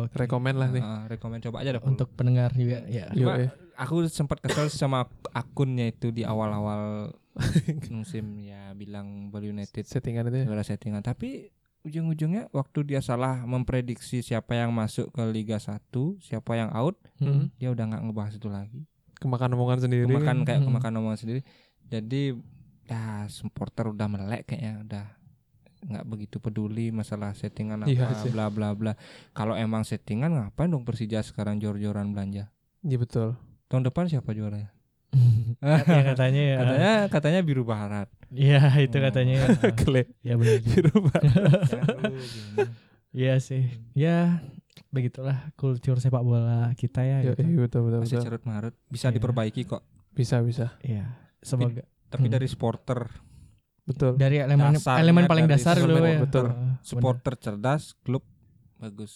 Speaker 2: Oke.
Speaker 1: Rekomen lah nih.
Speaker 3: Ah, rekomen coba aja deh follow.
Speaker 2: untuk pendengar juga ya
Speaker 1: Yo, eh,
Speaker 3: Cuma aku sempat kesel sama akunnya itu di awal-awal musim ya bilang Bali United
Speaker 1: settingan
Speaker 2: Iya.
Speaker 1: itu. Ya.
Speaker 3: segala settingan tapi ujung-ujungnya waktu dia salah memprediksi siapa yang masuk ke Liga 1 siapa yang out
Speaker 2: Mm-mm.
Speaker 3: dia udah nggak ngebahas itu lagi
Speaker 1: Kemakan omongan sendiri.
Speaker 3: kemakan kayak
Speaker 2: Hmm.
Speaker 3: kemakan omongan sendiri jadi ya supporter udah melek kayaknya udah nggak begitu peduli masalah settingan apa
Speaker 1: Iya sih.
Speaker 3: bla bla bla kalau emang settingan ngapain dong Persija sekarang jor-joran belanja
Speaker 1: Iya betul.
Speaker 3: tahun depan siapa juaranya
Speaker 2: ya katanya ya
Speaker 3: katanya katanya biru barat
Speaker 2: ya itu katanya ya.
Speaker 1: Kele.
Speaker 2: ya benar juga.
Speaker 3: Jangan lu gini.
Speaker 2: Iya sih. Ya begitulah kultur sepak bola kita ya.
Speaker 1: Yo,
Speaker 2: gitu.
Speaker 1: iya betul betul.
Speaker 3: masih
Speaker 1: betul.
Speaker 3: cerut marut bisa
Speaker 2: Iya.
Speaker 3: diperbaiki kok
Speaker 1: Bisa bisa.
Speaker 2: Iya. Semoga
Speaker 3: tapi
Speaker 2: Hmm.
Speaker 3: dari supporter
Speaker 1: Betul.
Speaker 2: dari elemen
Speaker 3: Dasarnya
Speaker 2: elemen paling
Speaker 3: dari
Speaker 2: dasar ya, dulu
Speaker 1: support,
Speaker 2: ya.
Speaker 1: betul.
Speaker 2: Heeh,
Speaker 3: supporter cerdas klub bagus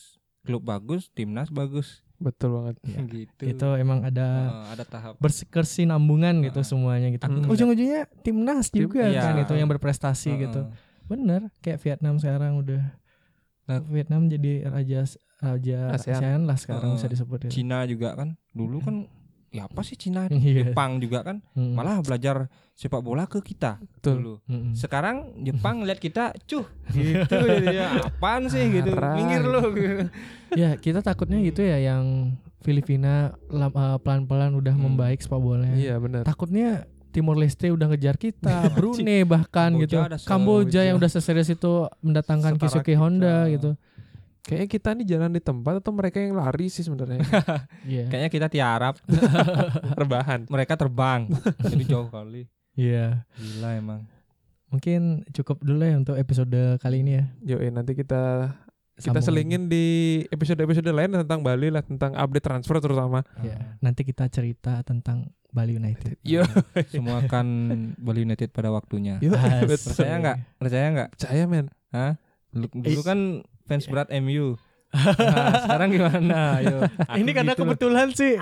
Speaker 3: klub bagus timnas bagus
Speaker 1: Betul banget.
Speaker 2: Iya.
Speaker 3: gitu
Speaker 2: bener. Itu emang ada
Speaker 3: Heeh, ada tahap
Speaker 2: berkesinambungan gitu
Speaker 3: Ah.
Speaker 2: semuanya gitu.
Speaker 3: Aku
Speaker 2: Ujung-ujungnya timnas
Speaker 1: Tim-
Speaker 2: juga
Speaker 3: iya.
Speaker 2: kan itu yang berprestasi
Speaker 3: Heeh.
Speaker 2: gitu. Bener. Kayak Vietnam sekarang udah
Speaker 3: Nah.
Speaker 2: Vietnam jadi raja raja
Speaker 1: ASEAN.
Speaker 2: ASEAN, lah sekarang
Speaker 3: Heeh.
Speaker 2: bisa disebut itu.
Speaker 3: Cina juga kan dulu kan ya apa sih Cina
Speaker 2: Iya.
Speaker 3: Jepang juga kan
Speaker 2: Mm.
Speaker 3: malah belajar sepak bola ke kita
Speaker 1: Betul.
Speaker 3: dulu
Speaker 2: Mm-mm.
Speaker 3: sekarang Jepang lihat kita cuh Hmm. gitu jadinya apaan sih gitu
Speaker 1: Parah.
Speaker 3: minggir lu
Speaker 2: ya kita takutnya gitu ya yang Filipina lam- eh, pelan-pelan udah
Speaker 3: Hmm.
Speaker 2: membaik sepak bolanya.
Speaker 1: Iya benar.
Speaker 2: Takutnya Timor Leste udah ngejar kita, Brunei bahkan
Speaker 3: Kamboja
Speaker 2: gitu.
Speaker 3: ada se-
Speaker 2: Kamboja
Speaker 1: Kamboja.
Speaker 2: yang udah seserius itu mendatangkan
Speaker 3: Setara
Speaker 2: Keisuke
Speaker 3: kita.
Speaker 2: Honda gitu.
Speaker 1: Kayaknya kita nih jalan di tempat atau mereka yang lari sih sebenarnya.
Speaker 2: Iya.
Speaker 3: kayaknya kita tiarap
Speaker 1: Rebahan.
Speaker 3: mereka terbang jadi jauh kali
Speaker 2: Iya.
Speaker 3: gila emang
Speaker 2: Mungkin cukup dulu ya untuk episode kali ini
Speaker 1: Yo,
Speaker 2: ya.
Speaker 1: eh, nanti kita kita
Speaker 2: Sambung.
Speaker 1: selingin di episode-episode lain tentang Bali lah, tentang update transfer terutama.
Speaker 2: Iya. Nanti kita cerita tentang Bali United.
Speaker 1: Yo,
Speaker 3: semua kan Bali United pada waktunya
Speaker 1: yo,
Speaker 2: Asik.
Speaker 1: betul.
Speaker 3: percaya nggak percaya nggak
Speaker 1: Percaya men.
Speaker 3: Hah? Lu- dulu kan
Speaker 2: Iya.
Speaker 3: fans berat MU Nah, sekarang gimana Ayo. Aku
Speaker 2: ini karena
Speaker 3: gitu loh.
Speaker 2: kebetulan sih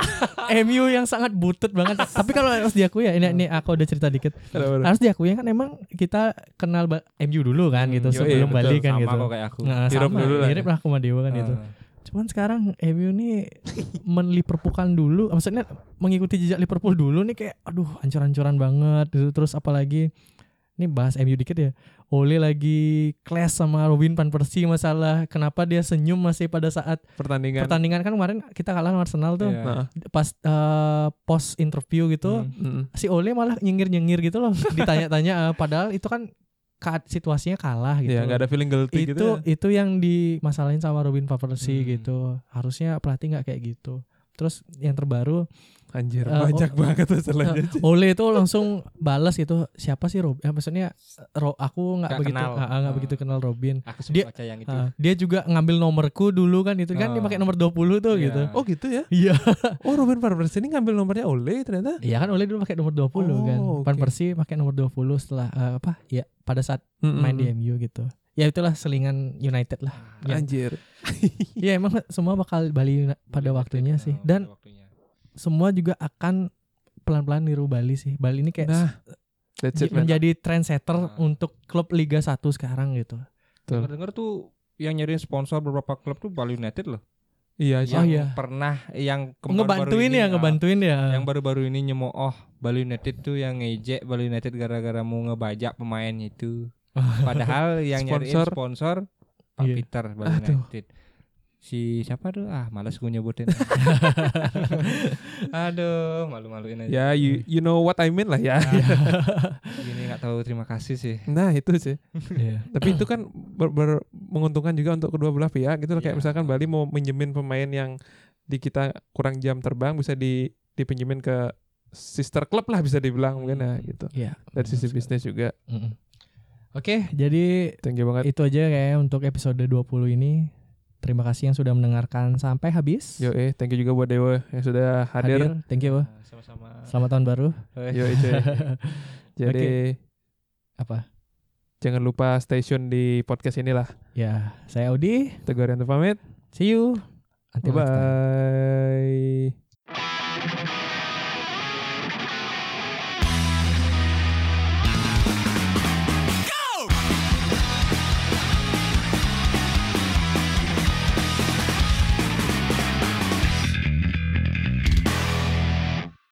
Speaker 2: MU yang sangat butut banget. Tapi kalau harus diakui ya ini ini aku udah cerita dikit.
Speaker 1: Benar-benar.
Speaker 2: harus diakui kan emang kita kenal ba- MU dulu kan gitu
Speaker 1: yoi,
Speaker 2: sebelum
Speaker 1: betul.
Speaker 2: Bali kan
Speaker 3: Hmm, iya, sama
Speaker 2: gitu.
Speaker 3: kok kayak aku
Speaker 2: Nah,
Speaker 1: Europe
Speaker 2: sama,
Speaker 1: dulu lah.
Speaker 3: ya.
Speaker 2: mirip lah sama Dewa kan
Speaker 3: Heeh.
Speaker 2: gitu. Cuman sekarang MU nih menliverpoolkan dulu, maksudnya mengikuti jejak Liverpool dulu nih kayak aduh ancur-ancuran banget gitu. Terus apalagi ini bahas MU dikit ya. Ole lagi clash sama Robin Van Persie masalah kenapa dia senyum masih pada saat
Speaker 1: Pertandingan.
Speaker 2: pertandingan kan kemarin kita kalah sama Arsenal tuh.
Speaker 3: Iya.
Speaker 1: Nah,
Speaker 2: Pas eh, post interview gitu
Speaker 3: Hmm.
Speaker 1: mm.
Speaker 2: si Ole malah nyengir-nyengir gitu loh ditanya-tanya eh, padahal itu kan ka- situasinya kalah gitu.
Speaker 1: Ya nggak ada feeling guilty
Speaker 2: itu
Speaker 1: gitu. ya.
Speaker 2: itu yang dimasalahin sama Robin Van Persie
Speaker 3: Hmm.
Speaker 2: gitu. Harusnya pelatih nggak kayak gitu. Terus yang terbaru
Speaker 1: Anjir,
Speaker 2: Eh,
Speaker 1: banyak banget masalahnya. sih.
Speaker 2: Ole itu langsung balas gitu siapa sih Rob? Ya, maksudnya Ro- aku nggak
Speaker 3: Nggak
Speaker 2: begitu
Speaker 3: kenal. Gitu.
Speaker 2: ah, ah, nggak
Speaker 3: Ah.
Speaker 2: begitu kenal Robin.
Speaker 3: aku
Speaker 2: Dia-
Speaker 3: sempat baca yang itu
Speaker 2: Ah, dia juga ngambil nomorku dulu kan itu kan
Speaker 3: Ah.
Speaker 2: dia pakai nomor 20 tuh
Speaker 3: Iya.
Speaker 2: gitu.
Speaker 1: Oh gitu ya.
Speaker 2: Iya.
Speaker 1: Oh Ruben Van Persie ini ngambil nomornya Ole ternyata.
Speaker 2: Iya kan Ole dulu pakai nomor 20 kan.
Speaker 1: Oh,
Speaker 2: Van
Speaker 1: oke.
Speaker 2: Persie pakai nomor 20 setelah eh, apa? Ya pada saat main di MU gitu. Ya itulah selingan United lah. Ya,
Speaker 1: Anjir.
Speaker 2: ya
Speaker 3: Iya.
Speaker 2: emang semua bakal Bali Uni- pada waktunya
Speaker 3: Nah,
Speaker 2: sih.
Speaker 3: pada
Speaker 2: Dan
Speaker 3: waktunya.
Speaker 2: semua juga akan pelan-pelan niru Bali sih. Bali ini kayak
Speaker 1: Nah, that's
Speaker 2: j-
Speaker 1: it man.
Speaker 2: menjadi trendsetter
Speaker 3: Nah.
Speaker 2: untuk klub Liga 1 sekarang gitu.
Speaker 1: Betul.
Speaker 3: dengar tuh yang nyariin sponsor beberapa klub tuh Bali United loh.
Speaker 1: Iya,
Speaker 2: Oh,
Speaker 1: sih.
Speaker 2: iya.
Speaker 3: Pernah yang kemarin
Speaker 2: Ngebantuin
Speaker 3: baru
Speaker 2: ya,
Speaker 3: ini,
Speaker 2: ngebantuin ya.
Speaker 3: ah, Yang
Speaker 1: Hmm.
Speaker 3: baru-baru ini nyemooh Bali United tuh yang ngejek Bali United gara-gara mau ngebajak pemain itu. Padahal yang nyariin
Speaker 1: Sponsor.
Speaker 3: sponsor Pak
Speaker 2: Iya.
Speaker 3: Peter Bali
Speaker 1: Aduh.
Speaker 3: United. Si siapa tuh? Ah, malas gue nyebutin. Aduh, malu-maluin aja.
Speaker 1: Ya, you, you know what I mean lah ya.
Speaker 3: Gini nggak tahu terima kasih sih.
Speaker 1: Nah, itu sih.
Speaker 2: Iya.
Speaker 1: Tapi itu kan ber- ber- menguntungkan juga untuk kedua belah pihak gitu loh. Kayak
Speaker 3: Iya.
Speaker 1: misalkan Bali mau minjemin pemain yang di kita kurang jam terbang bisa di dipinjemin ke sister club lah bisa dibilang mungkin ya gitu.
Speaker 2: Iya.
Speaker 1: Dari sisi bisnis juga.
Speaker 2: Mm-mm. Oke, jadi
Speaker 1: Thank you banget.
Speaker 2: itu aja kayaknya untuk episode 20 ini. Terima kasih yang sudah mendengarkan sampai habis.
Speaker 1: Yo eh, thank you juga buat Dewa yang sudah hadir.
Speaker 2: Hadir. Thank you.
Speaker 3: Ah, Sama-sama.
Speaker 2: Selamat tahun baru.
Speaker 1: Yo eh, cuy. Jadi
Speaker 2: Apa?
Speaker 1: jangan lupa station di podcast inilah.
Speaker 2: Ya, saya Audi.
Speaker 1: Teguh Arianto pamit.
Speaker 2: See you. Until
Speaker 1: Bye
Speaker 2: next time.
Speaker 1: bye.